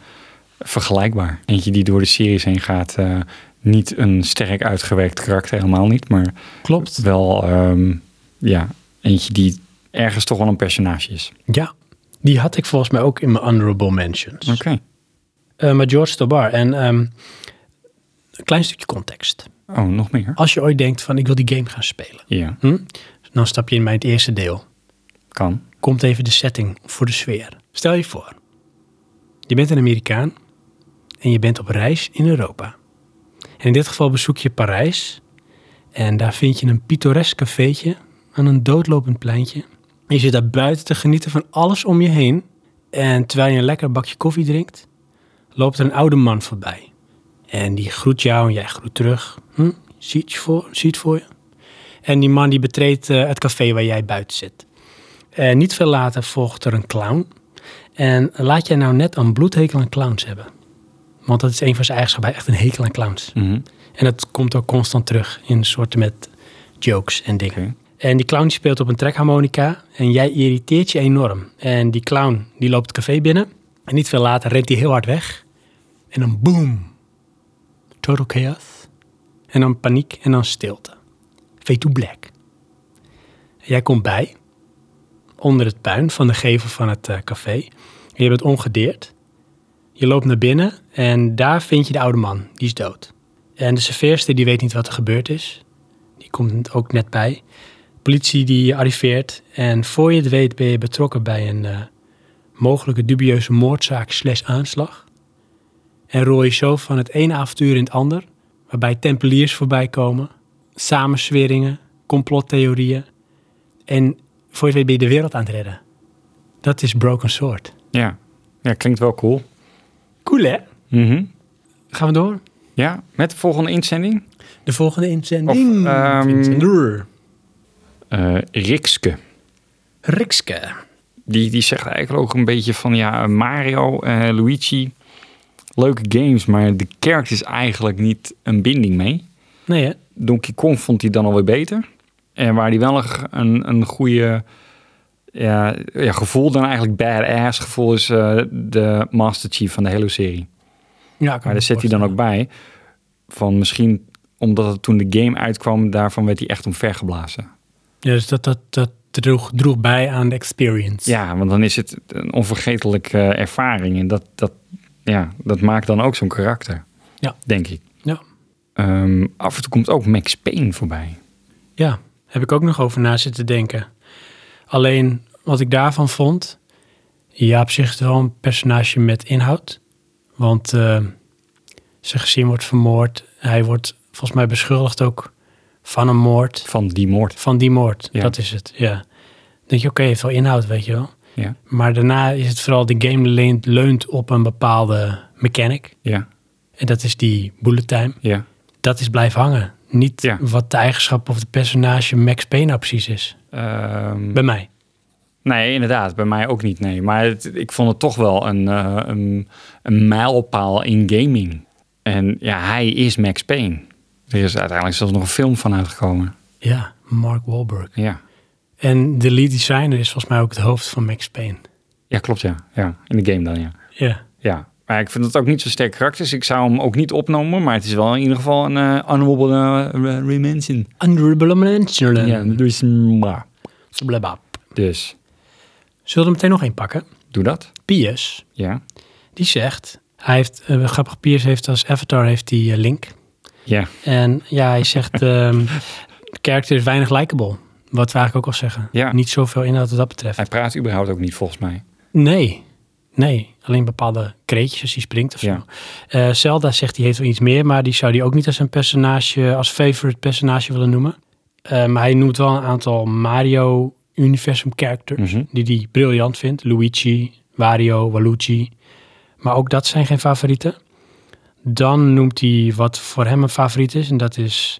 Speaker 2: vergelijkbaar. Eentje die door de series heen gaat. eh, niet een sterk uitgewerkt karakter, helemaal niet. Maar
Speaker 1: Klopt.
Speaker 2: wel, ehm, ja, eentje die ergens toch wel een personage is.
Speaker 1: Ja, die had ik volgens mij ook in mijn honorable mentions.
Speaker 2: Oké.
Speaker 1: Eh, maar George Tobar en ehm, een klein stukje context.
Speaker 2: Oh, nog meer?
Speaker 1: Als je ooit denkt van ik wil die game gaan spelen,
Speaker 2: Ja,
Speaker 1: hm? dan stap je in bij het eerste deel.
Speaker 2: kan.
Speaker 1: komt even de setting voor de sfeer. Stel je voor, je bent een Amerikaan en je bent op reis in Europa. En in dit geval bezoek je Parijs en daar vind je een pittoresk cafeetje aan een doodlopend pleintje. En je zit daar buiten te genieten van alles om je heen. En terwijl je een lekker bakje koffie drinkt, loopt er een oude man voorbij. En die groet jou en jij groet terug. Hm? Zie het je voor, zie het voor je. En die man die betreedt eh, het café waar jij buiten zit. Eh, niet veel later volgt er een clown. En laat jij nou net een bloedhekel aan clowns hebben. Want dat is een van zijn eigenschappen. Hij heeft echt een hekel aan clowns.
Speaker 2: Mhm.
Speaker 1: En dat komt ook constant terug in soorten met jokes en dingen.
Speaker 2: Oké.
Speaker 1: En die clown die speelt op een trekharmonica. En jij irriteert je enorm. En die clown die loopt het café binnen. En niet veel later rent hij heel hard weg. En dan boom. Total chaos. En dan paniek en dan stilte. Fade to black. En jij komt bij. Onder het puin van de gevel van het eh, café. En je bent ongedeerd. Je loopt naar binnen en daar vind je de oude man. Die is dood. En de serveerster die weet niet wat er gebeurd is. Die komt ook net bij politie die arriveert. En voor je het weet ben je betrokken bij een eh, mogelijke dubieuze moordzaak slash aanslag. En rooi je zo van het ene avontuur in het ander. Waarbij tempeliers voorbij komen. Samensweringen, complottheorieën. En voor je het weet ben je de wereld aan het redden. Dat is Broken Sword.
Speaker 2: Ja. ja, klinkt wel cool.
Speaker 1: Cool hè?
Speaker 2: Mhm.
Speaker 1: Gaan we door?
Speaker 2: Ja, met de volgende inzending.
Speaker 1: De volgende inzending.
Speaker 2: Of, ehm,
Speaker 1: Inzender.
Speaker 2: Eh, Rikske.
Speaker 1: Rikske.
Speaker 2: Die, die zegt eigenlijk ook een beetje van ja, Mario, eh, Luigi. Leuke games, maar de kerk is eigenlijk niet een binding mee.
Speaker 1: Nee hè?
Speaker 2: Donkey Kong vond hij dan alweer beter. En waar hij wel een, een, een goede ja, ja, gevoel, dan eigenlijk badass gevoel, is eh, de Master Chief van de Halo-serie.
Speaker 1: Ja, ik kan
Speaker 2: Maar
Speaker 1: me
Speaker 2: daar zit hij dan ook bij. Van misschien omdat het toen de game uitkwam, daarvan werd hij echt omvergeblazen.
Speaker 1: Ja, dus dat, dat, dat droeg, droeg bij aan de experience.
Speaker 2: Ja, want dan is het een onvergetelijke eh, ervaring. En dat, dat, ja, dat maakt dan ook zo'n karakter.
Speaker 1: Ja.
Speaker 2: Denk ik.
Speaker 1: Ja.
Speaker 2: Ehm, af en toe komt ook Max Payne voorbij.
Speaker 1: Ja, heb ik ook nog over na zitten denken. Alleen wat ik daarvan vond, ja, op zich is het wel een personage met inhoud. Want eh, zijn gezin wordt vermoord. Hij wordt volgens mij beschuldigd ook van een moord.
Speaker 2: Van die moord.
Speaker 1: Van die moord,
Speaker 2: Ja.
Speaker 1: dat is het. Ja. Dan denk je, oké, heeft wel inhoud, weet je wel.
Speaker 2: Ja.
Speaker 1: Maar daarna is het vooral, de game leunt, leunt op een bepaalde mechanic.
Speaker 2: Ja.
Speaker 1: En dat is die bullet time.
Speaker 2: Ja.
Speaker 1: Dat is blijven hangen. Niet
Speaker 2: Ja.
Speaker 1: wat de eigenschap of het personage Max Payne nou precies is.
Speaker 2: Ehm,
Speaker 1: Bij mij.
Speaker 2: nee, inderdaad. Bij mij ook niet, nee. Maar het- ik vond het toch wel een, eh, een, een mijlpaal in gaming. En ja, hij is Max Payne. Er is uiteindelijk zelfs nog een film van uitgekomen.
Speaker 1: Ja, Mark Wahlberg.
Speaker 2: Ja.
Speaker 1: En de lead designer is volgens mij ook het hoofd van Max Payne.
Speaker 2: Ja, klopt ja. ja. In de game dan, ja.
Speaker 1: Ja.
Speaker 2: ja. Maar ik vind het ook niet zo sterk karakters. Ik zou hem ook niet opnomen, maar het is wel in ieder geval een eh, honorable uh, remention.
Speaker 1: Honorable mention.
Speaker 2: Ja, dus, mwah.
Speaker 1: Blabab.
Speaker 2: dus
Speaker 1: Zullen we er meteen nog één pakken?
Speaker 2: doe dat.
Speaker 1: Piers,
Speaker 2: Ja.
Speaker 1: die zegt... Hij heeft, eh, grappig, Piers heeft als avatar heeft die eh, Link.
Speaker 2: Ja.
Speaker 1: En ja, hij zegt... ehm de character is weinig likable. Wat we eigenlijk ook al zeggen.
Speaker 2: Ja.
Speaker 1: Niet zoveel inhoud wat dat betreft.
Speaker 2: Hij praat überhaupt ook niet volgens mij.
Speaker 1: Nee, nee. Alleen bepaalde kreetjes als hij springt of zo.
Speaker 2: Ja.
Speaker 1: Eh, Zelda zegt die heeft wel iets meer, maar die zou die ook niet als een personage, als favorite personage willen noemen. Eh, maar hij noemt wel een aantal Mario universum characters
Speaker 2: Mhm.
Speaker 1: die hij briljant vindt. Luigi, Wario, Waluigi. Maar ook dat zijn geen favorieten. Dan noemt hij wat voor hem een favoriet is en dat is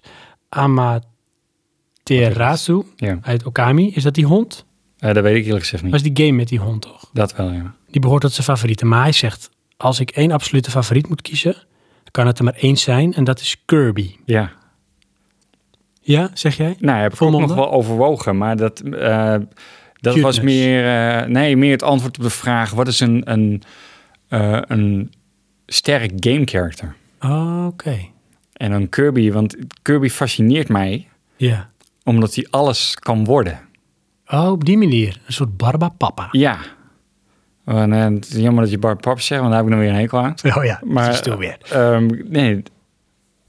Speaker 1: Amaterasu
Speaker 2: Ja.
Speaker 1: uit Okami. Is dat die hond?
Speaker 2: Eh, dat weet ik eerlijk gezegd niet.
Speaker 1: Was die game met die hond toch?
Speaker 2: Dat wel, ja.
Speaker 1: Die behoort tot zijn favorieten. Maar hij zegt, als ik één absolute favoriet moet kiezen, kan het er maar één zijn. En dat is Kirby.
Speaker 2: Ja.
Speaker 1: Ja, zeg jij?
Speaker 2: Nou, heb ik ook
Speaker 1: Volmondig?
Speaker 2: nog wel overwogen, maar dat, eh, dat was
Speaker 1: Cuteness.
Speaker 2: meer, eh, nee, meer het antwoord op de vraag: wat is een, een, eh, een sterk game character?
Speaker 1: Oh, Oké.
Speaker 2: En dan Kirby, want Kirby fascineert mij
Speaker 1: Ja.
Speaker 2: omdat hij alles kan worden.
Speaker 1: Oh, op die manier. Een soort barbapapa.
Speaker 2: Ja. En, eh, het is jammer dat je Bart Pap zegt, want daar heb ik nog weer een hekel aan.
Speaker 1: Oh ja,
Speaker 2: Maar-
Speaker 1: dat is toch weer.
Speaker 2: Ehm, nee,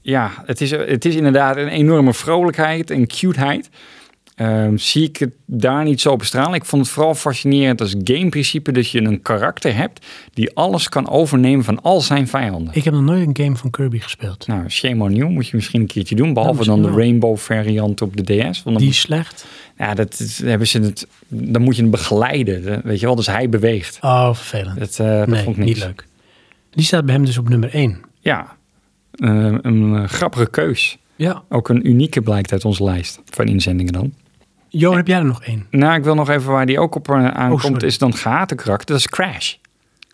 Speaker 2: ja, het is, het is inderdaad een enorme vrolijkheid en cuteheid. Ehm, zie ik het daar niet zo op stralen. Ik vond het vooral fascinerend als gameprincipe dat je een karakter hebt die alles kan overnemen van al zijn vijanden.
Speaker 1: Ik heb nog nooit een game van Kirby gespeeld.
Speaker 2: Nou, shame on you, moet je misschien een keertje doen. Behalve
Speaker 1: misschien
Speaker 2: dan de
Speaker 1: wel.
Speaker 2: Rainbow variant op de DS. Want dan,
Speaker 1: Die is slecht.
Speaker 2: ja, dat, is- hebben ze het, dan moet je hem begeleiden, hè, weet je wel. Dus hij beweegt.
Speaker 1: Oh, vervelend.
Speaker 2: Dat, eh, dat
Speaker 1: nee,
Speaker 2: vond ik niks.
Speaker 1: niet leuk. Die staat bij hem dus op nummer één.
Speaker 2: Ja, Ehm, een eh, grappige keus.
Speaker 1: Ja.
Speaker 2: Ook een unieke blijkt uit onze lijst van inzendingen dan.
Speaker 1: Johan, heb jij er nog één?
Speaker 2: Nou, ik wil nog even waar die ook op eh, aankomt,
Speaker 1: Oh, sorry.
Speaker 2: is dan gehate karakter. Dat is Crash.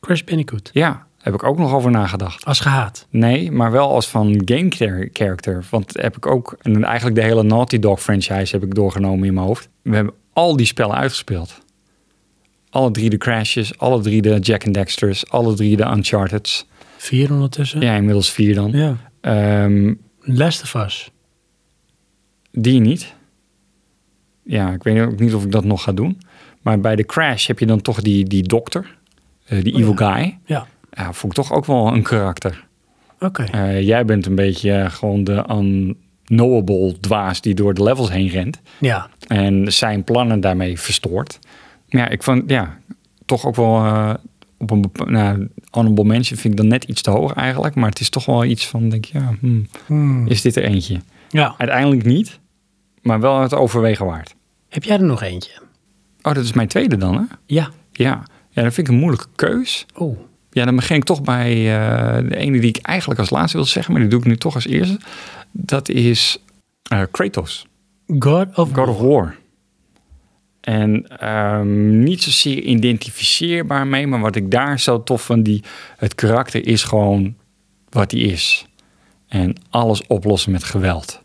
Speaker 1: Crash Bandicoot.
Speaker 2: Ja, heb ik ook nog over nagedacht.
Speaker 1: Als gehaat.
Speaker 2: Nee, maar wel als van game char- character. Want heb ik ook, en eigenlijk de hele Naughty Dog franchise heb ik doorgenomen in mijn hoofd. We hebben al die spellen uitgespeeld. Alle drie de Crashes, alle drie de Jack and Dexters, alle drie de Uncharted's.
Speaker 1: Vier ondertussen.
Speaker 2: Ja, inmiddels vier dan.
Speaker 1: ja.
Speaker 2: Ehm,
Speaker 1: Last of Us.
Speaker 2: Die niet. Ja, ik weet ook niet of ik dat nog ga doen. Maar bij de crash heb je dan toch die, die dokter, eh, die
Speaker 1: Oh ja.
Speaker 2: evil guy.
Speaker 1: Ja.
Speaker 2: Ja, vond ik toch ook wel een karakter.
Speaker 1: Oké.
Speaker 2: Eh, jij bent een beetje eh, gewoon de unknowable dwaas die door de levels heen rent.
Speaker 1: Ja.
Speaker 2: En zijn plannen daarmee verstoort. Maar Ja, ik vond, ja, toch ook wel eh, op een bepa- nou, honorable mention vind ik dan net iets te hoog eigenlijk. Maar het is toch wel iets van, denk ik, ja, hmm,
Speaker 1: Hmm.
Speaker 2: is dit er eentje?
Speaker 1: Ja.
Speaker 2: Uiteindelijk niet, maar wel het overwegen waard.
Speaker 1: Heb jij er nog eentje?
Speaker 2: Oh, dat is mijn tweede dan, hè?
Speaker 1: Ja.
Speaker 2: Ja. Ja, dat vind ik een moeilijke keus.
Speaker 1: Oh.
Speaker 2: Ja, dan begin ik toch bij eh, de ene die ik eigenlijk als laatste wil zeggen, maar die doe ik nu toch als eerste. Dat is eh, Kratos,
Speaker 1: God of
Speaker 2: God of War. En ehm, niet zozeer identificeerbaar mee, maar wat ik daar zo tof van, die, het karakter is gewoon wat hij is. En alles oplossen met geweld.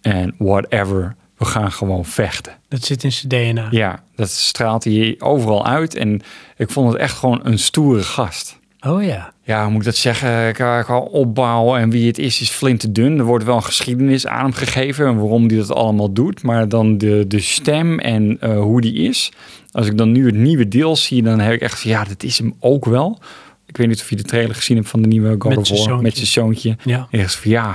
Speaker 2: En whatever, we gaan gewoon vechten.
Speaker 1: Dat zit in zijn DNA.
Speaker 2: Ja, dat straalt hij overal uit. En ik vond het echt gewoon een stoere gast.
Speaker 1: Oh ja.
Speaker 2: Ja, hoe moet ik dat zeggen? Qua qua opbouw en wie het is, is flinterdun. Er wordt wel een geschiedenis aan hem gegeven en waarom hij dat allemaal doet. Maar dan de, de stem en eh, hoe die is. Als ik dan nu het nieuwe deel zie, dan heb ik echt van, ja, dat is hem ook wel. Ik weet niet of je de trailer gezien hebt van de nieuwe God
Speaker 1: Met
Speaker 2: of
Speaker 1: zijn
Speaker 2: War
Speaker 1: zoontje.
Speaker 2: met zijn zoontje.
Speaker 1: Ja.
Speaker 2: En echt van, ja,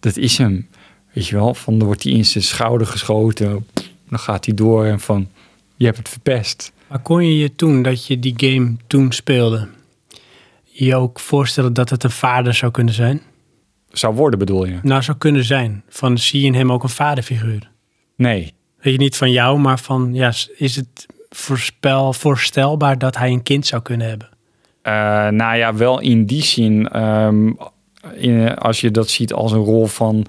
Speaker 2: dat is hem. Weet je wel, van dan wordt hij in zijn schouder geschoten. Dan gaat hij door en van, je hebt het verpest.
Speaker 1: Maar kon je je toen, dat je die game toen speelde, je ook voorstellen dat het een vader zou kunnen zijn?
Speaker 2: Zou worden bedoel je?
Speaker 1: Nou, zou kunnen zijn. Van zie je in hem ook een vaderfiguur?
Speaker 2: Nee.
Speaker 1: Weet je niet van jou, maar van ja, s- is het voorspel, voorstelbaar dat hij een kind zou kunnen hebben?
Speaker 2: Eh, nou ja, wel in die zin, ehm, in- als je dat ziet als een rol van...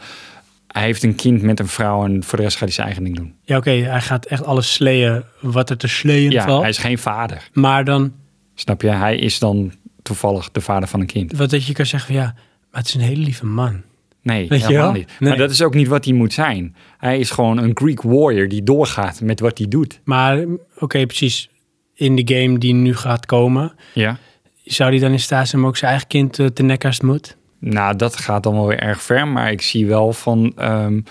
Speaker 2: Hij heeft een kind met een vrouw en voor de rest gaat hij zijn eigen ding doen.
Speaker 1: Ja, oké, hij gaat echt alles sleeën wat er te sleeën
Speaker 2: Ja,
Speaker 1: valt.
Speaker 2: hij is geen vader.
Speaker 1: Maar dan,
Speaker 2: Snap je? Hij is dan toevallig de vader van een kind.
Speaker 1: wat dat je kan zeggen van ja, maar het is een hele lieve man.
Speaker 2: Nee,
Speaker 1: Weet je
Speaker 2: helemaal
Speaker 1: wel?
Speaker 2: niet.
Speaker 1: Nee.
Speaker 2: Maar dat is ook niet wat hij moet zijn. Hij is gewoon een Greek warrior die doorgaat met wat hij doet.
Speaker 1: Maar oké, precies. in de game die nu gaat komen,
Speaker 2: Ja.
Speaker 1: zou die dan in staat zijn om ook zijn eigen kind eh, te nekken als het moet?
Speaker 2: Nou, dat gaat dan wel weer erg ver. Maar ik zie wel van ehm,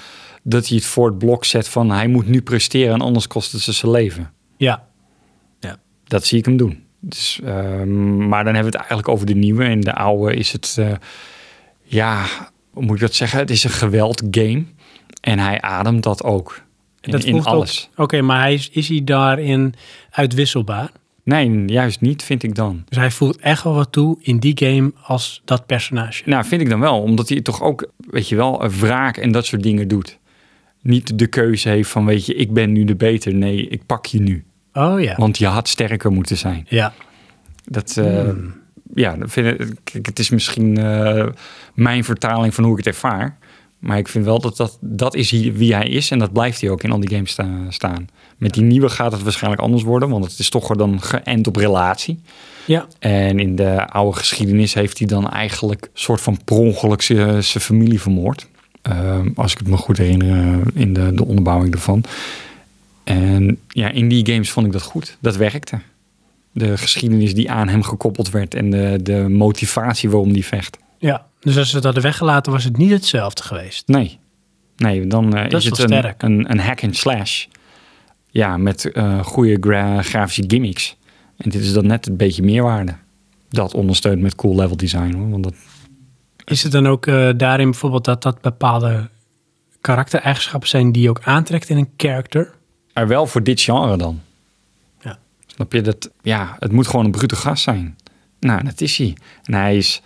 Speaker 2: dat hij het voor het blok zet van hij moet nu presteren en anders kost het ze zijn leven.
Speaker 1: Ja,
Speaker 2: Dat zie ik hem doen. Dus, ehm, maar dan hebben we het eigenlijk over de nieuwe. En de oude is het, eh, ja, hoe moet ik dat zeggen? Het is een geweldgame. En hij ademt dat ook. In,
Speaker 1: dat
Speaker 2: in
Speaker 1: voegt ook-
Speaker 2: alles.
Speaker 1: Oké, maar hij is, is hij daarin uitwisselbaar?
Speaker 2: Nee, juist niet, vind ik dan.
Speaker 1: Dus hij voelt echt wel wat toe in die game als dat personage.
Speaker 2: Nou, vind ik dan wel, omdat hij toch ook, weet je wel, eh, wraak en dat soort dingen doet. Niet de keuze heeft van, weet je, ik ben nu de beter. Nee, ik pak je nu.
Speaker 1: Oh ja.
Speaker 2: Want je had sterker moeten zijn.
Speaker 1: Ja, Hmm.
Speaker 2: Dat, eh, ja, dat vind ik, kijk, het is misschien eh, mijn vertaling van hoe ik het ervaar. Maar ik vind wel dat dat, dat is hier wie hij is. En dat blijft hij ook in al die games sta- staan. Met die nieuwe gaat het waarschijnlijk anders worden. Want het is toch dan geënt op relatie.
Speaker 1: ja.
Speaker 2: En in de oude geschiedenis heeft hij dan eigenlijk soort van per ongeluk zijn familie vermoord. Ehm, als ik het me goed herinner eh, in de, de onderbouwing ervan. En ja, in die games vond ik dat goed. Dat werkte. De geschiedenis die aan hem gekoppeld werd en de, de motivatie waarom die vecht.
Speaker 1: ja. Dus als ze het hadden weggelaten, was het niet hetzelfde geweest.
Speaker 2: Nee, nee dan eh,
Speaker 1: Dat is
Speaker 2: is het
Speaker 1: wel
Speaker 2: een,
Speaker 1: sterk.
Speaker 2: een, een hack and slash. Ja, met eh, goede gra- grafische gimmicks. En dit is dan net een beetje meerwaarde. Dat ondersteunt met cool level design hoor. Want dat
Speaker 1: Is het dan ook eh, daarin bijvoorbeeld dat dat bepaalde karaktereigenschappen zijn die je ook aantrekt in een character?
Speaker 2: Maar wel voor dit genre dan.
Speaker 1: Ja.
Speaker 2: Snap je dat? Ja, het moet gewoon een brute gast zijn. Nou, dat is hij. En hij is.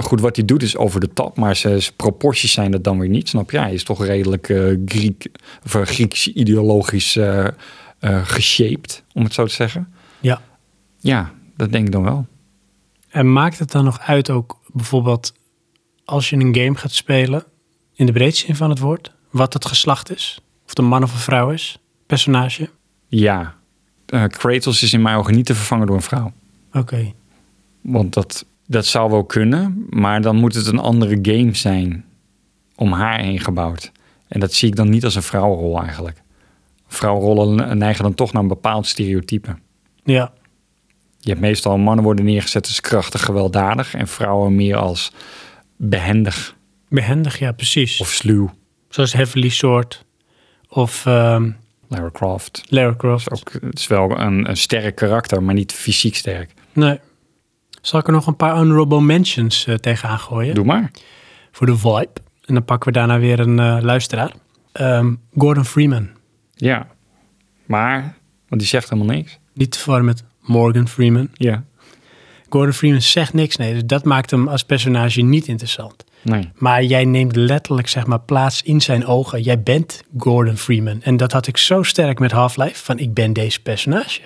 Speaker 2: Goed, wat hij doet is over de top, maar zijn, zijn proporties zijn dat dan weer niet. Snap je? Hij is toch redelijk eh, Griek, of eh, Grieks ideologisch eh eh, geshaped, om het zo te zeggen.
Speaker 1: Ja.
Speaker 2: Ja, dat denk ik dan wel.
Speaker 1: En maakt het dan nog uit ook bijvoorbeeld als je een game gaat spelen, in de breedste zin van het woord, wat het geslacht is? Of het een man of een vrouw is? Personage?
Speaker 2: Ja. Eh, Kratos is in mijn ogen niet te vervangen door een vrouw.
Speaker 1: Oké.
Speaker 2: Want dat, dat zou wel kunnen, maar dan moet het een andere game zijn om haar heen gebouwd. En dat zie ik dan niet als een vrouwenrol eigenlijk. Vrouwenrollen neigen dan toch naar een bepaald stereotype.
Speaker 1: Ja.
Speaker 2: Je hebt meestal mannen worden neergezet als krachtig, gewelddadig en vrouwen meer als behendig
Speaker 1: Behendig, ja, precies.
Speaker 2: of sluw.
Speaker 1: Zoals Heavenly Sword of ehm
Speaker 2: Lara Croft.
Speaker 1: Lara
Speaker 2: Dat
Speaker 1: Croft.
Speaker 2: is, ook, het is wel een, een sterk karakter, maar niet fysiek sterk.
Speaker 1: Nee. Zal ik er nog een paar honorable mentions eh, tegenaan gooien?
Speaker 2: Doe maar.
Speaker 1: Voor de vibe. En dan pakken we daarna weer een eh, luisteraar. Ehm, Gordon Freeman.
Speaker 2: Ja. Maar, want die zegt helemaal niks.
Speaker 1: Niet te verwarren met Morgan Freeman.
Speaker 2: Ja.
Speaker 1: Gordon Freeman zegt niks, nee. Dus dat maakt hem als personage niet interessant.
Speaker 2: Nee.
Speaker 1: Maar jij neemt letterlijk zeg maar, plaats in zijn ogen. Jij bent Gordon Freeman. En dat had ik zo sterk met Half-Life, van ik ben deze personage.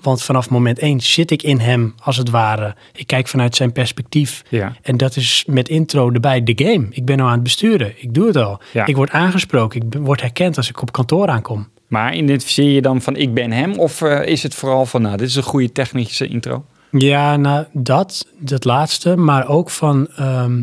Speaker 1: Want vanaf moment één zit ik in hem, als het ware. Ik kijk vanuit zijn perspectief.
Speaker 2: Ja.
Speaker 1: En dat is met intro erbij de game. Ik ben al aan het besturen. Ik doe het al.
Speaker 2: Ja.
Speaker 1: Ik word aangesproken. Ik ben- word herkend als ik op kantoor aankom.
Speaker 2: Maar identificeer je dan van ik ben hem? Of eh, is het vooral van nou, dit is een goede technische intro?
Speaker 1: Ja, nou, dat, dat laatste. Maar ook van, ehm,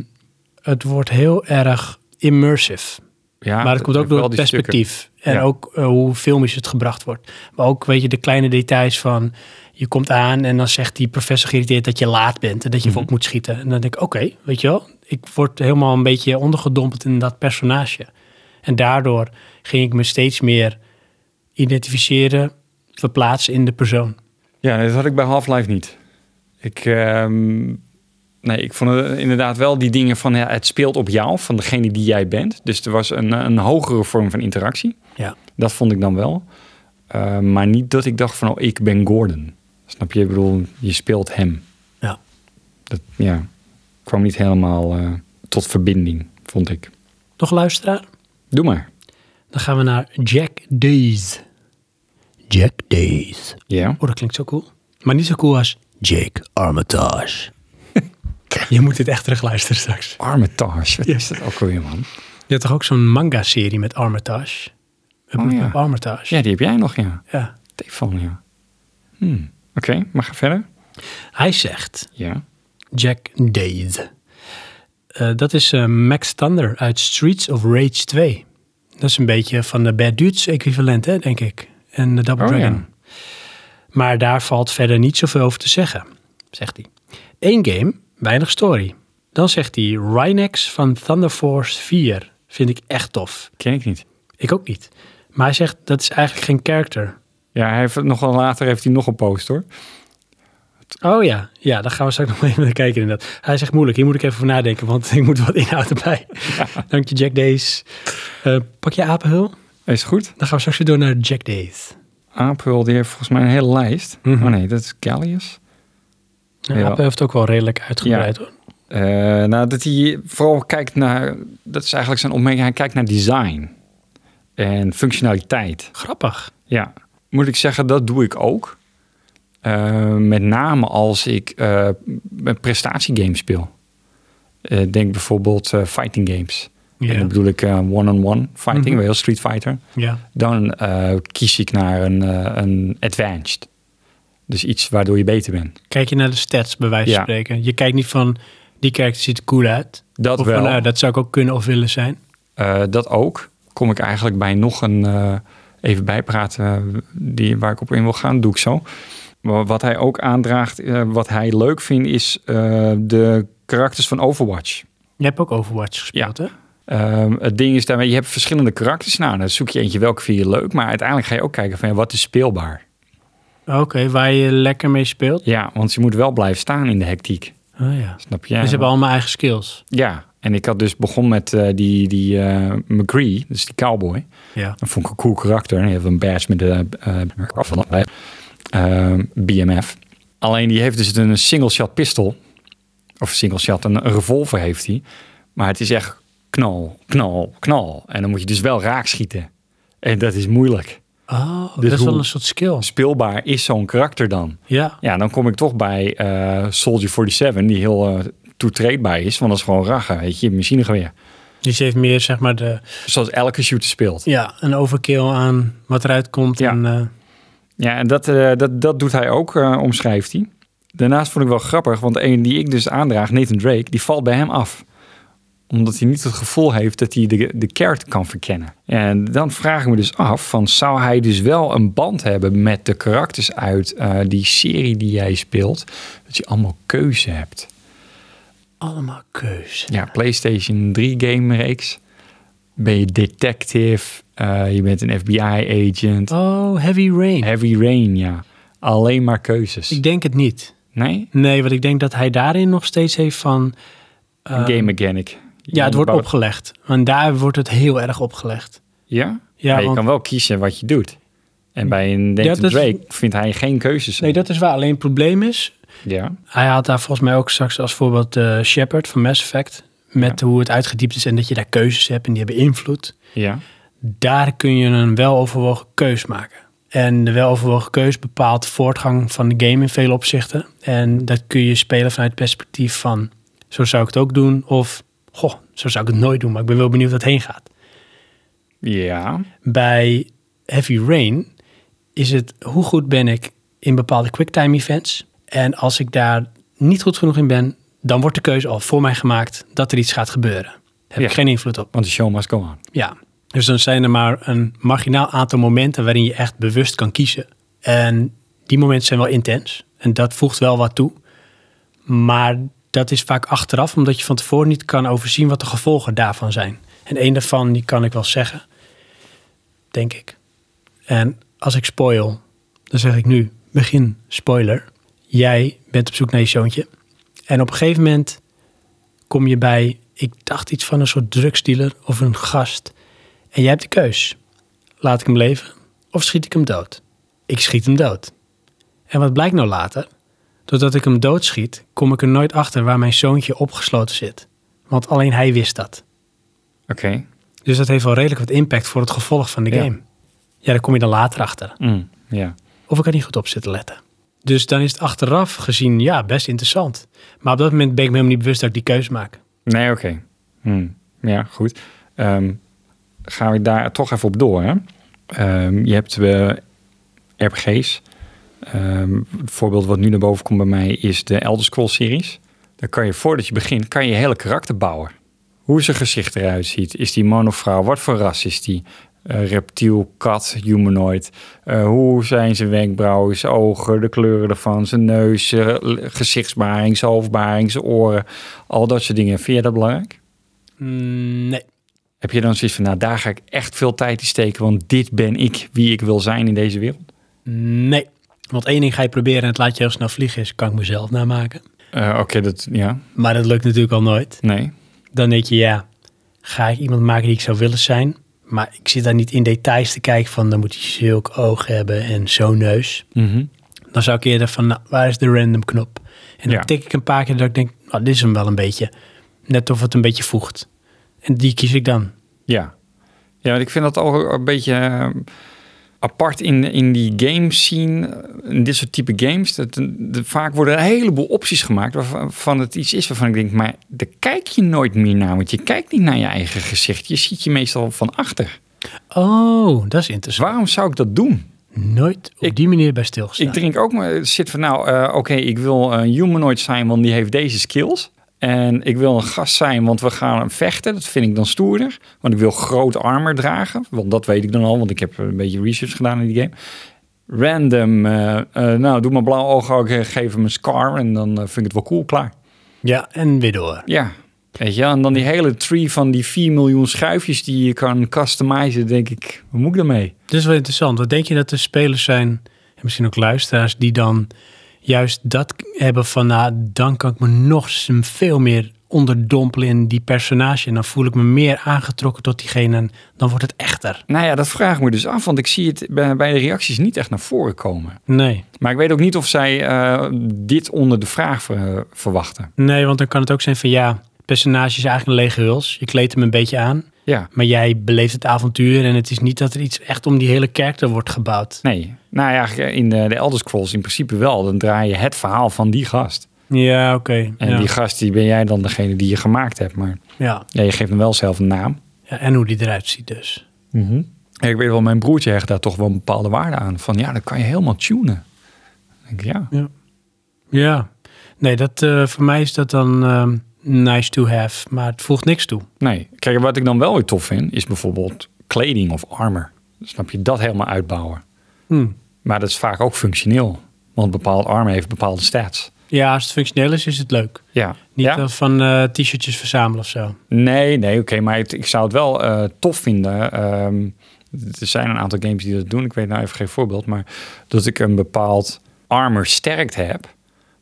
Speaker 1: het wordt heel erg immersive.
Speaker 2: Ja,
Speaker 1: maar het komt ook door het perspectief. En
Speaker 2: Ja.
Speaker 1: ook eh, hoe filmisch het gebracht wordt. Maar ook, weet je, de kleine details van... je komt aan en dan zegt die professor geïrriteerd dat je laat bent... en dat je
Speaker 2: Mhm.
Speaker 1: even op moet schieten. En dan denk ik, oké, weet je wel... ik word helemaal een beetje ondergedompeld in dat personage. En daardoor ging ik me steeds meer identificeren... verplaatsen in de persoon.
Speaker 2: Ja, dat had ik bij Half-Life niet. Ik, ehm, nee, ik vond het inderdaad wel die dingen van ja, het speelt op jou, van degene die jij bent. Dus er was een, een hogere vorm van interactie.
Speaker 1: Ja.
Speaker 2: Dat vond ik dan wel. Eh, maar niet dat ik dacht van oh, ik ben Gordon. Snap je? Ik bedoel, je speelt hem.
Speaker 1: Ja.
Speaker 2: Dat ja, kwam niet helemaal eh, tot verbinding, vond ik.
Speaker 1: Nog een luisteraar?
Speaker 2: Doe maar.
Speaker 1: Dan gaan we naar Jack Days. Jack Days.
Speaker 2: Ja.
Speaker 1: Oh, dat klinkt zo cool. Maar niet zo cool als Jake Armitage. Je moet dit echt terugluisteren straks.
Speaker 2: Armitage, wat is dat ook alweer, man?
Speaker 1: Je had toch ook zo'n manga-serie met Armitage? Het
Speaker 2: Oh,
Speaker 1: bloed
Speaker 2: ja.
Speaker 1: op Armitage.
Speaker 2: Ja, die heb jij nog, ja.
Speaker 1: Ja.
Speaker 2: Telefoon, ja. Hmm. Oké, maar ga verder.
Speaker 1: Hij zegt,
Speaker 2: Ja.
Speaker 1: Jack Days. Eh, dat is eh, Max Thunder uit Streets of Rage 2. Dat is een beetje van de Bad Dudes equivalent, hè, denk ik. En de Double
Speaker 2: Oh, ja.
Speaker 1: Dragon. Maar daar valt verder niet zoveel over te zeggen, zegt hij. Eén game, weinig story. Dan zegt hij Rhinex van Thunder Force 4. Vind ik echt tof.
Speaker 2: Ken ik niet.
Speaker 1: Ik ook niet. Maar hij zegt dat is eigenlijk geen character.
Speaker 2: Ja, hij heeft nogal later heeft hij nog een post hoor.
Speaker 1: Oh ja, ja, daar gaan we straks nog even naar kijken inderdaad. Hij zegt moeilijk, hier moet ik even voor nadenken, want ik moet wat inhoud erbij. Dank je Jack Days. Eh, pak je apenhul,
Speaker 2: Is goed.
Speaker 1: dan gaan we straks weer door naar Jack Days.
Speaker 2: Apel, die heeft volgens mij een hele lijst.
Speaker 1: Mhm.
Speaker 2: Oh nee, dat is Callius.
Speaker 1: Ja,
Speaker 2: Ja.
Speaker 1: Nou, Apen heeft het ook wel redelijk uitgebreid hoor.
Speaker 2: Eh, nou, dat hij vooral kijkt naar... Dat is eigenlijk zijn opmerking. Hij kijkt naar design. En functionaliteit.
Speaker 1: Grappig.
Speaker 2: Ja, moet ik zeggen, dat doe ik ook. Eh, met name als ik eh, een prestatiegames speel. Eh, denk bijvoorbeeld eh, fighting games.
Speaker 1: Ja.
Speaker 2: En dan bedoel ik eh, one-on-one fighting,
Speaker 1: Mhm.
Speaker 2: wel heel Street Fighter.
Speaker 1: Ja,
Speaker 2: Dan eh, kies ik naar een, eh, een advanced. Dus iets waardoor je beter bent.
Speaker 1: kijk je naar de stats bij wijze van
Speaker 2: Ja.
Speaker 1: spreken. Je kijkt niet van, die character ziet er cool uit.
Speaker 2: Dat
Speaker 1: of
Speaker 2: wel.
Speaker 1: van, nou, dat zou ik ook kunnen of willen zijn.
Speaker 2: Eh, dat ook. Kom ik eigenlijk bij nog een eh, even bijpraten eh, die, waar ik op in wil gaan, doe ik zo. Maar wat hij ook aandraagt, eh, wat hij leuk vindt, is eh, de karakters van Overwatch.
Speaker 1: Je hebt ook Overwatch gespeeld hè?
Speaker 2: Ehm, het ding is daarmee, je hebt verschillende karakters. Nou, dan zoek je eentje welke vind je leuk. Maar uiteindelijk ga je ook kijken van ja, wat is speelbaar.
Speaker 1: Oké, waar je lekker mee speelt.
Speaker 2: Ja, want je moet wel blijven staan in de hectiek.
Speaker 1: Oh ja.
Speaker 2: Snap je?
Speaker 1: En ze hebben allemaal eigen skills.
Speaker 2: Ja, en ik had dus begon met eh, die, die eh, McCree, dus die cowboy.
Speaker 1: Ja.
Speaker 2: Dat vond ik een cool karakter. En die heeft een badge met de eh, eh, BMF. Alleen die heeft dus een single shot pistool. Of single shot, een, een revolver heeft hij. Maar het is echt knal, knal, knal. En dan moet je dus wel raak schieten. En dat is moeilijk.
Speaker 1: Oh,
Speaker 2: Dus
Speaker 1: dat is
Speaker 2: hoe-
Speaker 1: wel een soort skill.
Speaker 2: Speelbaar is zo'n karakter dan.
Speaker 1: Ja.
Speaker 2: Ja, dan kom ik toch bij eh, Soldier 47, die heel eh, toetreedbaar is. Want dat is gewoon ragen, weet je, machinegeweer.
Speaker 1: Dus je heeft meer, zeg maar, de,
Speaker 2: Zoals elke shooter speelt.
Speaker 1: ja, een overkill aan wat eruit komt.
Speaker 2: Ja.
Speaker 1: En, eh,
Speaker 2: Ja, en dat, eh, dat, dat doet hij ook, eh, omschrijft hij. Daarnaast vond ik wel grappig, want een die ik dus aandraag, Nathan Drake, die valt bij hem af. Omdat hij niet het gevoel heeft dat hij de, de character kan verkennen. En dan vraag ik me dus af, van, zou hij dus wel een band hebben met de karakters uit eh, die serie die jij speelt? Dat je allemaal keuze hebt.
Speaker 1: allemaal keuze.
Speaker 2: Ja, PlayStation 3 game reeks. Ben je detective, eh, je bent een FBI agent.
Speaker 1: Oh, Heavy Rain.
Speaker 2: Heavy Rain, ja. Alleen maar keuzes.
Speaker 1: Ik denk het niet.
Speaker 2: Nee?
Speaker 1: Nee, want ik denk dat hij daarin nog steeds heeft van... eh,
Speaker 2: game mechanic.
Speaker 1: Ja, het wordt
Speaker 2: Bouw-
Speaker 1: opgelegd. Want daar wordt het heel erg opgelegd.
Speaker 2: Ja?
Speaker 1: Ja,
Speaker 2: Ja, je
Speaker 1: want-
Speaker 2: kan wel kiezen wat je doet. En bij een Nathan
Speaker 1: dat is-
Speaker 2: Drake vindt hij geen keuzes.
Speaker 1: Nee, dat is waar. Alleen het probleem is...
Speaker 2: Ja,
Speaker 1: Hij had daar volgens mij ook straks als voorbeeld eh, Shepard van Mass Effect. Met hoe het uitgediept is en dat je daar keuzes hebt en die hebben invloed.
Speaker 2: ja.
Speaker 1: daar kun je een weloverwogen keus maken. En de weloverwogen keus bepaalt voortgang van de game in vele opzichten. En dat kun je spelen vanuit het perspectief van... zo zou ik het ook doen of... goh, zo zou ik het nooit doen, maar ik ben wel benieuwd wat heen gaat.
Speaker 2: Ja,
Speaker 1: Bij Heavy Rain is het hoe goed ben ik in bepaalde quicktime events. En als ik daar niet goed genoeg in ben... dan wordt de keuze al voor mij gemaakt dat er iets gaat gebeuren. Daar heb ik
Speaker 2: Ja.
Speaker 1: geen invloed op.
Speaker 2: want de show must go on.
Speaker 1: Ja, dus dan zijn er maar een marginaal aantal momenten waarin je echt bewust kan kiezen. En die momenten zijn wel intens en dat voegt wel wat toe. Maar dat is vaak achteraf, omdat je van tevoren niet kan overzien wat de gevolgen daarvan zijn. En een daarvan, die kan ik wel zeggen, denk ik. En als ik spoil, dan zeg ik nu, begin spoiler. Jij bent op zoek naar je zoontje. En op een gegeven moment kom je bij, ik dacht iets van een soort drugsdealer of een gast. En jij hebt de keus. Laat ik hem leven of schiet ik hem dood? Ik schiet hem dood. En wat blijkt nou later? Doordat ik hem doodschiet, kom ik er nooit achter waar mijn zoontje opgesloten zit. Want alleen hij wist dat.
Speaker 2: Oké.
Speaker 1: Dus dat heeft wel redelijk wat impact voor het gevolg van de
Speaker 2: Ja.
Speaker 1: game. Ja, daar kom je dan later achter.
Speaker 2: Mm, ja.
Speaker 1: Of ik er niet goed op zit te letten. Dus dan is het achteraf gezien, ja, best interessant. Maar op dat moment ben ik me helemaal niet bewust dat ik die keus maak.
Speaker 2: Nee, oké. Mm, ja, goed. Ehm, gaan we daar toch even op door, hè? Ehm, je hebt eh, RPG's. Ehm, het voorbeeld wat nu naar boven komt bij mij is de Elder Scrolls series. Dan kan je voordat je begint, kan je je hele karakter bouwen. Hoe zijn gezicht eruit ziet. Is die man of vrouw? Wat voor ras is die? eh, reptiel, kat, humanoid. Eh, hoe zijn zijn wenkbrauwen, zijn ogen, de kleuren ervan, zijn neus, eh, l- gezichtsbaring, zijn hoofdbaring, zijn oren. Al dat soort dingen. Vind je dat belangrijk?
Speaker 1: Mm, nee.
Speaker 2: Heb je dan zoiets van, nou daar ga ik echt veel tijd in steken, want dit ben ik wie ik wil zijn in deze wereld?
Speaker 1: Nee. Want één ding ga je proberen en het laat je heel snel vliegen is, kan ik mezelf namaken.
Speaker 2: Eh, Oké, dat, ja,
Speaker 1: Maar dat lukt natuurlijk al nooit.
Speaker 2: nee.
Speaker 1: Dan denk je, ja, ga ik iemand maken die ik zou willen zijn? Maar ik zit daar niet in details te kijken van, dan moet hij zulk oog hebben en zo'n neus.
Speaker 2: Mhm.
Speaker 1: Dan zou ik eerder van, nou, waar is de random knop? En dan
Speaker 2: Ja.
Speaker 1: tik ik een paar keer dat ik denk, nou, dit is hem wel een beetje. Net of het een beetje voegt. En die kies ik dan.
Speaker 2: Ja. Ja, want ik vind dat al een beetje eh, apart in, in die game scene, eh, in dit soort type games. Dat, eh, dat vaak worden er een heleboel opties gemaakt waarvan van het iets is waarvan ik denk, maar daar kijk je nooit meer naar, want je kijkt niet naar je eigen gezicht. Je ziet je meestal van achter.
Speaker 1: Oh, dat is
Speaker 2: Dus
Speaker 1: interessant.
Speaker 2: waarom zou ik dat doen?
Speaker 1: Nooit op
Speaker 2: Ik-
Speaker 1: die manier bij stilgestaan.
Speaker 2: Ik drink ook maar zit van nou, eh, oké, ik wil een humanoid zijn, want die heeft deze skills. En ik wil een gast zijn, want we gaan vechten. Dat vind ik dan stoerder. Want ik wil groot armor dragen. Want dat weet ik dan al, want ik heb een beetje research gedaan in die game. Random, eh, eh, nou, doe maar blauw ogen, ook, eh, geef hem een scar en dan eh, vind ik het wel cool, klaar.
Speaker 1: Ja, en weer door.
Speaker 2: Ja, weet je wel. En dan die hele tree van die 4 miljoen schuifjes die je kan customizen, denk ik, wat moet ik daarmee?
Speaker 1: Dit is wel interessant. Wat denk je dat er spelers zijn, en misschien ook luisteraars, die dan juist dat k- hebben van, nou, dan kan ik me nog eens veel meer onderdompelen in die personage. En dan voel ik me meer aangetrokken tot diegene en dan wordt het echter.
Speaker 2: Nou ja, dat vraag ik me dus af, want ik zie het bij, bij de reacties niet echt naar voren komen.
Speaker 1: Nee.
Speaker 2: Maar ik weet ook niet of zij eh, dit onder de vraag ver- verwachten.
Speaker 1: Nee, want dan kan het ook zijn van, ja, het personage is eigenlijk een lege huls. Je kleedt hem een beetje aan,
Speaker 2: Ja,
Speaker 1: maar jij beleeft het avontuur en het is niet dat er iets echt om die hele karakter wordt gebouwd.
Speaker 2: nee. Nou ja, in de, de Elder Scrolls in principe wel. Dan draai je het verhaal van die gast.
Speaker 1: Ja, oké.
Speaker 2: En
Speaker 1: Ja.
Speaker 2: die gast, die ben jij dan degene die je gemaakt hebt. Maar
Speaker 1: ja.
Speaker 2: ja, je geeft hem wel zelf een naam.
Speaker 1: ja, en hoe die eruit ziet dus.
Speaker 2: Ja, ik weet wel, mijn broertje hecht daar toch wel een bepaalde waarde aan. Van ja, dat kan je helemaal tunen. Dan denk ik, ja.
Speaker 1: Ja, nee, dat, eh, voor mij is dat dan ehm, nice to have, maar het voegt niks toe.
Speaker 2: Nee. Kijk, wat ik dan wel weer tof vind, is bijvoorbeeld kleding of armor. Snap je? Dat helemaal uitbouwen. Hmm.
Speaker 1: Hm.
Speaker 2: Maar dat is vaak ook functioneel. Want bepaald armor heeft bepaalde stats.
Speaker 1: Ja, als het functioneel is, is het leuk.
Speaker 2: Ja.
Speaker 1: Niet
Speaker 2: ja?
Speaker 1: eh, van eh, t-shirtjes verzamelen of zo.
Speaker 2: Nee, nee, oké. maar het- ik zou het wel eh, tof vinden. ehm, er zijn een aantal games die dat doen. Ik weet nou even geen voorbeeld. Maar dat ik een bepaald armor sterkt heb.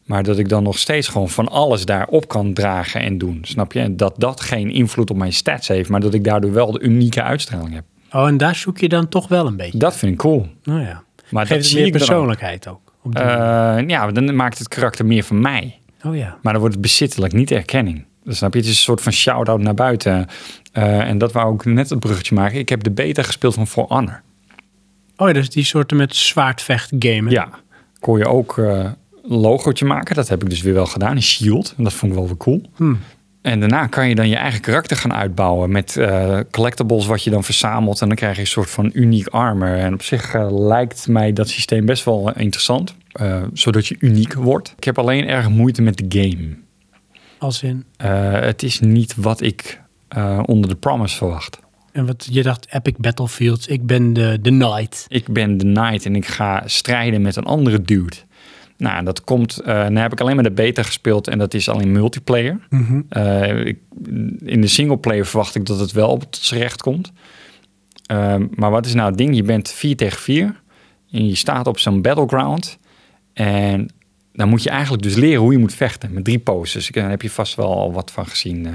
Speaker 2: Maar dat ik dan nog steeds gewoon van alles daarop kan dragen en doen. Snap je? En dat dat geen invloed op mijn stats heeft. Maar dat ik daardoor wel de unieke uitstraling heb.
Speaker 1: Oh, en daar zoek je dan toch wel een beetje.
Speaker 2: Dat vind ik cool.
Speaker 1: Nou ja,
Speaker 2: Maar Oh, dat
Speaker 1: geeft het
Speaker 2: zie
Speaker 1: meer
Speaker 2: ik dan ook.
Speaker 1: persoonlijkheid ook. op die manier.
Speaker 2: Eh, ja, dan maakt het karakter meer van mij.
Speaker 1: oh ja.
Speaker 2: Maar dan wordt het bezittelijk, niet erkenning. Dat snap je? Het is een soort van shout-out naar buiten. Eh, en dat wou ik net het bruggetje maken. Ik heb de beta gespeeld van For Honor.
Speaker 1: Oh ja, dus die soorten met zwaardvecht gamen.
Speaker 2: Ja, kon je ook eh, een logootje maken. Dat heb ik dus weer wel gedaan. Een shield. En dat vond ik wel weer cool. En daarna kan je dan je eigen karakter gaan uitbouwen met eh, collectibles wat je dan verzamelt. En dan krijg je een soort van uniek armor. En op zich eh, lijkt mij dat systeem best wel eh, interessant. eh, zodat je uniek wordt. Ik heb alleen erg moeite met de game.
Speaker 1: Als in,
Speaker 2: Eh, het is niet wat ik eh, onder de promise verwacht.
Speaker 1: en wat je dacht, epic battlefield, ik ben de, de knight.
Speaker 2: Ik ben de knight en ik ga strijden met een andere dude. Nou, dat komt. eh nou heb ik alleen maar de beta gespeeld en dat is alleen multiplayer. Eh, ik- in de singleplayer verwacht ik dat het wel op het recht komt. Eh, maar wat is nou het ding? Je bent 4 tegen 4 en je staat op zo'n battleground. En dan moet je eigenlijk dus leren hoe je moet vechten met drie poses. Ik- Daar heb je vast wel al wat van gezien. eh.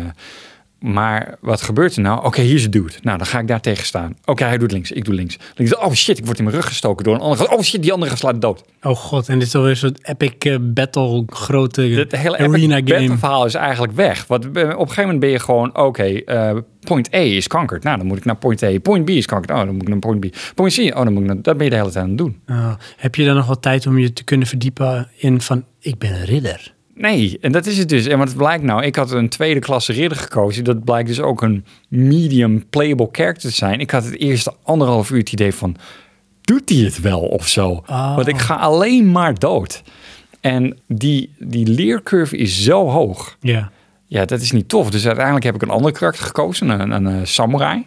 Speaker 2: maar wat gebeurt er nou? Oké, hier is het dude. Nou, dan ga ik daar tegen staan. Oké, hij doet links, ik doe links. links. Oh shit, ik word in mijn rug gestoken door een andere. Oh shit, die andere slaat dood.
Speaker 1: Oh god, en dit is alweer een soort epic eh, battle, grote
Speaker 2: Het hele
Speaker 1: arena
Speaker 2: epic
Speaker 1: game.
Speaker 2: battle verhaal is eigenlijk weg. Want eh, op een gegeven moment ben je gewoon, oké, eh, point A is kankerd. Nou, dan moet ik naar point A. Point B is kankerd. Oh, dan moet ik naar point B. Point C, oh, dan moet ik naar... Dat ben je de hele tijd aan het doen.
Speaker 1: Oh, heb je dan nog wel tijd om je te kunnen verdiepen in van ik ben een ridder?
Speaker 2: Nee, en dat is het dus. En wat blijkt nou? Ik had een tweede klasse ridder gekozen. Dat blijkt dus ook een medium playable character te zijn. Ik had het eerste anderhalf uur het idee van... Doet hij het wel of zo?
Speaker 1: Oh.
Speaker 2: Want ik ga alleen maar dood. En die, die leercurve is zo hoog.
Speaker 1: Ja.
Speaker 2: Ja, dat is niet tof. Dus uiteindelijk heb ik een ander karakter gekozen, een, een, eh, samurai.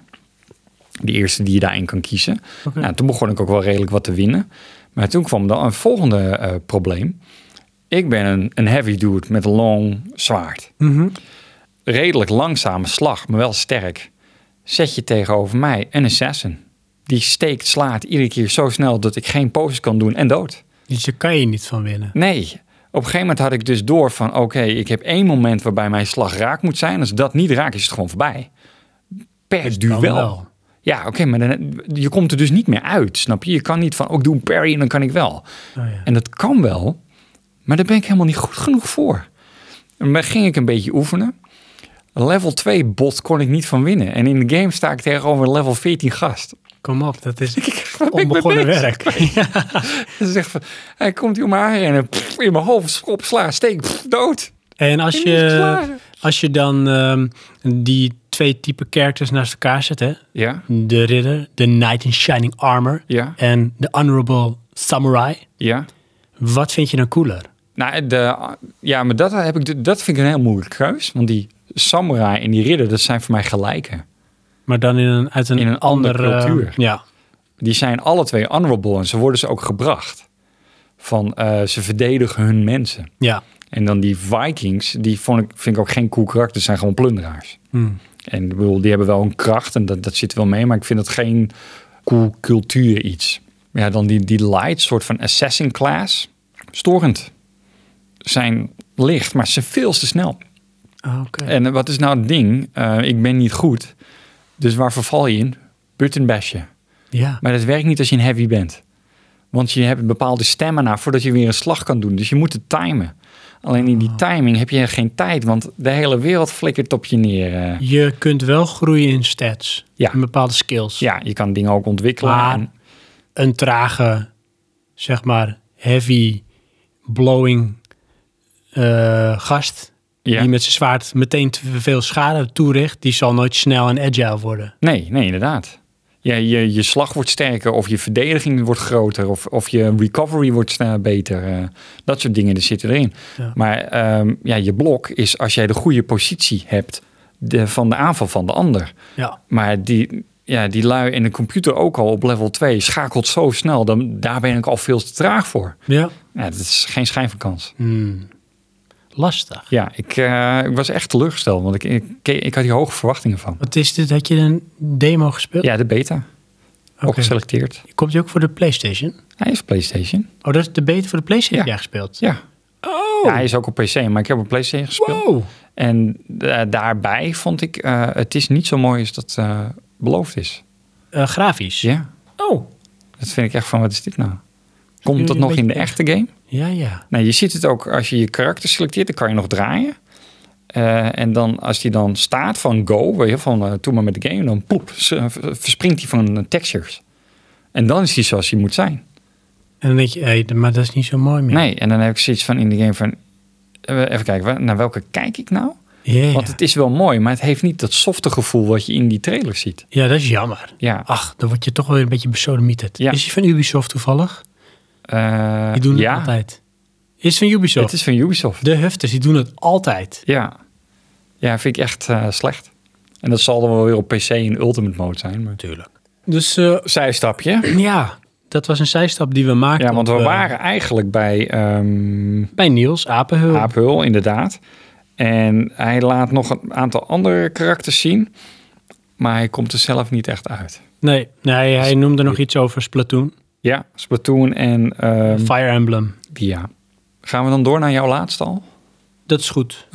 Speaker 2: De eerste die je daarin kan kiezen. Nou, toen begon ik ook wel redelijk wat te winnen. Maar toen kwam dan een volgende eh, probleem. Ik ben een, een heavy dude met een long zwaard. Redelijk langzame slag, maar wel sterk. Zet je tegenover mij een assassin. Die steekt, slaat iedere keer zo snel dat ik geen poses kan doen en dood.
Speaker 1: Dus daar kan je niet van winnen.
Speaker 2: Nee. Op een gegeven moment had ik dus door van... oké, ik heb één moment waarbij mijn slag raak moet zijn. Als dat niet raakt, is het gewoon voorbij. Per duel.
Speaker 1: Dan Dus wel.
Speaker 2: Ja, oké, maar dan, je komt er dus niet meer uit, snap je? Je kan niet van, ook doe een parry en dan kan ik wel.
Speaker 1: Oh, ja.
Speaker 2: En dat kan wel, maar daar ben ik helemaal niet goed genoeg voor. En dan ging ik een beetje oefenen. Level 2 bot kon ik niet van winnen. En in de game sta ik tegenover een level 14 gast.
Speaker 1: Kom op, dat is
Speaker 2: ben ik mee
Speaker 1: onbegonnen
Speaker 2: bezig?
Speaker 1: werk. Ja.
Speaker 2: Ze zegt van, hij komt hier om haar en in mijn hoofd, schop, sla, steek, pff, dood.
Speaker 1: En als
Speaker 2: En die is
Speaker 1: je,
Speaker 2: klaar.
Speaker 1: als je dan ehm, die twee type characters naast elkaar zet, hè?
Speaker 2: Ja,
Speaker 1: de ridder, de knight in shining armor
Speaker 2: Ja.
Speaker 1: en de honorable samurai,
Speaker 2: ja.
Speaker 1: wat vind je dan cooler?
Speaker 2: Nou, de, ja, maar dat, heb ik, dat vind ik een heel moeilijke keus. Want die samurai en die ridder, dat zijn voor mij gelijken.
Speaker 1: Maar dan in een, uit een,
Speaker 2: In een
Speaker 1: ander,
Speaker 2: andere
Speaker 1: eh,
Speaker 2: cultuur.
Speaker 1: ja.
Speaker 2: die zijn alle twee honorable en ze worden ze ook gebracht. Van eh, ze verdedigen hun mensen.
Speaker 1: ja.
Speaker 2: En dan die Vikings, die vond ik, vind ik ook geen cool karakter, zijn gewoon plunderaars.
Speaker 1: Hmm.
Speaker 2: En ik bedoel, die hebben wel een kracht en dat, dat zit wel mee, maar ik vind dat geen cool cultuur iets. Ja, dan die, die light, soort van assassin class, storend. Zijn licht, maar ze veel te snel.
Speaker 1: Ah, Oké.
Speaker 2: En wat is nou het ding? Eh, ik ben niet goed, dus waar verval je in? Button bashen.
Speaker 1: Ja.
Speaker 2: Maar dat werkt niet als je een heavy bent. Want je hebt een bepaalde stamina voordat je weer een slag kan doen. Dus je moet het timen. Alleen in die
Speaker 1: Ah.
Speaker 2: timing heb je geen tijd, want de hele wereld flikkert op je neer. eh.
Speaker 1: Je kunt wel groeien in stats,
Speaker 2: Ja.
Speaker 1: in bepaalde skills.
Speaker 2: Ja, je kan dingen ook ontwikkelen.
Speaker 1: Maar
Speaker 2: en-
Speaker 1: een trage, zeg maar, heavy blowing eh, gast.
Speaker 2: Ja.
Speaker 1: Die met zijn zwaard meteen te veel schade toericht. Die zal nooit snel en agile worden.
Speaker 2: Nee, nee, inderdaad. Ja, je, je slag wordt sterker, of je verdediging wordt groter, of, of je recovery wordt sneller beter. eh, dat soort dingen die zitten erin.
Speaker 1: Ja.
Speaker 2: Maar ehm, ja, je blok is als jij de goede positie hebt de, van de aanval van de ander.
Speaker 1: Ja.
Speaker 2: Maar die, ja, die lui in de computer ook al op level 2 schakelt zo snel. Dan, daar ben ik al veel te traag voor.
Speaker 1: Ja.
Speaker 2: Ja, dat is geen schijn van kans.
Speaker 1: Hmm. Lastig.
Speaker 2: Ja, ik, eh, ik was echt teleurgesteld. Want ik, ik, ik had hier hoge verwachtingen van.
Speaker 1: Wat is dit? Had je een demo gespeeld?
Speaker 2: Ja, de beta.
Speaker 1: Oké.
Speaker 2: Ook geselecteerd.
Speaker 1: Komt die ook voor de PlayStation?
Speaker 2: Hij is PlayStation.
Speaker 1: Oh, dat is de beta voor de PlayStation
Speaker 2: Ja.
Speaker 1: die jij gespeeld.
Speaker 2: Ja.
Speaker 1: Oh.
Speaker 2: ja, hij is ook op PC. Maar ik heb op PlayStation gespeeld.
Speaker 1: Wow.
Speaker 2: En eh, daarbij vond ik... eh, het is niet zo mooi als dat eh, beloofd is.
Speaker 1: Eh, grafisch.
Speaker 2: Ja.
Speaker 1: Oh.
Speaker 2: Dat vind ik echt van, wat is dit nou?
Speaker 1: jullie
Speaker 2: Komt dat
Speaker 1: een
Speaker 2: nog in de
Speaker 1: beetje
Speaker 2: echte game?
Speaker 1: Ja, ja.
Speaker 2: Nou, je ziet het ook als je je karakter selecteert, dan kan je nog draaien. Eh, en dan als die dan staat van go, weet je, van eh doe maar met de game, dan poep, ze- v- verspringt hij van eh, textures. En dan is hij zoals hij moet zijn.
Speaker 1: En dan denk je, hey, maar dat is niet zo mooi meer.
Speaker 2: Nee, en dan heb ik zoiets van in de game van, eh, even kijken, wa- naar welke kijk ik nou?
Speaker 1: Ja,
Speaker 2: Want
Speaker 1: ja.
Speaker 2: het is wel mooi, maar het heeft niet dat softe gevoel wat je in die trailer ziet.
Speaker 1: Ja, dat is jammer.
Speaker 2: Ja,
Speaker 1: Ach, dan word je toch weer een beetje besodemieterd.
Speaker 2: Ja.
Speaker 1: Is die van Ubisoft toevallig?
Speaker 2: eh,
Speaker 1: Die doen het
Speaker 2: ja
Speaker 1: altijd. Is van Ubisoft.
Speaker 2: het is van Ubisoft.
Speaker 1: De hufters, die doen het altijd.
Speaker 2: Ja, ja vind ik echt eh, slecht. En dat zal dan wel weer op PC in Ultimate Mode zijn. Maar...
Speaker 1: Tuurlijk. Dus eh,
Speaker 2: Zijstapje.
Speaker 1: ja, dat was een zijstap die we maakten.
Speaker 2: Ja, want we
Speaker 1: op, eh,
Speaker 2: waren eigenlijk bij ehm
Speaker 1: bij Niels, Apenhul.
Speaker 2: Aaphul, inderdaad. En hij laat nog een aantal andere karakters zien. Maar hij komt er zelf niet echt uit.
Speaker 1: Nee, nee,
Speaker 2: Dus-
Speaker 1: hij noemde nog iets over Splatoon.
Speaker 2: Ja, Splatoon en ehm
Speaker 1: Fire Emblem.
Speaker 2: ja. Gaan we dan door naar jouw laatste al? Oké.
Speaker 1: Dat is goed.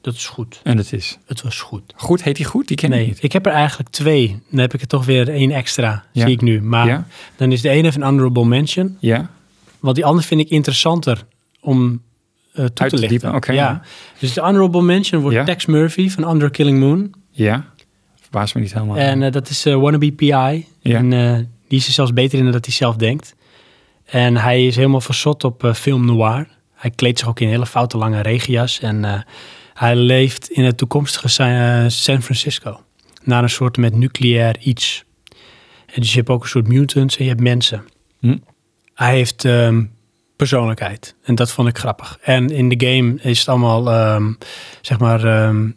Speaker 1: Dat is goed.
Speaker 2: En het is.
Speaker 1: Het was goed.
Speaker 2: Goed, heet hij goed? Die ken ik
Speaker 1: Nee,
Speaker 2: niet.
Speaker 1: ik heb er eigenlijk twee. Dan heb ik er toch weer één extra,
Speaker 2: Ja.
Speaker 1: zie ik nu. Maar
Speaker 2: Ja.
Speaker 1: dan is de ene even een honorable mention.
Speaker 2: Ja,
Speaker 1: Want die andere vind ik interessanter om eh, toe
Speaker 2: Uit
Speaker 1: te
Speaker 2: te
Speaker 1: lichten.
Speaker 2: diepen, oké.
Speaker 1: ja. Dus de honorable mention wordt
Speaker 2: Ja.
Speaker 1: Tex Murphy van Under Killing Moon.
Speaker 2: ja. Verbaas me niet helemaal.
Speaker 1: En eh, dat is eh, Wannabe PI. En eh, die is er zelfs beter in dan dat hij zelf denkt. En hij is helemaal verzot op eh, film noir. Hij kleedt zich ook in hele foute lange regenjas. En eh, hij leeft in het toekomstige Sa- eh, San Francisco. Naar een soort met nucleair iets. En dus je hebt ook een soort mutants en je hebt mensen.
Speaker 2: Hm.
Speaker 1: Hij heeft ehm, persoonlijkheid. En dat vond ik grappig. En in de game is het allemaal, ehm, zeg maar, ehm,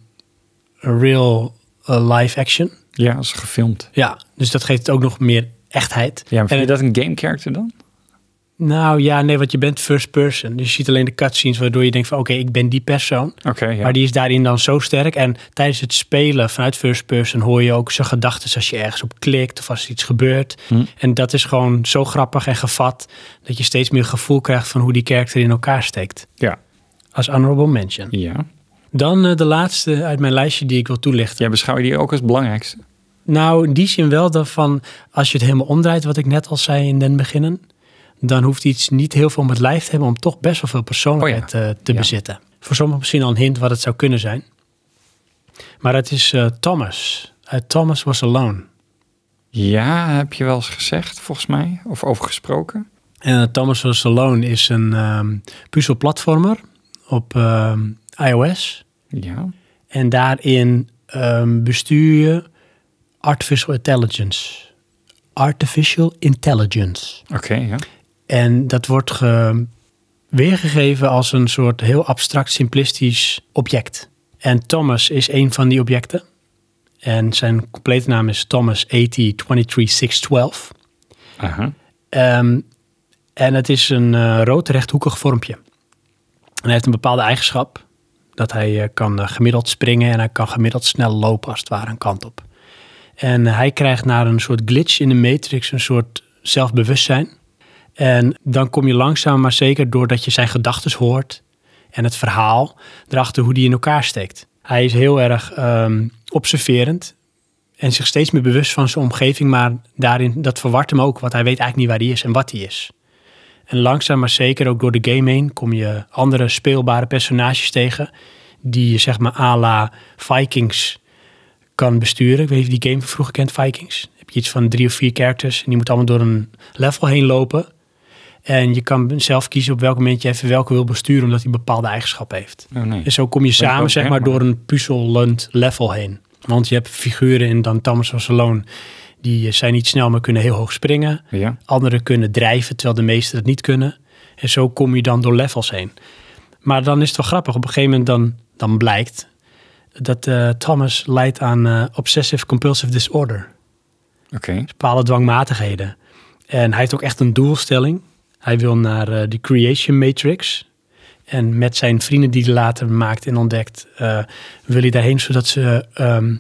Speaker 1: real eh, live action.
Speaker 2: Ja, dat is gefilmd.
Speaker 1: Ja, dus dat geeft het ook nog meer echtheid.
Speaker 2: Ja, maar vind
Speaker 1: En
Speaker 2: je dat een game character dan?
Speaker 1: Nou ja, nee, want je bent first person. Dus je ziet alleen de cutscenes waardoor je denkt van oké, ik ben die persoon.
Speaker 2: Oké, ja.
Speaker 1: Maar die is daarin dan zo sterk. En tijdens het spelen vanuit first person hoor je ook zijn gedachten als je ergens op klikt of als er iets gebeurt.
Speaker 2: Hm.
Speaker 1: En dat is gewoon zo grappig en gevat dat je steeds meer gevoel krijgt van hoe die karakter in elkaar steekt.
Speaker 2: Ja.
Speaker 1: Als honorable mention.
Speaker 2: ja.
Speaker 1: Dan eh, de laatste uit mijn lijstje die ik wil toelichten.
Speaker 2: Jij beschouw je die ook als het belangrijkste?
Speaker 1: Nou, in die zin wel dat van als je het helemaal omdraait, wat ik net al zei in den beginnen, dan hoeft iets niet heel veel met lijf te hebben om toch best wel veel persoonlijkheid eh, te
Speaker 2: Oh Ja.
Speaker 1: bezitten. Voor sommigen misschien al een hint wat het zou kunnen zijn. Maar het is eh, Thomas. Uit Thomas Was Alone.
Speaker 2: Ja, heb je wel eens gezegd, volgens mij. Of over gesproken.
Speaker 1: En eh, Thomas Was Alone is een ehm puzzelplatformer op ehm, iOS.
Speaker 2: Ja.
Speaker 1: En daarin ehm, bestuur je artificial intelligence. Artificial intelligence.
Speaker 2: Oké, ja.
Speaker 1: En dat wordt ge- weergegeven als een soort heel abstract, simplistisch object. En Thomas is een van die objecten. En zijn complete naam is Thomas 8023612.
Speaker 2: Aha.
Speaker 1: Ehm, en het is een eh, rood rechthoekig vormpje. En hij heeft een bepaalde eigenschap. Dat hij eh, kan eh, gemiddeld springen en hij kan gemiddeld snel lopen als het ware een kant op. En hij krijgt naar een soort glitch in de matrix een soort zelfbewustzijn. En dan kom je langzaam maar zeker doordat je zijn gedachten hoort en het verhaal erachter hoe die in elkaar steekt. Hij is heel erg ehm, observerend en zich steeds meer bewust van zijn omgeving, maar daarin, dat verwart hem ook, want hij weet eigenlijk niet waar hij is en wat hij is. En langzaam maar zeker, ook door de game heen, kom je andere speelbare personages tegen, die je zeg maar à la Vikings kan besturen. Ik weet niet of je die game vroeger kent, Vikings. Dan heb je iets van drie of vier characters en die moet allemaal door een level heen lopen. En je kan zelf kiezen op welk moment je even welke wil besturen, omdat hij een bepaalde eigenschap heeft.
Speaker 2: Oh nee.
Speaker 1: En zo kom je
Speaker 2: ik
Speaker 1: samen,
Speaker 2: ook
Speaker 1: zeg
Speaker 2: erg,
Speaker 1: maar,
Speaker 2: maar-
Speaker 1: door een puzzelend level heen. Want je hebt figuren in dan Thomas van Salon, die eh, zijn niet snel, maar kunnen heel hoog springen.
Speaker 2: Ja.
Speaker 1: Anderen kunnen drijven, terwijl de meesten dat niet kunnen. En zo kom je dan door levels heen. Maar dan is het wel grappig. Op een gegeven moment dan, dan blijkt dat eh, Thomas leidt aan eh, obsessive compulsive disorder
Speaker 2: Oké.
Speaker 1: bepaalde dwangmatigheden. En hij heeft ook echt een doelstelling. Hij wil naar eh, de Creation Matrix. En met zijn vrienden die hij later maakt en ontdekt, eh, wil hij daarheen zodat ze, ehm,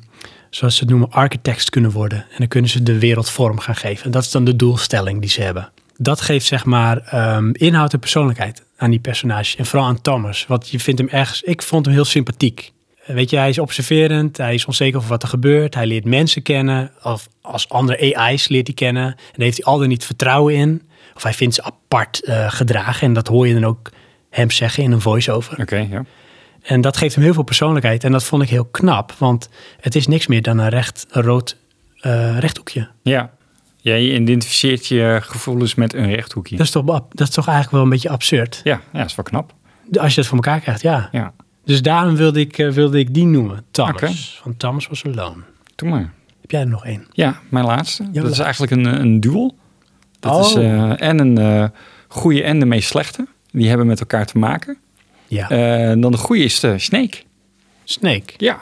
Speaker 1: zoals ze het noemen, architects kunnen worden. En dan kunnen ze de wereld vorm gaan geven. En dat is dan de doelstelling die ze hebben. Dat geeft zeg maar ehm, inhoud en persoonlijkheid aan die personage. En vooral aan Thomas. Want je vindt hem ergens, ik vond hem heel sympathiek. Eh, Weet je, hij is observerend, hij is onzeker over wat er gebeurt. Hij leert mensen kennen, of als andere AI's leert hij kennen. En daar heeft hij al dan niet vertrouwen in. Of hij vindt ze apart eh, gedragen. En dat hoor je dan ook hem zeggen in een voice-over.
Speaker 2: Oké, ja.
Speaker 1: En dat geeft hem heel veel persoonlijkheid. En dat vond ik heel knap, want het is niks meer dan een, recht, een rood eh, rechthoekje.
Speaker 2: Ja. Jij identificeert je gevoelens met een rechthoekje.
Speaker 1: Dat is, toch, ab- dat is toch eigenlijk wel een beetje absurd.
Speaker 2: Ja, ja, is wel knap.
Speaker 1: Als je dat voor elkaar krijgt, ja.
Speaker 2: Ja.
Speaker 1: Dus daarom wilde ik, eh, wilde ik die noemen, Thomas.
Speaker 2: Oké.
Speaker 1: Van Thomas was alone.
Speaker 2: Doe maar.
Speaker 1: Heb jij er nog één?
Speaker 2: Ja, mijn laatste. dat is
Speaker 1: laatste.
Speaker 2: eigenlijk een, eh, een duel. Dat
Speaker 1: Oh.
Speaker 2: is eh, en een eh goede en de meest slechte. Die hebben met elkaar te maken.
Speaker 1: Ja.
Speaker 2: Eh, en dan de goede is de Snake.
Speaker 1: Snake.
Speaker 2: Ja.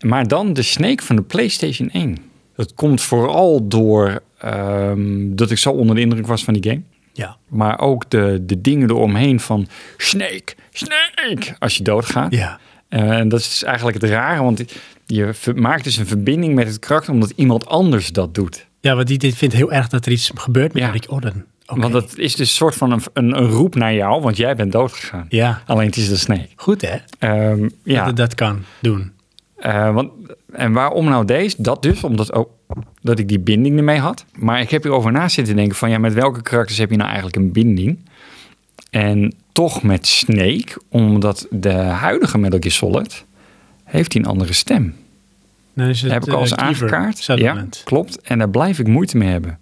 Speaker 2: Maar dan de Snake van de PlayStation 1. Dat komt vooral door ehm, dat ik zo onder de indruk was van die game.
Speaker 1: Ja.
Speaker 2: Maar ook de, de dingen eromheen van Snake, Snake, als je doodgaat.
Speaker 1: Ja.
Speaker 2: Eh, en dat is eigenlijk het rare, want je ver- maakt dus een verbinding met het karakter omdat iemand anders dat doet.
Speaker 1: Ja, want die dit vindt heel erg dat er iets gebeurt met
Speaker 2: Ja.
Speaker 1: Rick Orden. Oké.
Speaker 2: Want dat is dus een soort van een, een, een roep naar jou, want jij bent doodgegaan.
Speaker 1: Ja,
Speaker 2: Alleen het is de Snake.
Speaker 1: goed hè?
Speaker 2: Ehm, ja.
Speaker 1: Dat het dat kan doen.
Speaker 2: Eh, want, en waarom nou deze? Dat dus, omdat ook dat ik die binding ermee had. Maar ik heb hierover na zitten denken van... ja, met welke karakters heb je nou eigenlijk een binding? En toch met Snake, omdat de huidige Metal Gear Solid... heeft hij een andere stem.
Speaker 1: Dan is het,
Speaker 2: heb ik al eens
Speaker 1: eh, Kiefer
Speaker 2: aangekaart. Ja,
Speaker 1: Sutherland.
Speaker 2: klopt. En daar blijf ik moeite mee hebben.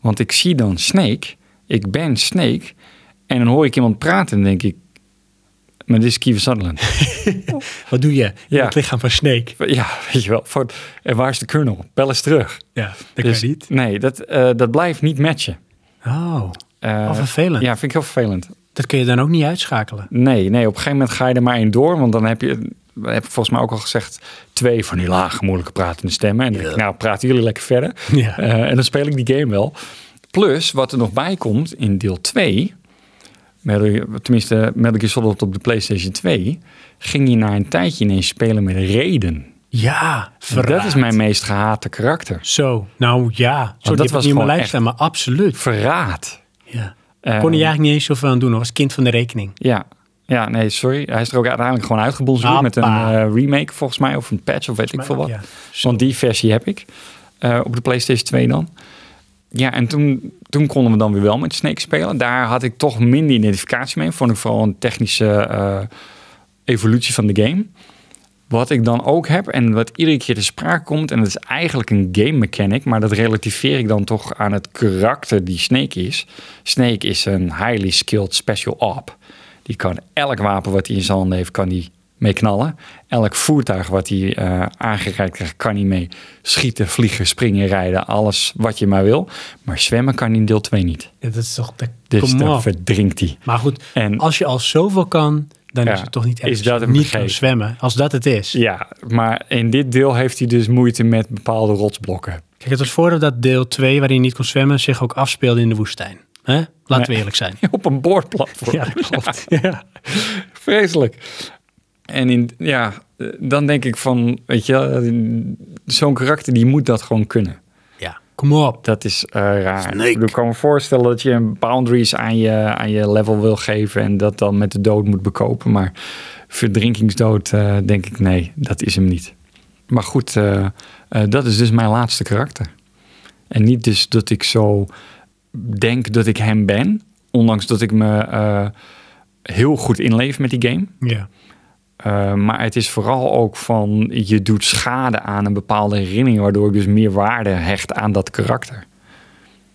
Speaker 2: Want ik zie dan Snake, ik ben Snake... en dan hoor ik iemand praten en denk ik... maar dit is Kiefer Sutherland.
Speaker 1: Wat doe je? in
Speaker 2: Ja.
Speaker 1: Het lichaam van Snake.
Speaker 2: ja, weet je wel. Voor, en waar is de kernel? Bel eens terug.
Speaker 1: Ja, dat
Speaker 2: Dus-
Speaker 1: kan niet.
Speaker 2: Nee, dat, eh, dat blijft niet matchen.
Speaker 1: Oh,
Speaker 2: Eh,
Speaker 1: wat vervelend.
Speaker 2: ja, vind ik heel vervelend.
Speaker 1: Dat kun je dan ook niet uitschakelen.
Speaker 2: Nee, nee, op een gegeven moment ga je er maar in door, want dan heb je, we hebben volgens mij ook al gezegd, twee van die lage moeilijke pratende stemmen. En dan denk ik, nou, praten jullie lekker verder.
Speaker 1: Ja.
Speaker 2: Eh, en dan speel ik die game wel. Plus, wat er nog bij komt in deel 2, tenminste Metal Gear Solid op de PlayStation 2, ging je na een tijdje ineens spelen met reden.
Speaker 1: Ja,
Speaker 2: En
Speaker 1: verraad.
Speaker 2: Dat is mijn meest gehate karakter.
Speaker 1: Zo, nou ja. Zo,
Speaker 2: dat
Speaker 1: dat
Speaker 2: was
Speaker 1: was niet in mijn
Speaker 2: gewoon
Speaker 1: lijst
Speaker 2: echt-
Speaker 1: staan, maar absoluut.
Speaker 2: Verraad.
Speaker 1: Ja.
Speaker 2: Eh,
Speaker 1: Kon je eigenlijk niet eens zoveel aan doen. Dat was kind van de rekening.
Speaker 2: Ja. Ja, nee, sorry. Hij is er ook uiteindelijk gewoon uitgebonsd
Speaker 1: Appa.
Speaker 2: met een eh, remake volgens mij. Of een patch of weet ik veel wat.
Speaker 1: Ja. Zo.
Speaker 2: Want die versie heb ik. eh, op de PlayStation 2 dan. Ja, en toen, toen konden we dan weer wel met Snake spelen. Daar had ik toch minder identificatie mee. Vond ik vooral een technische eh, evolutie van de game. Wat ik dan ook heb en wat iedere keer te sprake komt... en dat is eigenlijk een game mechanic... maar dat relativeer ik dan toch aan het karakter die Snake is. Snake is een highly skilled special op. Die kan elk wapen wat hij in zijn handen heeft, kan die mee knallen. Elk voertuig wat hij eh, aangereikt krijgt, kan hij mee schieten, vliegen, springen, rijden. Alles wat je maar wil. Maar zwemmen kan hij in deel 2 niet.
Speaker 1: Ja, dat is toch... De,
Speaker 2: Dus
Speaker 1: come
Speaker 2: dan
Speaker 1: on.
Speaker 2: verdrinkt hij.
Speaker 1: Maar goed,
Speaker 2: En-
Speaker 1: als je al zoveel kan, dan
Speaker 2: Ja,
Speaker 1: is het toch niet erg.
Speaker 2: is
Speaker 1: als
Speaker 2: dat
Speaker 1: je
Speaker 2: een
Speaker 1: niet
Speaker 2: vergeet?
Speaker 1: kan zwemmen, als dat het is.
Speaker 2: Ja, maar in dit deel heeft hij dus moeite met bepaalde rotsblokken.
Speaker 1: Kijk, het was voordat dat deel 2, waarin je niet kon zwemmen, zich ook afspeelde in de woestijn. Hè? Laten we eerlijk zijn.
Speaker 2: Op een boordplatform.
Speaker 1: Ja, dat klopt.
Speaker 2: Ja. Vreselijk. En in, ja, eh, dan denk ik van, weet je, wel, eh, zo'n karakter die moet dat gewoon kunnen.
Speaker 1: Ja. Kom op.
Speaker 2: Dat is eh, raar. Ik bedoel, Ik kan me voorstellen dat je een boundaries aan je, aan je level wil geven en dat dan met de dood moet bekopen. Maar verdrinkingsdood, eh, denk ik, nee, dat is hem niet. Maar goed, eh, eh, dat is dus mijn laatste karakter. En niet dus dat ik zo denk dat ik hem ben, ondanks dat ik me eh, heel goed inleef met die game.
Speaker 1: Ja.
Speaker 2: Eh, maar het is vooral ook van je doet schade aan een bepaalde herinnering, waardoor ik dus meer waarde hecht aan dat karakter.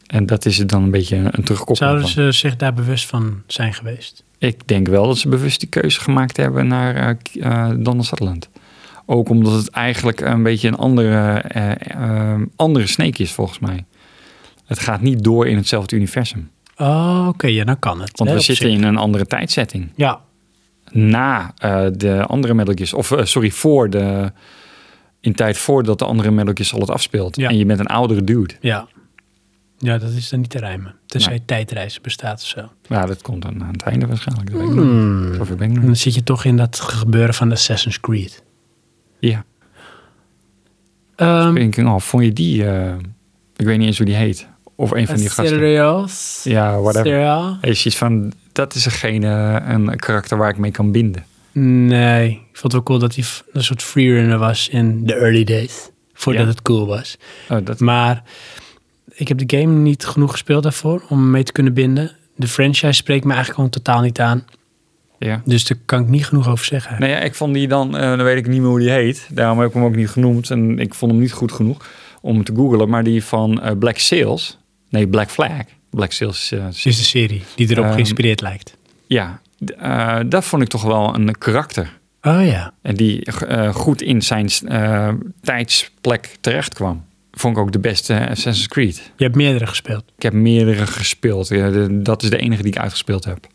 Speaker 2: En dat is het dan een beetje een terugkoppeling.
Speaker 1: Zouden
Speaker 2: Van.
Speaker 1: ze zich daar bewust van zijn geweest?
Speaker 2: Ik denk wel dat ze bewust die keuze gemaakt hebben naar eh, K- eh Donald Sutherland. Ook omdat het eigenlijk een beetje een andere, eh eh, andere snake is, volgens mij. Het gaat niet door in hetzelfde universum.
Speaker 1: Oh, oké, ja, dan kan het.
Speaker 2: Want
Speaker 1: hè,
Speaker 2: we
Speaker 1: op
Speaker 2: zitten
Speaker 1: zich.
Speaker 2: in een andere tijdzetting.
Speaker 1: Ja,
Speaker 2: na eh, de andere Metal Gear- of eh, sorry, voor de, in tijd voordat de andere Metal Gear Solid afspeelt.
Speaker 1: Ja.
Speaker 2: En je bent een oudere dude.
Speaker 1: ja. Ja, dat is dan niet te rijmen. Tenzij
Speaker 2: Nee.
Speaker 1: tijdreizen bestaat of zo.
Speaker 2: Ja, dat komt dan aan het einde waarschijnlijk. Dat weet
Speaker 1: Hmm.
Speaker 2: ik nog niet. Zover ben ik
Speaker 1: En
Speaker 2: nog niet.
Speaker 1: dan zit je toch in dat gebeuren van Assassin's Creed.
Speaker 2: Ja,
Speaker 1: Ehm
Speaker 2: Thinking of, oh, vond je die, eh, ik weet niet eens hoe die heet. Of een van die gasten.
Speaker 1: Serious?
Speaker 2: Ja, whatever.
Speaker 1: Serious?
Speaker 2: Hij is iets van, dat is degene, een karakter waar ik mee kan binden.
Speaker 1: Nee, ik vond het wel cool dat hij f- een soort freerunner was in de early days. Voordat
Speaker 2: Ja.
Speaker 1: het cool was.
Speaker 2: Oh, dat,
Speaker 1: Maar ik heb de game niet genoeg gespeeld daarvoor om me mee te kunnen binden. De franchise spreekt me eigenlijk gewoon totaal niet aan.
Speaker 2: ja.
Speaker 1: Dus daar kan ik niet genoeg over zeggen.
Speaker 2: Nou ja, ik vond die dan, eh, dan weet ik niet meer hoe die heet. Daarom heb ik hem ook niet genoemd. En ik vond hem niet goed genoeg om hem te googlen. Maar die van eh, Black Sails. Nee, Black Flag. Black Sails. eh,
Speaker 1: Het is de serie die erop
Speaker 2: Ehm,
Speaker 1: geïnspireerd lijkt.
Speaker 2: ja, D- eh, dat vond ik toch wel een karakter.
Speaker 1: Oh ja.
Speaker 2: En die eh, goed in zijn eh, tijdsplek terecht kwam. Vond ik ook de beste eh, Assassin's Creed.
Speaker 1: Je hebt meerdere gespeeld.
Speaker 2: Ik heb meerdere gespeeld. Ja, de- dat is de enige die ik uitgespeeld heb.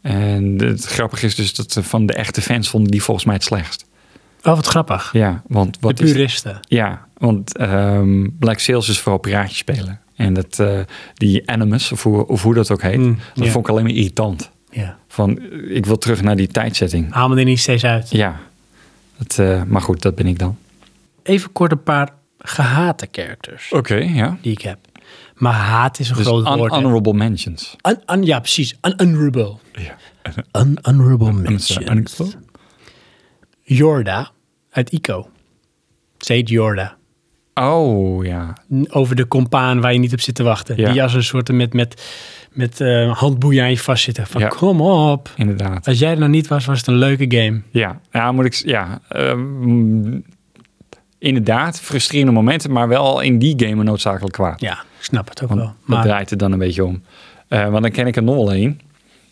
Speaker 2: En het grappige is dus dat eh, van de echte fans vonden die volgens mij het slechtst.
Speaker 1: Oh, wat grappig.
Speaker 2: Ja, want wat
Speaker 1: de
Speaker 2: is
Speaker 1: puristen.
Speaker 2: Ja, want ehm, Black Sails is vooral piraatjes spelen. En dat, eh, die Animus, of hoe, of hoe dat ook heet,
Speaker 1: Mm,
Speaker 2: dat
Speaker 1: ja.
Speaker 2: vond ik alleen maar irritant.
Speaker 1: Ja.
Speaker 2: Van, eh, ik wil terug naar die tijdzetting.
Speaker 1: Haal me er niet steeds uit.
Speaker 2: Ja, dat, eh, maar goed, dat ben ik dan.
Speaker 1: Even kort een paar gehate characters
Speaker 2: Oké, ja.
Speaker 1: die ik heb. Maar haat is een
Speaker 2: Dus
Speaker 1: groot
Speaker 2: un-
Speaker 1: woord. hè.
Speaker 2: honorable mentions.
Speaker 1: Un- un- ja, precies. Un- unhonorable.
Speaker 2: Ja.
Speaker 1: Un- unhonorable
Speaker 2: Un-
Speaker 1: mentions. Jorda uit Ico. Ze heet Jorda.
Speaker 2: Oh, ja.
Speaker 1: N- Over de compaan waar je niet op zit te wachten.
Speaker 2: Ja.
Speaker 1: Die als een soort met, met, met eh, handboeien aan je vastzitten. Van
Speaker 2: Ja.
Speaker 1: kom op.
Speaker 2: Inderdaad.
Speaker 1: Als jij er nou niet was, was het een leuke game.
Speaker 2: Ja, ja moet ik... s- Ja, ehm, inderdaad, frustrerende momenten, maar wel in die game een noodzakelijk kwaad.
Speaker 1: Ja, ik snap het ook
Speaker 2: Want
Speaker 1: wel.
Speaker 2: dat
Speaker 1: Maar
Speaker 2: draait het dan een beetje om. Eh, want dan ken ik er nog wel één.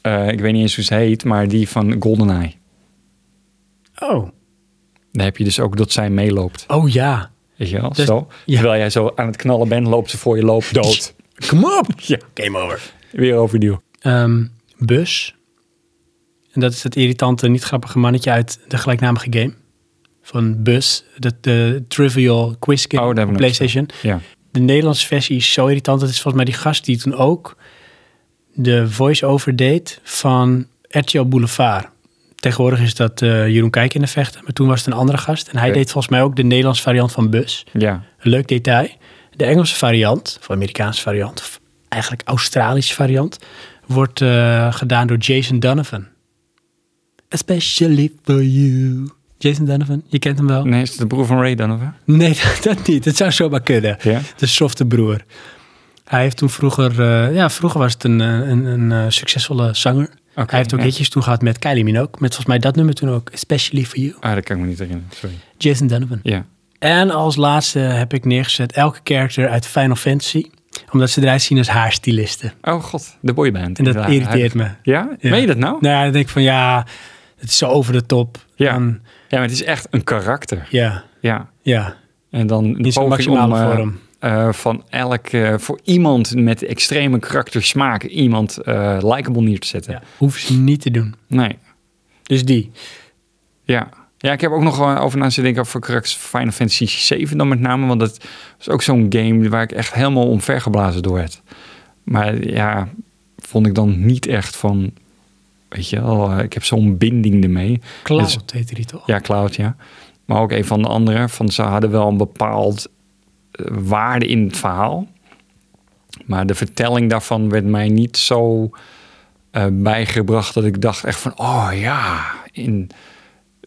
Speaker 2: Eh, ik weet niet eens hoe ze heet, maar die van GoldenEye.
Speaker 1: oh,
Speaker 2: Daar heb je dus ook dat zij meeloopt.
Speaker 1: oh ja.
Speaker 2: Weet je wel?
Speaker 1: Dus-
Speaker 2: zo.
Speaker 1: ja.
Speaker 2: Terwijl jij zo aan het knallen bent, loopt ze voor je loop dood.
Speaker 1: Kom op.
Speaker 2: ja,
Speaker 1: Game over.
Speaker 2: weer overnieuw.
Speaker 1: Ehm, Bus. En dat is het irritante, niet grappige mannetje uit de gelijknamige game. van Bus, de, de Trivial Quiz Game
Speaker 2: Oh, daar heb ik nog
Speaker 1: PlayStation.
Speaker 2: Ja.
Speaker 1: De Nederlandse versie is zo irritant. Het is volgens mij die gast die toen ook de voice-over deed van RTL Boulevard. Tegenwoordig is dat eh, Jeroen Kijk in de vechten, maar toen was het een andere gast. En hij
Speaker 2: Oké.
Speaker 1: deed volgens mij ook de Nederlandse variant van Bus.
Speaker 2: ja.
Speaker 1: Een leuk detail. De Engelse variant, of Amerikaanse variant, of eigenlijk Australische variant, wordt eh, gedaan door Jason Donovan. Especially for you. Jason Donovan, je kent hem wel?
Speaker 2: Nee, is het de broer van Ray Donovan?
Speaker 1: Nee, dat, dat niet. Het zou zomaar kunnen.
Speaker 2: Ja.
Speaker 1: De softe broer. Hij heeft toen vroeger, eh, ja, vroeger was het een, eh, een, een eh, succesvolle zanger.
Speaker 2: Oké,
Speaker 1: Hij heeft ook
Speaker 2: ja.
Speaker 1: hitjes toen gehad met Kylie Minogue. Met volgens mij dat nummer toen ook. Especially for you.
Speaker 2: Ah, dat kan ik me niet herinneren. Sorry.
Speaker 1: Jason Donovan.
Speaker 2: Ja.
Speaker 1: En als laatste heb ik neergezet elke character uit Final Fantasy. Omdat ze eruit zien als haarstylisten.
Speaker 2: Oh god, de boyband.
Speaker 1: En dat
Speaker 2: Inderdaad.
Speaker 1: irriteert me.
Speaker 2: Ja?
Speaker 1: Ja.
Speaker 2: Meen je dat nou?
Speaker 1: Nou ja, dan denk ik van ja, het is zo over de top.
Speaker 2: Ja.
Speaker 1: Dan-
Speaker 2: Ja, maar het is echt een karakter.
Speaker 1: ja,
Speaker 2: Ja.
Speaker 1: ja.
Speaker 2: En dan de
Speaker 1: In zijn
Speaker 2: poging
Speaker 1: maximale
Speaker 2: om, eh,
Speaker 1: vorm.
Speaker 2: eh, van elk, eh, voor iemand met extreme karaktersmaak, iemand eh likable neer te zetten.
Speaker 1: Ja. Hoeven ze niet te doen.
Speaker 2: Nee.
Speaker 1: Dus die.
Speaker 2: Ja. Ja, ik heb ook nog wel over na zitten denken voor karakters van Final Fantasy 7 dan met name. Want dat is ook zo'n game waar ik echt helemaal omvergeblazen door werd. Maar ja, vond ik dan niet echt van... Weet je wel, eh, ik heb zo'n binding ermee.
Speaker 1: Cloud Dus heet die toch?
Speaker 2: Ja, Cloud, ja. Maar ook een van de anderen. Van ze hadden wel een bepaald eh, waarde in het verhaal. Maar de vertelling daarvan werd mij niet zo eh, bijgebracht dat ik dacht echt van, oh ja, in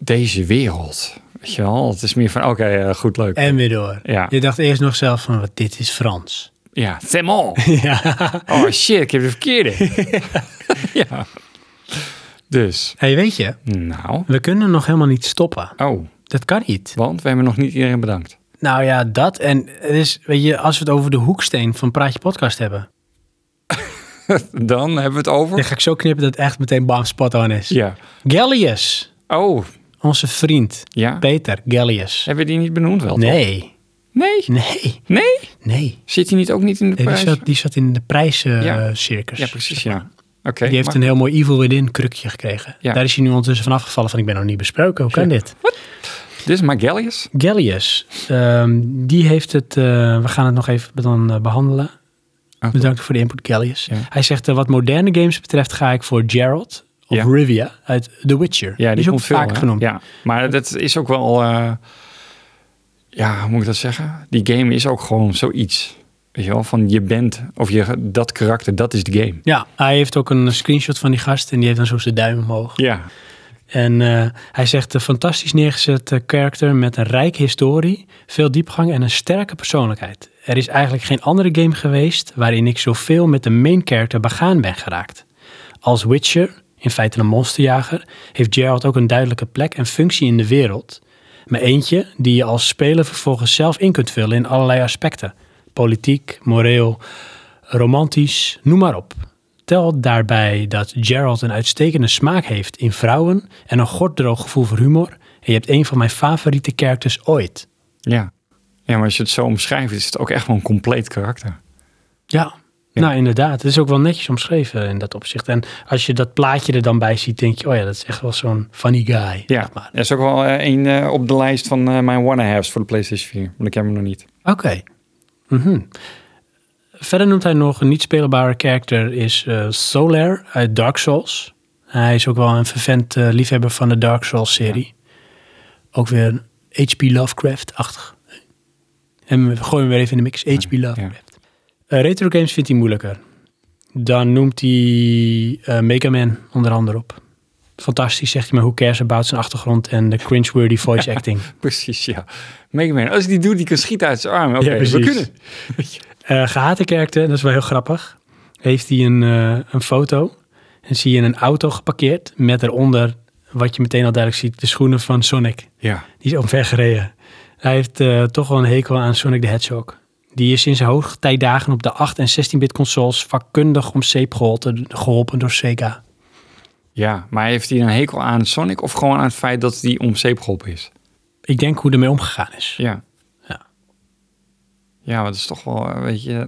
Speaker 2: deze wereld. Weet je wel, het is meer van, oké, eh, goed, leuk.
Speaker 1: En weer door.
Speaker 2: Ja.
Speaker 1: Je dacht eerst nog zelf van, wat, dit is Frans.
Speaker 2: Ja, c'est bon.
Speaker 1: ja.
Speaker 2: Oh shit, ik heb de verkeerde. ja. Dus,
Speaker 1: Hey, weet je,
Speaker 2: nou.
Speaker 1: we kunnen nog helemaal niet stoppen.
Speaker 2: Oh,
Speaker 1: Dat kan niet.
Speaker 2: want we hebben nog niet iedereen bedankt.
Speaker 1: Nou ja, dat. En het is, weet je, als we het over de hoeksteen van Praatje Podcast hebben,
Speaker 2: Dan hebben we het
Speaker 1: dan
Speaker 2: over.
Speaker 1: ga ik zo knippen dat het echt meteen bam spot on is.
Speaker 2: Ja.
Speaker 1: Gallius,
Speaker 2: Oh,
Speaker 1: onze vriend
Speaker 2: ja.
Speaker 1: Peter Gallius.
Speaker 2: Hebben we die niet benoemd wel? toch?
Speaker 1: Nee,
Speaker 2: Nee?
Speaker 1: nee,
Speaker 2: Nee?
Speaker 1: nee.
Speaker 2: Zit hij niet ook niet in de
Speaker 1: Nee, Die
Speaker 2: prijs?
Speaker 1: zat, die zat in de
Speaker 2: Ja.
Speaker 1: prijzencircus.
Speaker 2: Ja, precies, ja. Oké.
Speaker 1: Die heeft
Speaker 2: maar-
Speaker 1: een heel mooi Evil Within krukje gekregen.
Speaker 2: Ja.
Speaker 1: Daar is hij nu ondertussen van afgevallen van ik ben nog niet besproken. Hoe kan
Speaker 2: Ja.
Speaker 1: dit?
Speaker 2: Dit is Magallius.
Speaker 1: Gallius, ehm, die heeft het, eh, we gaan het nog even dan eh, behandelen.
Speaker 2: Oh,
Speaker 1: Bedankt voor de input, Gallius.
Speaker 2: Ja.
Speaker 1: Hij zegt, eh, wat moderne games betreft ga ik voor Gerald of
Speaker 2: Ja.
Speaker 1: Rivia uit The Witcher.
Speaker 2: Ja, die,
Speaker 1: is ook
Speaker 2: komt veel,
Speaker 1: vaak
Speaker 2: hè?
Speaker 1: genoemd.
Speaker 2: Ja, maar dat is ook wel... eh, ja, hoe moet ik dat zeggen? Die game is ook gewoon zoiets. Weet je wel, van je bent... Of je, dat karakter, dat is de game.
Speaker 1: Ja, hij heeft ook een screenshot van die gast en die heeft dan zo zijn duim omhoog.
Speaker 2: Ja.
Speaker 1: En eh, hij zegt, een fantastisch neergezet eh, karakter met een rijke historie, veel diepgang en een sterke persoonlijkheid. Er is eigenlijk geen andere game geweest waarin ik zoveel met de main character begaan ben geraakt. Als Witcher, in feite een monsterjager, heeft Geralt ook een duidelijke plek en functie in de wereld. Maar eentje die je als speler vervolgens zelf in kunt vullen in allerlei aspecten. Politiek, moreel, romantisch, noem maar op. Tel daarbij dat Gerald een uitstekende smaak heeft in vrouwen en een gorddroog gevoel voor humor. En je hebt een van mijn favoriete characters ooit.
Speaker 2: Ja. Ja, maar als je het zo omschrijft, is het ook echt wel een compleet karakter.
Speaker 1: Ja. Nou, inderdaad. Het is ook wel netjes omschreven in dat opzicht. En als je dat plaatje er dan bij ziet, denk je, oh ja, dat is echt wel zo'n funny guy.
Speaker 2: Ja,
Speaker 1: zeg maar.
Speaker 2: er is ook wel eh, één eh, op de lijst van eh, mijn one-halves voor de PlayStation 4. Want ik heb hem nog niet.
Speaker 1: Oké. Mhm. Verder noemt hij nog een niet speelbare character is eh, Solar uit Dark Souls. Hij is ook wel een vervent eh, liefhebber van de Dark Souls serie. Ook weer H.P. Lovecraft-achtig. En we gooien hem weer even in de mix. H.P. Lovecraft. Eh, retro games vindt hij moeilijker. Dan noemt hij eh, Mega Man onder andere op. Fantastisch, zegt hij, maar hoe cares about zijn achtergrond en de cringeworthy voice acting.
Speaker 2: Precies, ja. Mega Man. Als die doet, die kan schieten uit zijn arm. Oké, we kunnen.
Speaker 1: Eh, gehate kerkte, dat is wel heel grappig. Heeft hij een, eh, een foto en zie je een auto geparkeerd met eronder, wat je meteen al duidelijk ziet, de schoenen van Sonic.
Speaker 2: Ja.
Speaker 1: Die is omver gereden. Hij heeft eh, toch wel een hekel aan Sonic the Hedgehog. Die is sinds zijn hoogtijdagen op de 8 en 16-bit consoles vakkundig om zeep geholpen, geholpen door Sega.
Speaker 2: Ja, maar heeft hij een hekel aan Sonic of gewoon aan het feit dat hij om zeep geholpen is?
Speaker 1: Ik denk hoe ermee omgegaan is.
Speaker 2: Ja.
Speaker 1: Ja.
Speaker 2: Ja, maar dat is toch wel, eh, weet je...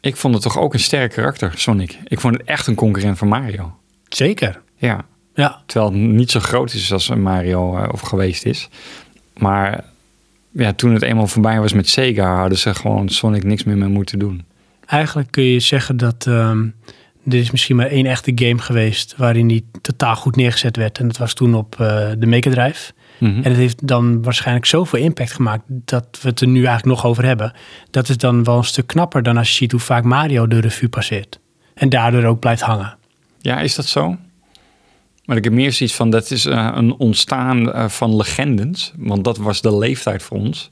Speaker 2: Ik vond het toch ook een sterk karakter, Sonic. Ik vond het echt een concurrent van Mario.
Speaker 1: Zeker.
Speaker 2: Ja.
Speaker 1: Ja.
Speaker 2: Terwijl het niet zo groot is als een Mario eh, of geweest is. Maar ja, toen het eenmaal voorbij was met Sega, hadden ze gewoon Sonic niks meer mee moeten doen.
Speaker 1: Eigenlijk kun je zeggen dat ehm er is misschien maar één echte game geweest waarin die totaal goed neergezet werd. En dat was toen op eh, de Mega Drive.
Speaker 2: Hm. Mhm.
Speaker 1: En het heeft dan waarschijnlijk zoveel impact gemaakt dat we het er nu eigenlijk nog over hebben. Dat is dan wel een stuk knapper dan als je ziet hoe vaak Mario de revue passeert. En daardoor ook blijft hangen.
Speaker 2: Ja, is dat zo? Maar ik heb meer zoiets van, dat is eh, een ontstaan eh, van legendes. Want dat was de leeftijd voor ons.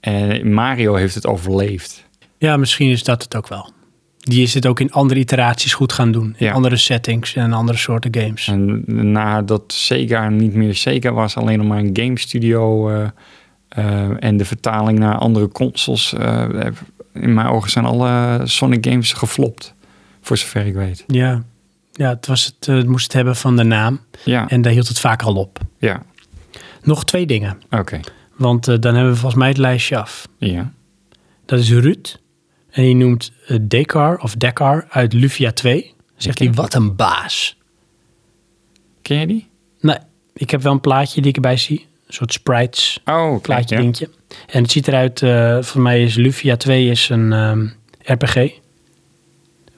Speaker 2: En Mario heeft het overleefd.
Speaker 1: Ja, misschien is dat het ook wel. Die is het ook in andere iteraties goed gaan doen. In
Speaker 2: Ja.
Speaker 1: andere settings en andere soorten games.
Speaker 2: En nadat Sega niet meer Sega was, alleen nog maar een game studio eh, eh, en de vertaling naar andere consoles. eh, heb- in mijn ogen zijn alle Sonic games geflopt, voor zover ik weet.
Speaker 1: Ja, ja het, was het, eh, het moest het hebben van de naam.
Speaker 2: Ja,
Speaker 1: En daar hield het vaak al op.
Speaker 2: ja,
Speaker 1: Nog twee dingen,
Speaker 2: oké.
Speaker 1: want eh, dan hebben we volgens mij het lijstje af.
Speaker 2: Ja,
Speaker 1: Dat is Ruud. En die noemt eh, Dekar of Dekar uit Luvia 2. Zegt hij,
Speaker 2: ken
Speaker 1: wat een baas.
Speaker 2: ken je die?
Speaker 1: Nee, ik heb wel een plaatje die ik erbij zie. Een soort sprites,
Speaker 2: Oh, kijk,
Speaker 1: plaatje
Speaker 2: ja.
Speaker 1: dingetje. En het ziet eruit, eh voor mij is Luvia 2 is een ehm, RPG.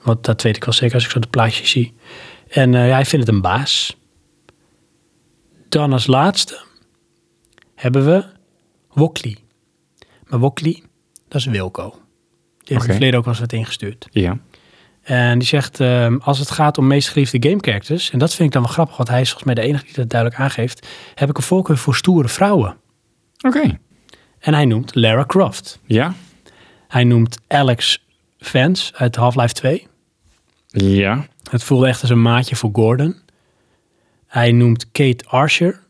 Speaker 1: Want dat weet ik wel zeker als ik zo de plaatjes zie. En eh, ja, hij vindt het een baas. Dan als laatste hebben we Wokli. Maar Wokli, dat is Wilco. Die heeft in
Speaker 2: Oké.
Speaker 1: het verleden ook wel eens wat ingestuurd.
Speaker 2: Ja,
Speaker 1: En die zegt, ehm, als het gaat om meest geliefde gamecharacters... en dat vind ik dan wel grappig, want hij is volgens mij de enige die dat duidelijk aangeeft... heb ik een voorkeur voor stoere vrouwen.
Speaker 2: oké.
Speaker 1: En hij noemt Lara Croft.
Speaker 2: Ja,
Speaker 1: Hij noemt Alex Vance uit Half-Life 2.
Speaker 2: ja,
Speaker 1: Het voelde echt als een maatje voor Gordon. Hij noemt Kate Archer.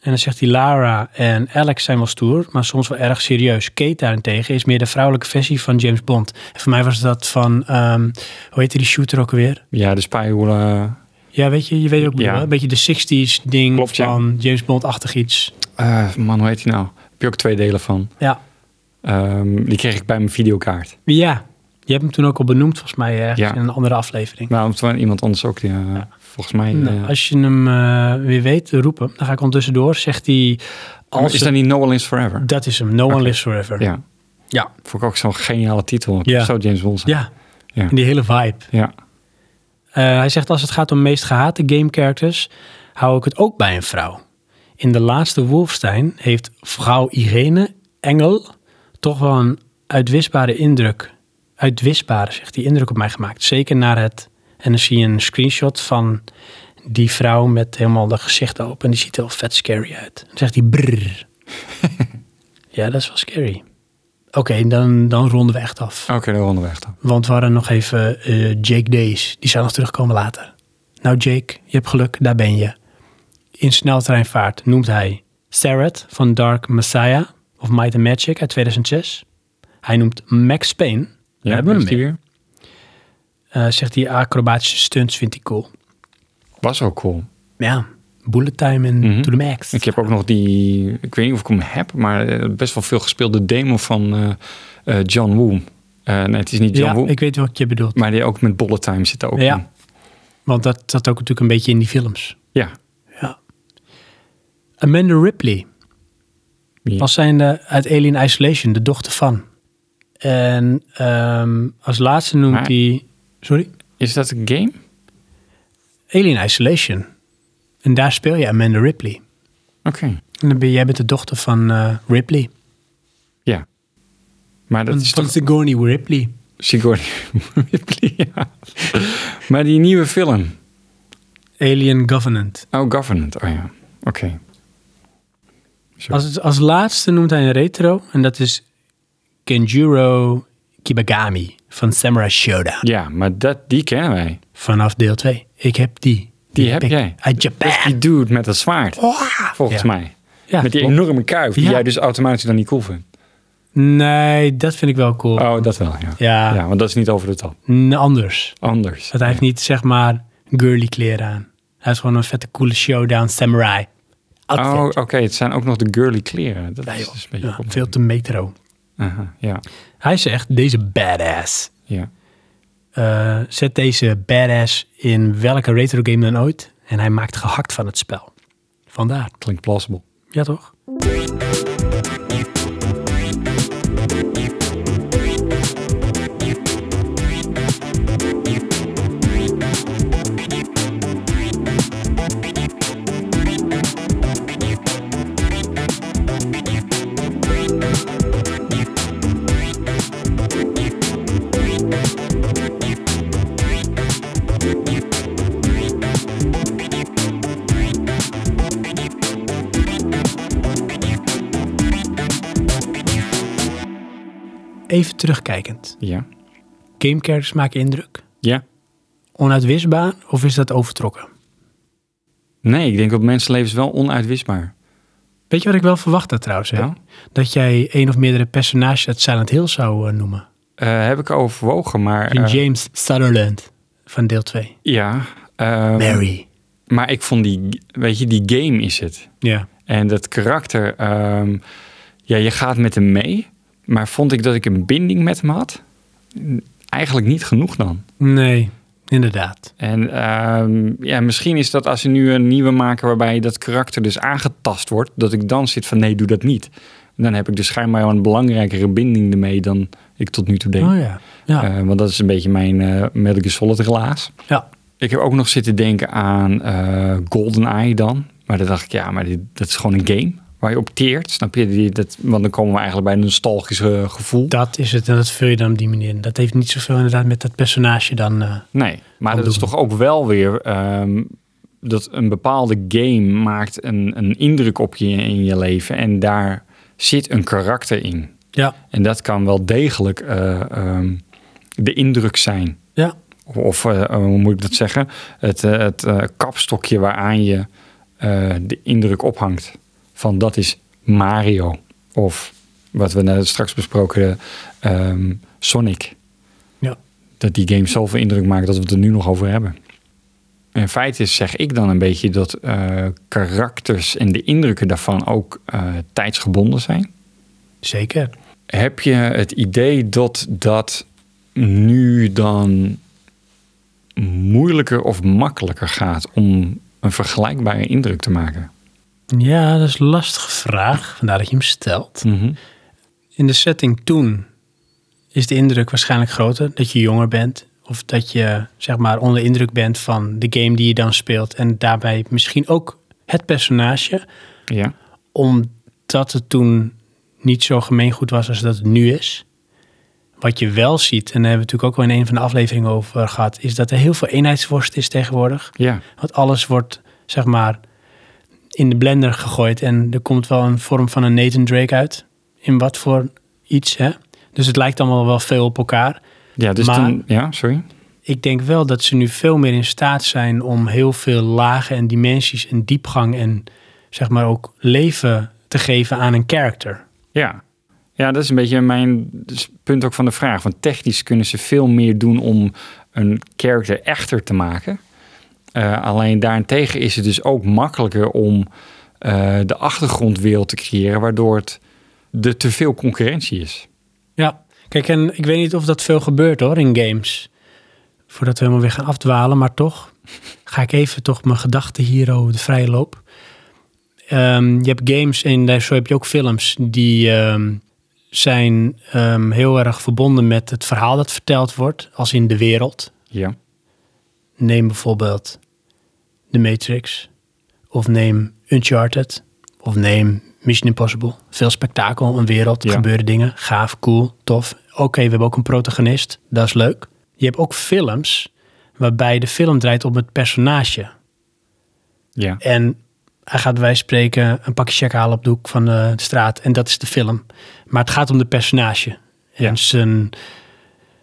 Speaker 1: En dan zegt hij Lara en Alex zijn wel stoer, maar soms wel erg serieus. Kate daarentegen is meer de vrouwelijke versie van James Bond. En voor mij was dat van, ehm, hoe heette die shooter ook alweer?
Speaker 2: ja, de spijhoelen.
Speaker 1: Ja, weet je, je weet ook
Speaker 2: Ja.
Speaker 1: wel, een beetje de 60s ding
Speaker 2: Klopt, ja.
Speaker 1: van James Bond-achtig iets.
Speaker 2: eh, man, hoe heet die nou? Heb je ook twee delen van?
Speaker 1: Ja.
Speaker 2: Ehm, die kreeg ik bij mijn videokaart.
Speaker 1: ja, je hebt hem toen ook al benoemd volgens mij ergens
Speaker 2: Ja.
Speaker 1: in een andere aflevering.
Speaker 2: Nou, toen iemand anders ook. Die, eh, Volgens mij.
Speaker 1: Nou,
Speaker 2: eh,
Speaker 1: als je hem eh, weer weet, roep hem. Dan ga ik ondertussen door. Zegt hij, als
Speaker 2: is
Speaker 1: het-
Speaker 2: dat niet No One Lives Forever?
Speaker 1: dat is hem, No One
Speaker 2: Oké.
Speaker 1: Lives Forever.
Speaker 2: Ja.
Speaker 1: Ja.
Speaker 2: Vond ik ook zo'n geniale titel. Het
Speaker 1: Ja.
Speaker 2: zou James Bond zijn.
Speaker 1: Ja,
Speaker 2: Ja.
Speaker 1: en die hele vibe.
Speaker 2: Ja.
Speaker 1: Eh, hij zegt, als het gaat om meest gehate gamecharacters, hou ik het ook bij een vrouw. In de laatste Wolfstein heeft vrouw Irene Engel toch wel een uitwisbare indruk, uitwisbare, zegt die indruk op mij gemaakt. Zeker naar het, en dan zie je een screenshot van die vrouw met helemaal de gezicht open. En die ziet er wel vet scary uit. Dan zegt hij brrr. ja, dat is wel scary. Oké, dan, dan ronden we echt af.
Speaker 2: Oké, dan ronden we echt af.
Speaker 1: Want we hadden nog even eh, Jake Days. Die zou nog terugkomen later. Nou Jake, je hebt geluk, daar ben je. In sneltreinvaart noemt hij Sarah van Dark Messiah of Might and Magic uit 2006. Hij noemt Max Payne.
Speaker 2: Ja,
Speaker 1: Daar hebben we
Speaker 2: is
Speaker 1: hem
Speaker 2: die
Speaker 1: weer.
Speaker 2: weer?
Speaker 1: Eh, zegt hij acrobatische stunts vindt hij cool.
Speaker 2: Was ook cool.
Speaker 1: Ja, bullet time en
Speaker 2: Mhm.
Speaker 1: to the max.
Speaker 2: Ik heb ook nog die, ik weet niet of ik hem heb, maar eh, best wel veel gespeelde demo van eh, eh, John Woo. Eh, nee, het is niet John
Speaker 1: ja,
Speaker 2: Woo,
Speaker 1: ik weet wat je bedoelt.
Speaker 2: maar die ook met bullet time zit er ook
Speaker 1: Ja.
Speaker 2: in.
Speaker 1: Want dat zat ook natuurlijk een beetje in die films.
Speaker 2: Ja.
Speaker 1: Amanda Ripley.
Speaker 2: Ja.
Speaker 1: Als zijnde uit Alien Isolation, de dochter van. En ehm, als laatste noemt
Speaker 2: Maar-
Speaker 1: hij... Sorry?
Speaker 2: Is dat een game?
Speaker 1: Alien Isolation. En daar speel je Amanda Ripley.
Speaker 2: Oké.
Speaker 1: En dan ben jij bent de dochter van eh, Ripley.
Speaker 2: Ja. Maar dat
Speaker 1: Van-
Speaker 2: is
Speaker 1: van
Speaker 2: toch
Speaker 1: Sigourney Ripley.
Speaker 2: Sigourney Ripley, ja. Maar die nieuwe film.
Speaker 1: Alien Governant.
Speaker 2: Oh, Government. Oh ja. Oké. Zo.
Speaker 1: Als, het- als laatste noemt hij een retro. En dat is Kenjuro Kibagami van Samurai Shodown.
Speaker 2: Ja, maar dat, die kennen wij.
Speaker 1: Vanaf deel 2. Ik heb die.
Speaker 2: Die heb
Speaker 1: ik.
Speaker 2: jij. Dus
Speaker 1: Uit Japan. Oh,
Speaker 2: Die dude met dat zwaard, volgens
Speaker 1: Ja.
Speaker 2: mij.
Speaker 1: Ja,
Speaker 2: met die
Speaker 1: klopt.
Speaker 2: enorme kuif, die
Speaker 1: Ja.
Speaker 2: jij dus automatisch dan niet cool vindt.
Speaker 1: Nee, dat vind ik wel cool.
Speaker 2: Oh, dat wel, ja.
Speaker 1: Ja.
Speaker 2: want dat is niet over de top.
Speaker 1: N- anders.
Speaker 2: Anders.
Speaker 1: Dat hij heeft niet zeg maar girly kleren aan. Hij heeft gewoon een vette coole showdown samurai. Outfit.
Speaker 2: Oh, oké, het zijn ook nog de girly kleren. Dat
Speaker 1: Ja,
Speaker 2: is
Speaker 1: joh.
Speaker 2: dus een beetje...
Speaker 1: Ja,
Speaker 2: kom-
Speaker 1: veel te metro.
Speaker 2: Aha, ja,
Speaker 1: Hij zegt, deze badass.
Speaker 2: ja.
Speaker 1: Eh, zet deze badass in welke retro game dan ooit. En hij maakt gehakt van het spel. Vandaar.
Speaker 2: Klinkt plausible.
Speaker 1: Ja, toch? Even terugkijkend.
Speaker 2: Ja.
Speaker 1: Gamecharacters maken indruk.
Speaker 2: Ja.
Speaker 1: Onuitwisbaar of is dat overtrokken?
Speaker 2: Nee, ik denk dat mensenlevens wel onuitwisbaar.
Speaker 1: Weet je wat ik wel verwacht had trouwens? Hè?
Speaker 2: Nou?
Speaker 1: Dat jij één of meerdere personages uit Silent Hill zou eh, noemen.
Speaker 2: Eh, heb ik overwogen, maar...
Speaker 1: Een
Speaker 2: eh,
Speaker 1: James Sutherland van deel 2.
Speaker 2: ja. ehm,
Speaker 1: Mary.
Speaker 2: maar ik vond die... Weet je, die game is het.
Speaker 1: Ja.
Speaker 2: En dat karakter, ehm, ja, je gaat met hem mee. Maar vond ik dat ik een binding met hem had? N- Eigenlijk niet genoeg dan.
Speaker 1: Nee, inderdaad.
Speaker 2: En ehm, ja, misschien is dat als ze nu een nieuwe maken waarbij dat karakter dus aangetast wordt, dat ik dan zit van nee, doe dat niet. En dan heb ik dus schijnbaar wel een belangrijkere binding ermee dan ik tot nu toe deed.
Speaker 1: Oh ja. Ja.
Speaker 2: Eh, want dat is een beetje mijn eh Metal Gear Solid relaas.
Speaker 1: ja.
Speaker 2: Ik heb ook nog zitten denken aan eh GoldenEye dan. Maar dan dacht ik, ja, maar dit, dat is gewoon een game waar je op teert. Snap je? Die, dat, want dan komen we eigenlijk bij een nostalgisch eh, gevoel.
Speaker 1: Dat is het en dat vul je dan op die manier in. Dat heeft niet zoveel inderdaad met dat personage dan... eh,
Speaker 2: nee, maar dat is
Speaker 1: Voldoende.
Speaker 2: toch ook wel weer... ehm, dat een bepaalde game maakt een, een indruk op je in je leven. En daar zit een karakter in.
Speaker 1: ja.
Speaker 2: En dat kan wel degelijk eh, ehm, de indruk zijn.
Speaker 1: Ja.
Speaker 2: Of eh, hoe moet ik dat zeggen? Het, eh, het eh, kapstokje waaraan je eh, de indruk ophangt. Van dat is Mario. Of wat we net straks besproken, ehm, Sonic.
Speaker 1: Ja.
Speaker 2: Dat die game zoveel indruk maakt dat we het er nu nog over hebben. In feite zeg ik dan een beetje dat eh, karakters en de indrukken daarvan ook eh, tijdsgebonden zijn.
Speaker 1: Zeker.
Speaker 2: Heb je het idee dat dat nu dan moeilijker of makkelijker gaat om een vergelijkbare indruk te maken?
Speaker 1: Ja, dat is een lastige vraag. Vandaar dat je hem stelt.
Speaker 2: Mhm.
Speaker 1: In de setting toen is de indruk waarschijnlijk groter dat je jonger bent. Of dat je zeg maar onder indruk bent van de game die je dan speelt. En daarbij misschien ook het personage.
Speaker 2: Ja.
Speaker 1: Omdat het toen niet zo gemeengoed was als dat het nu is. Wat je wel ziet, en daar hebben we natuurlijk ook al in een van de afleveringen over gehad, is dat er heel veel eenheidsworst is tegenwoordig.
Speaker 2: Ja.
Speaker 1: Want alles wordt, zeg maar, in de blender gegooid. En er komt wel een vorm van een Nathan Drake uit. In wat voor iets, hè? Dus het lijkt allemaal wel veel op elkaar.
Speaker 2: Ja, dus
Speaker 1: Maar-
Speaker 2: toen... Ja, sorry.
Speaker 1: Ik denk wel dat ze nu veel meer in staat zijn om heel veel lagen en dimensies en diepgang en zeg maar ook leven te geven aan een character.
Speaker 2: Ja. Ja, dat is een beetje mijn s- punt ook van de vraag. Want technisch kunnen ze veel meer doen om een character echter te maken. Eh, alleen daarentegen is het dus ook makkelijker om eh, de achtergrondwereld te creëren, waardoor het er te veel concurrentie is.
Speaker 1: Ja, kijk, en ik weet niet of dat veel gebeurt hoor in games. Voordat we helemaal weer gaan afdwalen, maar toch ga ik even toch mijn gedachten hier over de vrije loop. Ehm, je hebt games en daar- zo heb je ook films die ehm, zijn ehm, heel erg verbonden met het verhaal dat verteld wordt, als in de wereld.
Speaker 2: Ja.
Speaker 1: Neem bijvoorbeeld The Matrix, of neem Uncharted, of neem Mission Impossible. Veel spektakel, een wereld,
Speaker 2: Ja.
Speaker 1: gebeuren dingen, gaaf, cool, tof. Oké, we hebben ook een protagonist, dat is leuk. Je hebt ook films waarbij de film draait om het personage.
Speaker 2: Ja.
Speaker 1: En hij gaat bij wijze van spreken een pakje check halen op de hoek van eh, de straat. En dat is de film. Maar het gaat om de personage. En
Speaker 2: Ja.
Speaker 1: zijn,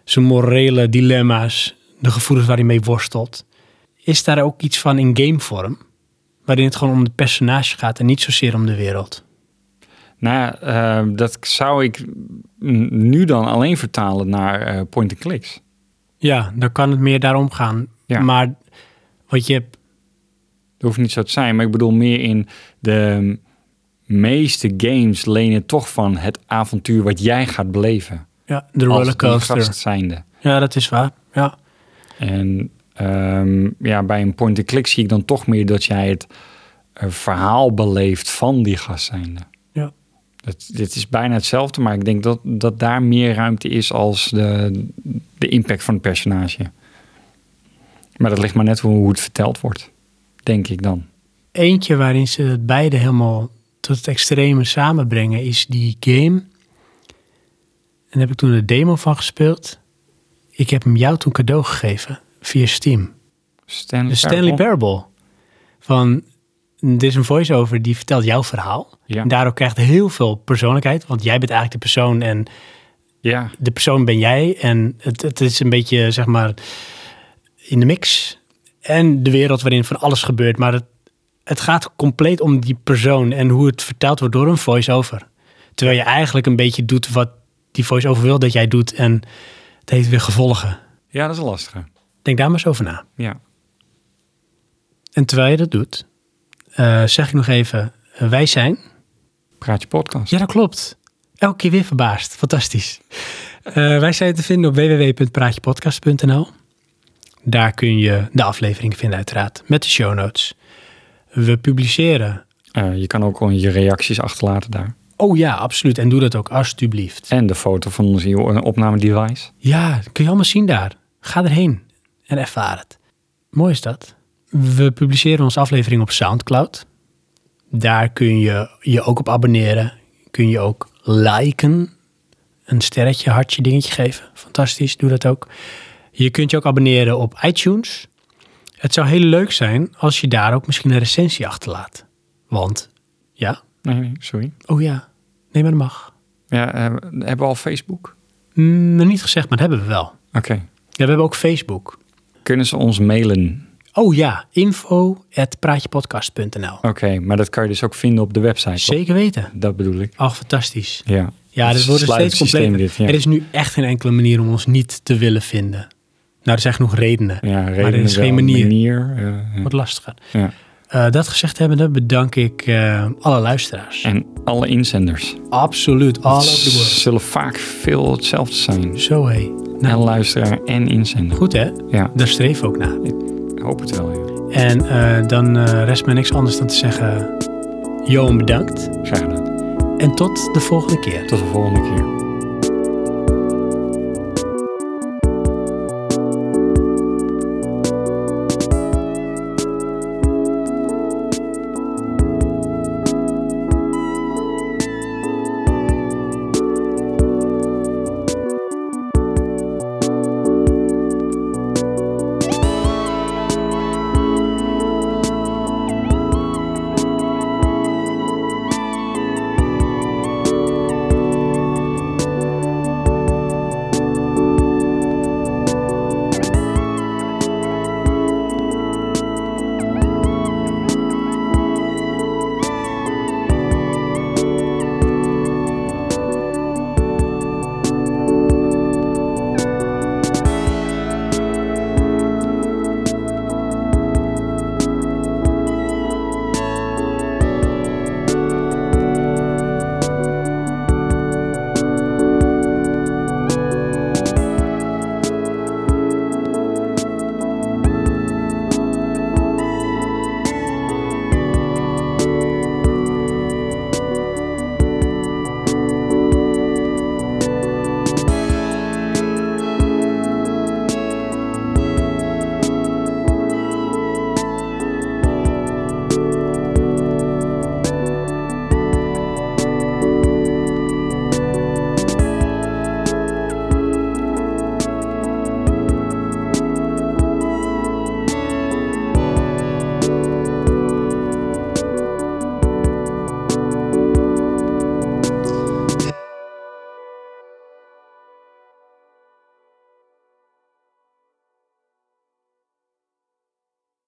Speaker 1: zijn morele dilemma's. De gevoelens waar hij mee worstelt. Is daar ook iets van in gamevorm? Waarin het gewoon om de personage gaat en niet zozeer om de wereld.
Speaker 2: Nou, ja, eh, dat zou ik n- nu dan alleen vertalen naar eh, point-and-clicks.
Speaker 1: Ja, dan kan het meer daarom gaan.
Speaker 2: Ja.
Speaker 1: Maar wat je hebt...
Speaker 2: Dat hoeft niet zo te zijn, maar ik bedoel meer in de meeste games lenen toch van het avontuur wat jij gaat beleven.
Speaker 1: Ja, de
Speaker 2: als een
Speaker 1: rollercoaster.
Speaker 2: gast zijnde.
Speaker 1: Ja, dat is waar. Ja.
Speaker 2: En eh, Ehm, ja, bij een point-and-click zie ik dan toch meer dat jij het eh, verhaal beleeft van die gast zijnde.
Speaker 1: Ja.
Speaker 2: Dat, dit is bijna hetzelfde, maar ik denk dat, dat daar meer ruimte is als de, de impact van het personage. Maar dat ligt maar net hoe, hoe het verteld wordt, denk ik dan.
Speaker 1: Eentje waarin ze het beide helemaal tot het extreme samenbrengen is die game. En daar heb ik toen de demo van gespeeld. Ik heb hem jou toen cadeau gegeven via Steam.
Speaker 2: Stanley,
Speaker 1: De Stanley
Speaker 2: Parable.
Speaker 1: Parable. Van, dit is een voice-over die vertelt jouw verhaal.
Speaker 2: Ja.
Speaker 1: En daardoor krijgt heel veel persoonlijkheid. Want jij bent eigenlijk de persoon en
Speaker 2: Ja,
Speaker 1: de persoon ben jij. En het, het is een beetje, zeg maar, in de mix. En de wereld waarin van alles gebeurt. Maar het, het gaat compleet om die persoon en hoe het verteld wordt door een voice-over. Terwijl je eigenlijk een beetje doet wat die voice-over wil dat jij doet. En het heeft weer gevolgen.
Speaker 2: ja dat is een lastige.
Speaker 1: Denk daar maar eens over na.
Speaker 2: Ja.
Speaker 1: En terwijl je dat doet, eh, zeg ik nog even, eh, wij zijn...
Speaker 2: Praat je podcast.
Speaker 1: Ja, dat klopt. Elke keer weer verbaasd. Fantastisch. Eh, wij zijn te vinden op www.praatjepodcast.nl. Daar kun je de aflevering vinden uiteraard, met de show notes. We publiceren...
Speaker 2: Eh, je kan ook gewoon je reacties achterlaten daar.
Speaker 1: Oh ja, absoluut. En doe dat ook alsjeblieft.
Speaker 2: En de foto van ons nieuwe opnamedevice.
Speaker 1: Ja, dat kun je allemaal zien daar. Ga erheen en ervaar het. Mooi is dat. We publiceren onze aflevering op SoundCloud. Daar kun je je ook op abonneren. Kun je ook liken. Een sterretje, hartje, dingetje geven. Fantastisch, doe dat ook. Je kunt je ook abonneren op iTunes. Het zou heel leuk zijn als je daar ook misschien een recensie achterlaat. Want, ja,
Speaker 2: Nee, nee, sorry.
Speaker 1: oh ja, nee maar dat mag.
Speaker 2: Ja, eh, hebben we al Facebook?
Speaker 1: Mm, nog niet gezegd, maar dat hebben we wel.
Speaker 2: Oké.
Speaker 1: Ja, we hebben ook Facebook.
Speaker 2: Kunnen ze ons mailen?
Speaker 1: Oh ja, info.praatjepodcast.nl.
Speaker 2: Oké, maar dat kan je dus ook vinden op de website. toch?
Speaker 1: Zeker weten.
Speaker 2: Dat bedoel ik.
Speaker 1: Ach, fantastisch.
Speaker 2: Ja.
Speaker 1: Ja,
Speaker 2: Het
Speaker 1: dit wordt
Speaker 2: sluitend
Speaker 1: steeds
Speaker 2: systeem
Speaker 1: completer.
Speaker 2: dit, ja.
Speaker 1: Er is nu echt geen enkele manier om ons niet te willen vinden. Nou, er zijn genoeg redenen.
Speaker 2: Ja, redenen
Speaker 1: maar er is
Speaker 2: wel,
Speaker 1: geen manier.
Speaker 2: eh, ja.
Speaker 1: Wordt lastiger.
Speaker 2: Ja.
Speaker 1: Eh, dat gezegd hebbende bedank ik eh, alle luisteraars.
Speaker 2: En alle inzenders
Speaker 1: Absoluut, all over the world.
Speaker 2: zullen vaak veel hetzelfde zijn.
Speaker 1: Zo hé.
Speaker 2: En
Speaker 1: Nou,
Speaker 2: luisteraar en inzender.
Speaker 1: goed hè?
Speaker 2: Ja,
Speaker 1: Daar streven we ook naar.
Speaker 2: ik hoop het wel. Ja.
Speaker 1: En eh, dan eh, rest mij niks anders dan te zeggen... Johan bedankt.
Speaker 2: Graag gedaan.
Speaker 1: En tot de volgende keer.
Speaker 2: Tot de volgende keer.